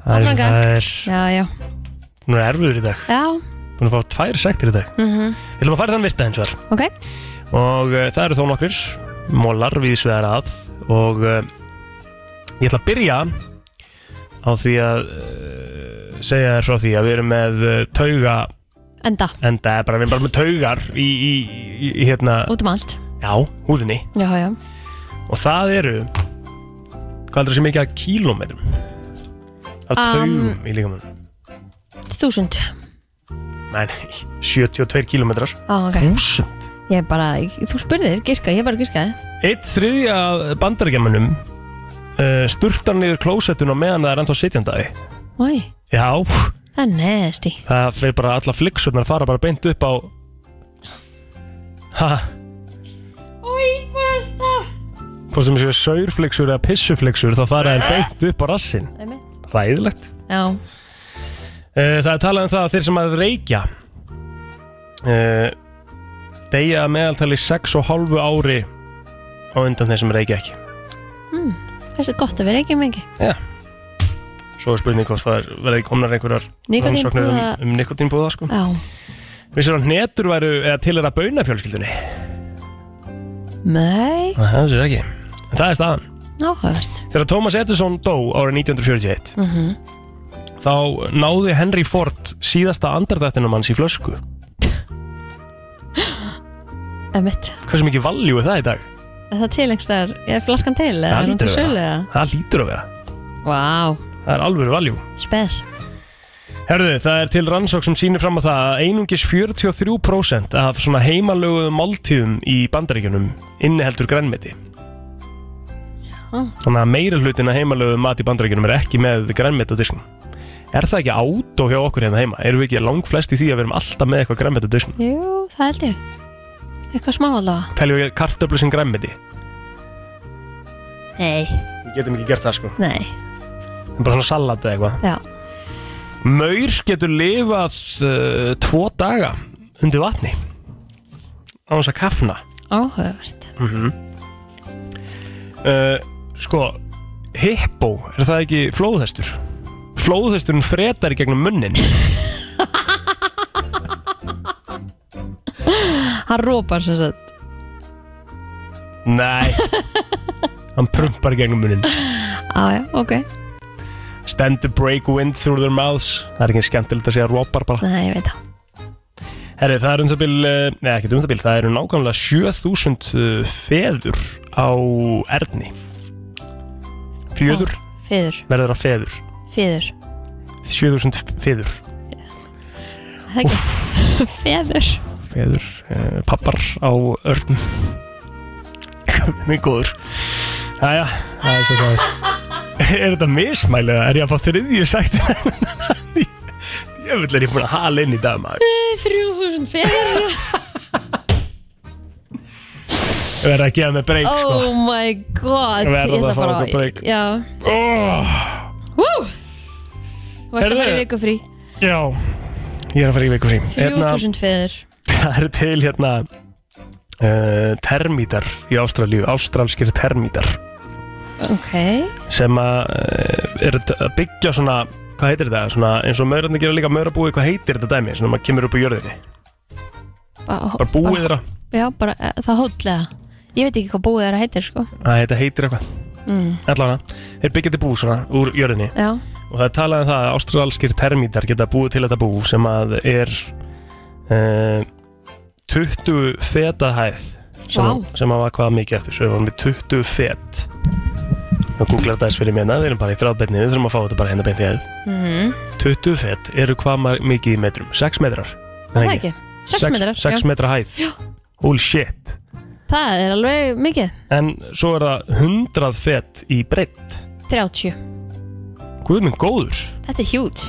Það er, Áfram gang. það er, já, já hún er erfiður í dag Já, Búin að fá tvær sektir í dag mhm, Við ætlum að fara í þann virta eins og ok og uh, það eru þó nokkrir mólar við svegar að og uh, ég ætla að byrja á því að uh, segja þér frá því að við erum með uh, tauga Enda, enda bara, við erum bara með taugar í, í, í, í hérna, út um allt já, húðinni Já, já og það eru hvað heldur þessi mikið að kílómetrum af taugum Um, í líkamann Þúsund Nei, nei, 72 kílómetrar Á, ok Þúsund Ég bara, þú spurðir, giska, ég bara giskaði Eitt þriðja bandarækjamanum uh, sturtar niður klósettuna meðan það er ennþá sitjandaði Ói, Já, það er neðasti það fyrir bara alla fliksurnar fara bara beint upp á Ha, Ói, bara stað hvort sem séu saurfliksur eða pissufliksur þá fara þær beint upp á rassin Einmitt. Ræðilegt Já, uh, Það er talað um það að þeir sem að reykja uh, Deyja að meðaltali 6,5 ári á undan þeir sem reykja ekki Hmm, mm, þessi er gott að vera ekki mikið Já svo er spurning hvort það er- verði komnar einhverjar Nikótínpúða- rannsóknir um, um nikotínbúða sko. Já, Vissir að hnetur væru eða til er að bauna fjölskyldunni? nei, Það það sér ekki. En það er staðan. áhugavert Þegar Thomas Edison dó árið 1941 mm -hmm. þá náði Henry Ford síðasta andardrættinum hans í flösku. Emmett, Hversu mikið valjú er það í dag? er það til einhvers þar, er flaskan til? eða er hún til sölu eða? Það lítur að vera. Vá, Það er alveg valjú. spes Herðu, það er til rannsók sem sýnir fram á það að einungis 43% af svona heimalöguðum máltíðum í bandaríkjunum inniheldur grænmeti. Þannig að meira hlutin að heimalöguðum mat í bandaríkjunum er ekki með grænmeti á disknum. Er það ekki átó hjá okkur hérna heima? Erum við ekki langflest í því að við erum alltaf með eitthvað grænmeti á disknum? Jú, það held ég Eitthvað smá allavega Teljum við kartöflu sem grænmeti? Nei, Við getum ekki gert það sko. nei, En bara svona salat eða eitthvað. já Maur getur lifað uh, tvo daga undir vatni á þess að kafna. Áhugavert mm uh, Sko Hippo, er það ekki flóðhestur? Flóðhesturinn fretar í gegnum munnin Hann rópar sem sagt Nei Hann prumpar í gegnum munnin Á, já, ok Stand to break wind through their mouths Það er ekki skemmtilegt að segja rópar bara Nei, ég veit það Herri, það er um það bil, neða ekki um það bil, það eru nákvæmlega 7000 uh, feður á erni. Fjöður Feður, verður að feður. feður 7000 feður. Það er ekki Feður Feður, uh, pappar á örnum. Mjög góður. Jæja, það er svo það er. Er þetta mismæli eða er ég að fá þriðju sagt? Ég vil er ég búin að hala inn í dag maður. Eh, Þrjú húsund feður Ég verður að gefa mig breyk sko. Oh my god Verða Ég það ætla að fá bara- okkur break. Já oh. Hú Þú ert að fara í Heyrðu. Hérna- viku frí Já, ég er að fara í veikur frí. 3000 feður það eru til hérna uh, termítar í Ástralíu, ástralskir termítar Ok sem að uh, eru t- að byggja svona, hvað heitir þetta, svona, eins og maurarnir gera líka maurabúi, hvað heitir þetta dæmi, svona maður kemur upp á jörðinni, Bara bara búið þeirra, Já, bara eh, það hótlega Ég veit ekki hvað búið þeirra heitir sko að þetta heitir eitthvað, mm. allavega, þeir byggja þetta bú svona úr jörðinni Já, og það er talað um það að ástralskir termítar geta búið til þetta bú sem að er uh, 20 feta hæð sem, Vá. sem að var hvað mikið eftir, svo við vorum við 20 fet og googlar þetta eins fyrir mér hérna. við erum bara í þráðbeinni, við þurfum að fá þetta bara hérna beint í hæð mm. 20 fet eru hvað ma- mikið í metrum? 6 metrar það er ekki 6 metrar 6 já. metra hæð Já. Holy shit Það er alveg mikið En svo er það 100 fet í breytt 30 Guð minn góður Þetta er hjút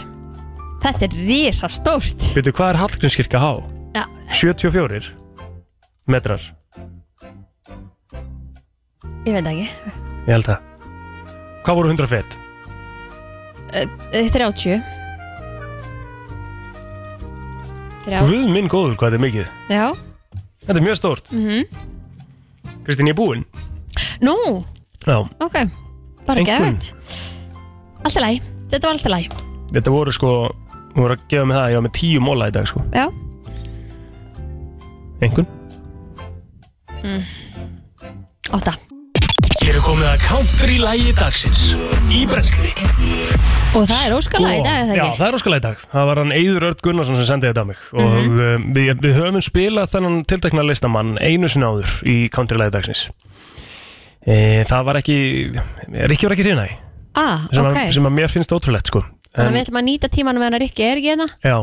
Þetta er risa stórt Veitu hvað er Hallgrímskirkja há? Já. 74 metrar Ég veit ekki Ég held það Hvað voru 100 fet? Eh, eh, 30 30 Guð minn góður hvað þetta er mikið Já Þetta er mjög stórt mm Kristín ég er búinn Nú, Já ok Bara Einkunn. gefið Allt í lagi, þetta var allt í lagi Þetta voru sko Þú voru að gefa mig það Ég var með 10 móla í dag sko Já Engun 8 Hér er komið að country lægi dagsins Í brensli Og það er óskalag í dag, er það Sko, Já, ekki? það er óskalega í dag Það var hann Eyður Örd Gunnarsson sem sendið þetta á mig Og Mhm. um, við, við höfum spilað þennan tiltekna listamann Einu sinna áður í country lægi dagsins e, Það var ekki Rikki var ekki hrýna í Ah, sem, ok að, sem að mér finnst ótrúlegt sko Þannig að en, við ætlum að nýta tímanum með hann Rikki, er ekki hérna? Já,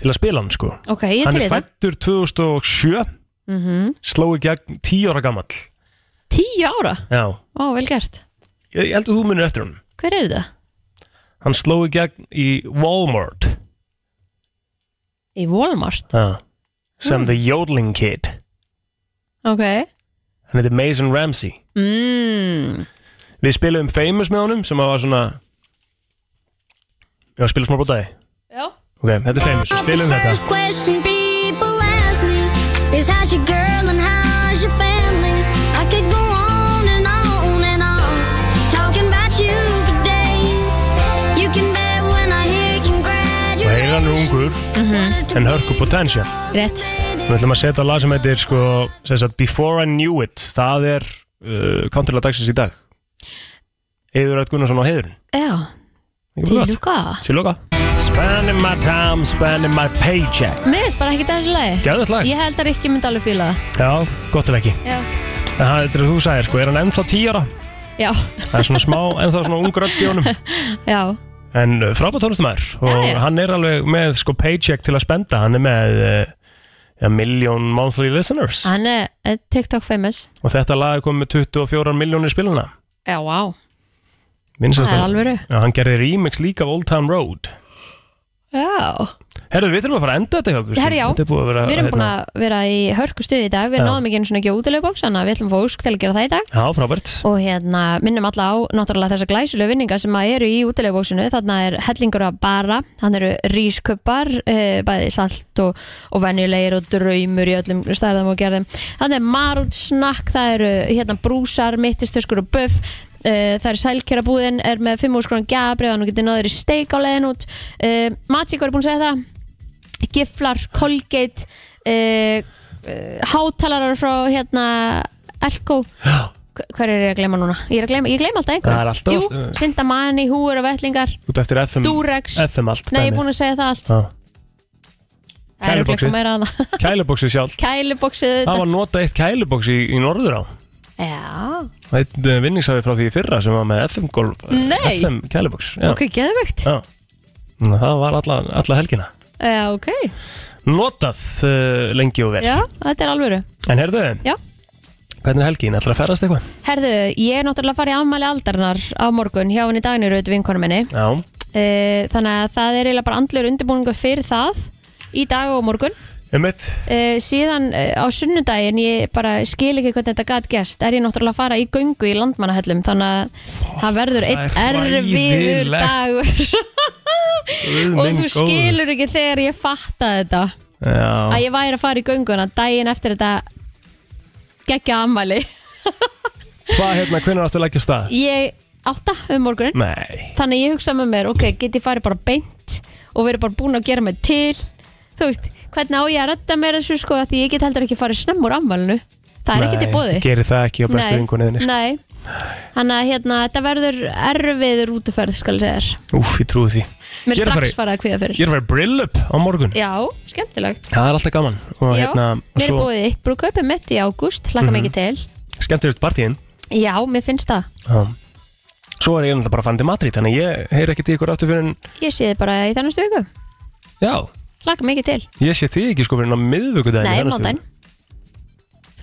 til að spila hann sko Ok, ég er Hann til í er það fættur 2007 mm -hmm. Sló í gegn 10 ára gamall Tíu ára? Já, Ó, vel gert ég, ég held að þú munir eftir hann Hver er þetta? Hann sló í gegn í Walmart Í Walmart? Já Mm. Sem The Yodeling Kid Ok Hann heitir Mason Ramsey mm. Við spilaðum Famous með honum sem að var svona Já, spila smá bótaði Já Ok, þetta er Famous, við spilum First þetta question people ask me is how's your girl and how's your family? I could go on and on and on talking about you for days. Potential en Hörku Potential Mhm. Rétt Við ætlum að setja lag sem heitir sko, sem sagt, Before I Knew It Það er uh, counterlag dagsins í dag Eður Rætt Gunnarsson á heiðurinn Já, Ekki til bara gott. lúka Til lúka Spending my time, spending my paycheck Mér finnst bara ekki þessu lagi Geðvægt lag. Ég held að Rikki myndi alveg fíla það Já, gott ef ekki Já, En það er það þú sagðir, sko, er hann ennþá 10 ára? já, Það er svona smá, ennþá svona ungur öll í honum já En uh, frábært tónlistamæður og Já, já. hann er alveg með sko paycheck til að spenda Hann er með uh, ja, million monthly listeners Hann er eh, TikTok famous Og þetta lag er komið með 24 miljónir spilana Já, wow Vinsælt Það er lag. alvöru. Já, hann gerði remix líka af Old Town Road Já, Herðu, við þurfum að fara að enda þetta hjá okkur, Herra, já. Þetta er búið að vera við erum búin hérna, að vera í hörku stuði í dag Við Já. náðum ekki einu svona ekki útilegboks Þannig að við ætlum að fá ósk til að gera það í dag Já, frábært Og hérna, minnum alla á náttúrulega þessa glæsulegu vinninga sem að eru í útilegbóksinu Þannig er hellingur að bara Þannig eru rískubbar, eh, bæði salt og, og venjulegir og draumur í öllum stærðum og gerðum Þannig er marút snakk, það eru hérna brúsar, mittistöskur og buff Uh, það er sælkjara búðin, er með 5 úrskrona gjabrið og nú getur náður í steik á leiðin út uh, Matík var búin að segja það giflar, Colgate uh, uh, hátalarar frá hérna Elko Hver- hver er ég að gleyma núna? Ég, er að gleyma, ég gleyma alltaf einhver Það er alltaf- uh, Jú, Sindamani, Húur og Vettlingar Út eftir FM Durex FM allt Nei, ég er búin að segja það allt Það er Kæluboxið. eitthvað meira að það Kæluboxið sjálf Kæluboxið Það var nota eitt kælubox í, í norður á Já, Eitt uh, vinningsafi frá því í fyrra sem var með FM golf Nei. FM Uh, kælubox já. ok, geðvegt Já. Þannig að Það var alla, alla helgina Já, ok Notað uh, lengi og vel Já, þetta er alvöru En herðu, Já. hvernig er helgin? Ætlar að ferðast eitthvað? Herðu, ég er náttúrulega að fara í afmæli aldarnar á morgun hjá henni Dagniröð vinkonu minni Já, Eh, Þannig að það er eiginlega bara andlur undirbúningu fyrir það í dag og á morgun um mitt Uh, síðan uh, á sunnudaginn ég bara skil ekki hvernig þetta gat gerst er ég náttúrulega að fara í göngu í landmannahöllum þannig að það verður einn það er erfiður hræðilegt. dagur og þú skilur ekki þegar ég fatta þetta að Já, ég væri að fara í gönguna daginn eftir þetta geggja ammæli hvað hérna, hvernig áttu að leggja af stað? ég átta um morgunin Nei, þannig að ég hugsa með mér, ok, get ég farið bara beint og verið bara búin að gera mig til þú veist, hvernig á ég að redda mér þessu sko, af því ég get heldur ekki farið snemm úr ammælinu það er ekkert í bóði Gerir það ekki á bestu Nei, vingunniðinni sko. Nei, þannig að hérna, þetta verður erfiður útuferð skal ég segja þér Úf, ég trúi því Mér Ég er að strax fara farið að kviða í- Ég fyrir er að fara í brillup á morgun Já, skemmtilegt Það er alltaf gaman Mm. Og Já, hérna, og Mér er svo búið eitt brúkaupið mitt í ágúst hlakka Mhm. mikið til skemmtilegst partíin Já, mér finnst það Já. Svo er ég náttúrulega bara að fara til Madrid Þannig að ég heyr ekki til ykkur aftur fyrir en Ég sé þið bara í þannig viku Já, hlakka mikið til ég sé þig ekki sko fyrir en á miðvikudaginn Nei, í næstu viku.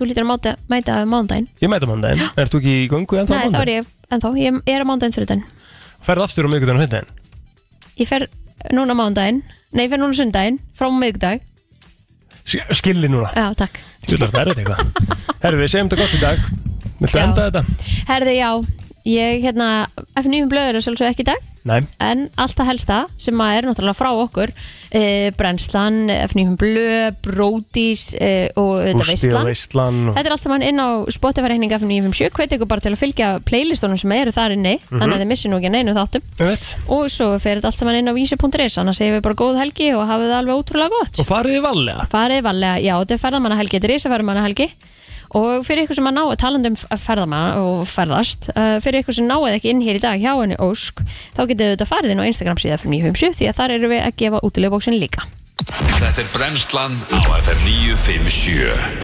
mándaginn Þú lítur að máta, mæta á mándaginn Ég mæta mándaginn, er þú ekki í göngu en það Nei, þá er ég ennþá, ég ég er á mándaginn þrjóðdaginn Ferð aftur á miðvikudaginn og hundaginn Ég fer núna mándaginn, nei, ég fer núna sundaginn frá miðugdag, Skilli núna já, takk Júlar, það er þetta eitthvað Herru, við segjum þetta gott í dag Viltu enda þetta? Herði, já, ég hérna F9 blöður er sjálfsög ekki í dag Nei en allt að helsta sem að er náttúrulega frá okkur e, Brennslan, F9 um blöð Bródís e, og auðvitað Gústi og Veistlan Veistlan og... Þetta er allt saman inn á Spotify-reikning F957 um hvet ykkur bara til að fylgja playlistunum sem eru þar inni Mhm. þannig að þið missi nú ekki neinu þáttum Veit. og svo fer þetta allt saman inn á vísi.is annars hefur við bara góð helgi og hafið það alveg ótrúlega gott Og farið í valega farið varlega, já, þetta er ferðamannahelgi, þetta er risaferðamannahelgi og fyrir ykkur sem að ná að talandi um ferðamanna og ferðast uh, fyrir ykkur sem náið ekki inn hér í dag hjá henni Ósk, þá getið þetta farið inn á Instagram síða fyrir 957 því að þar eru við að gefa útilegbóksin líka Þetta er brennslan á FM 957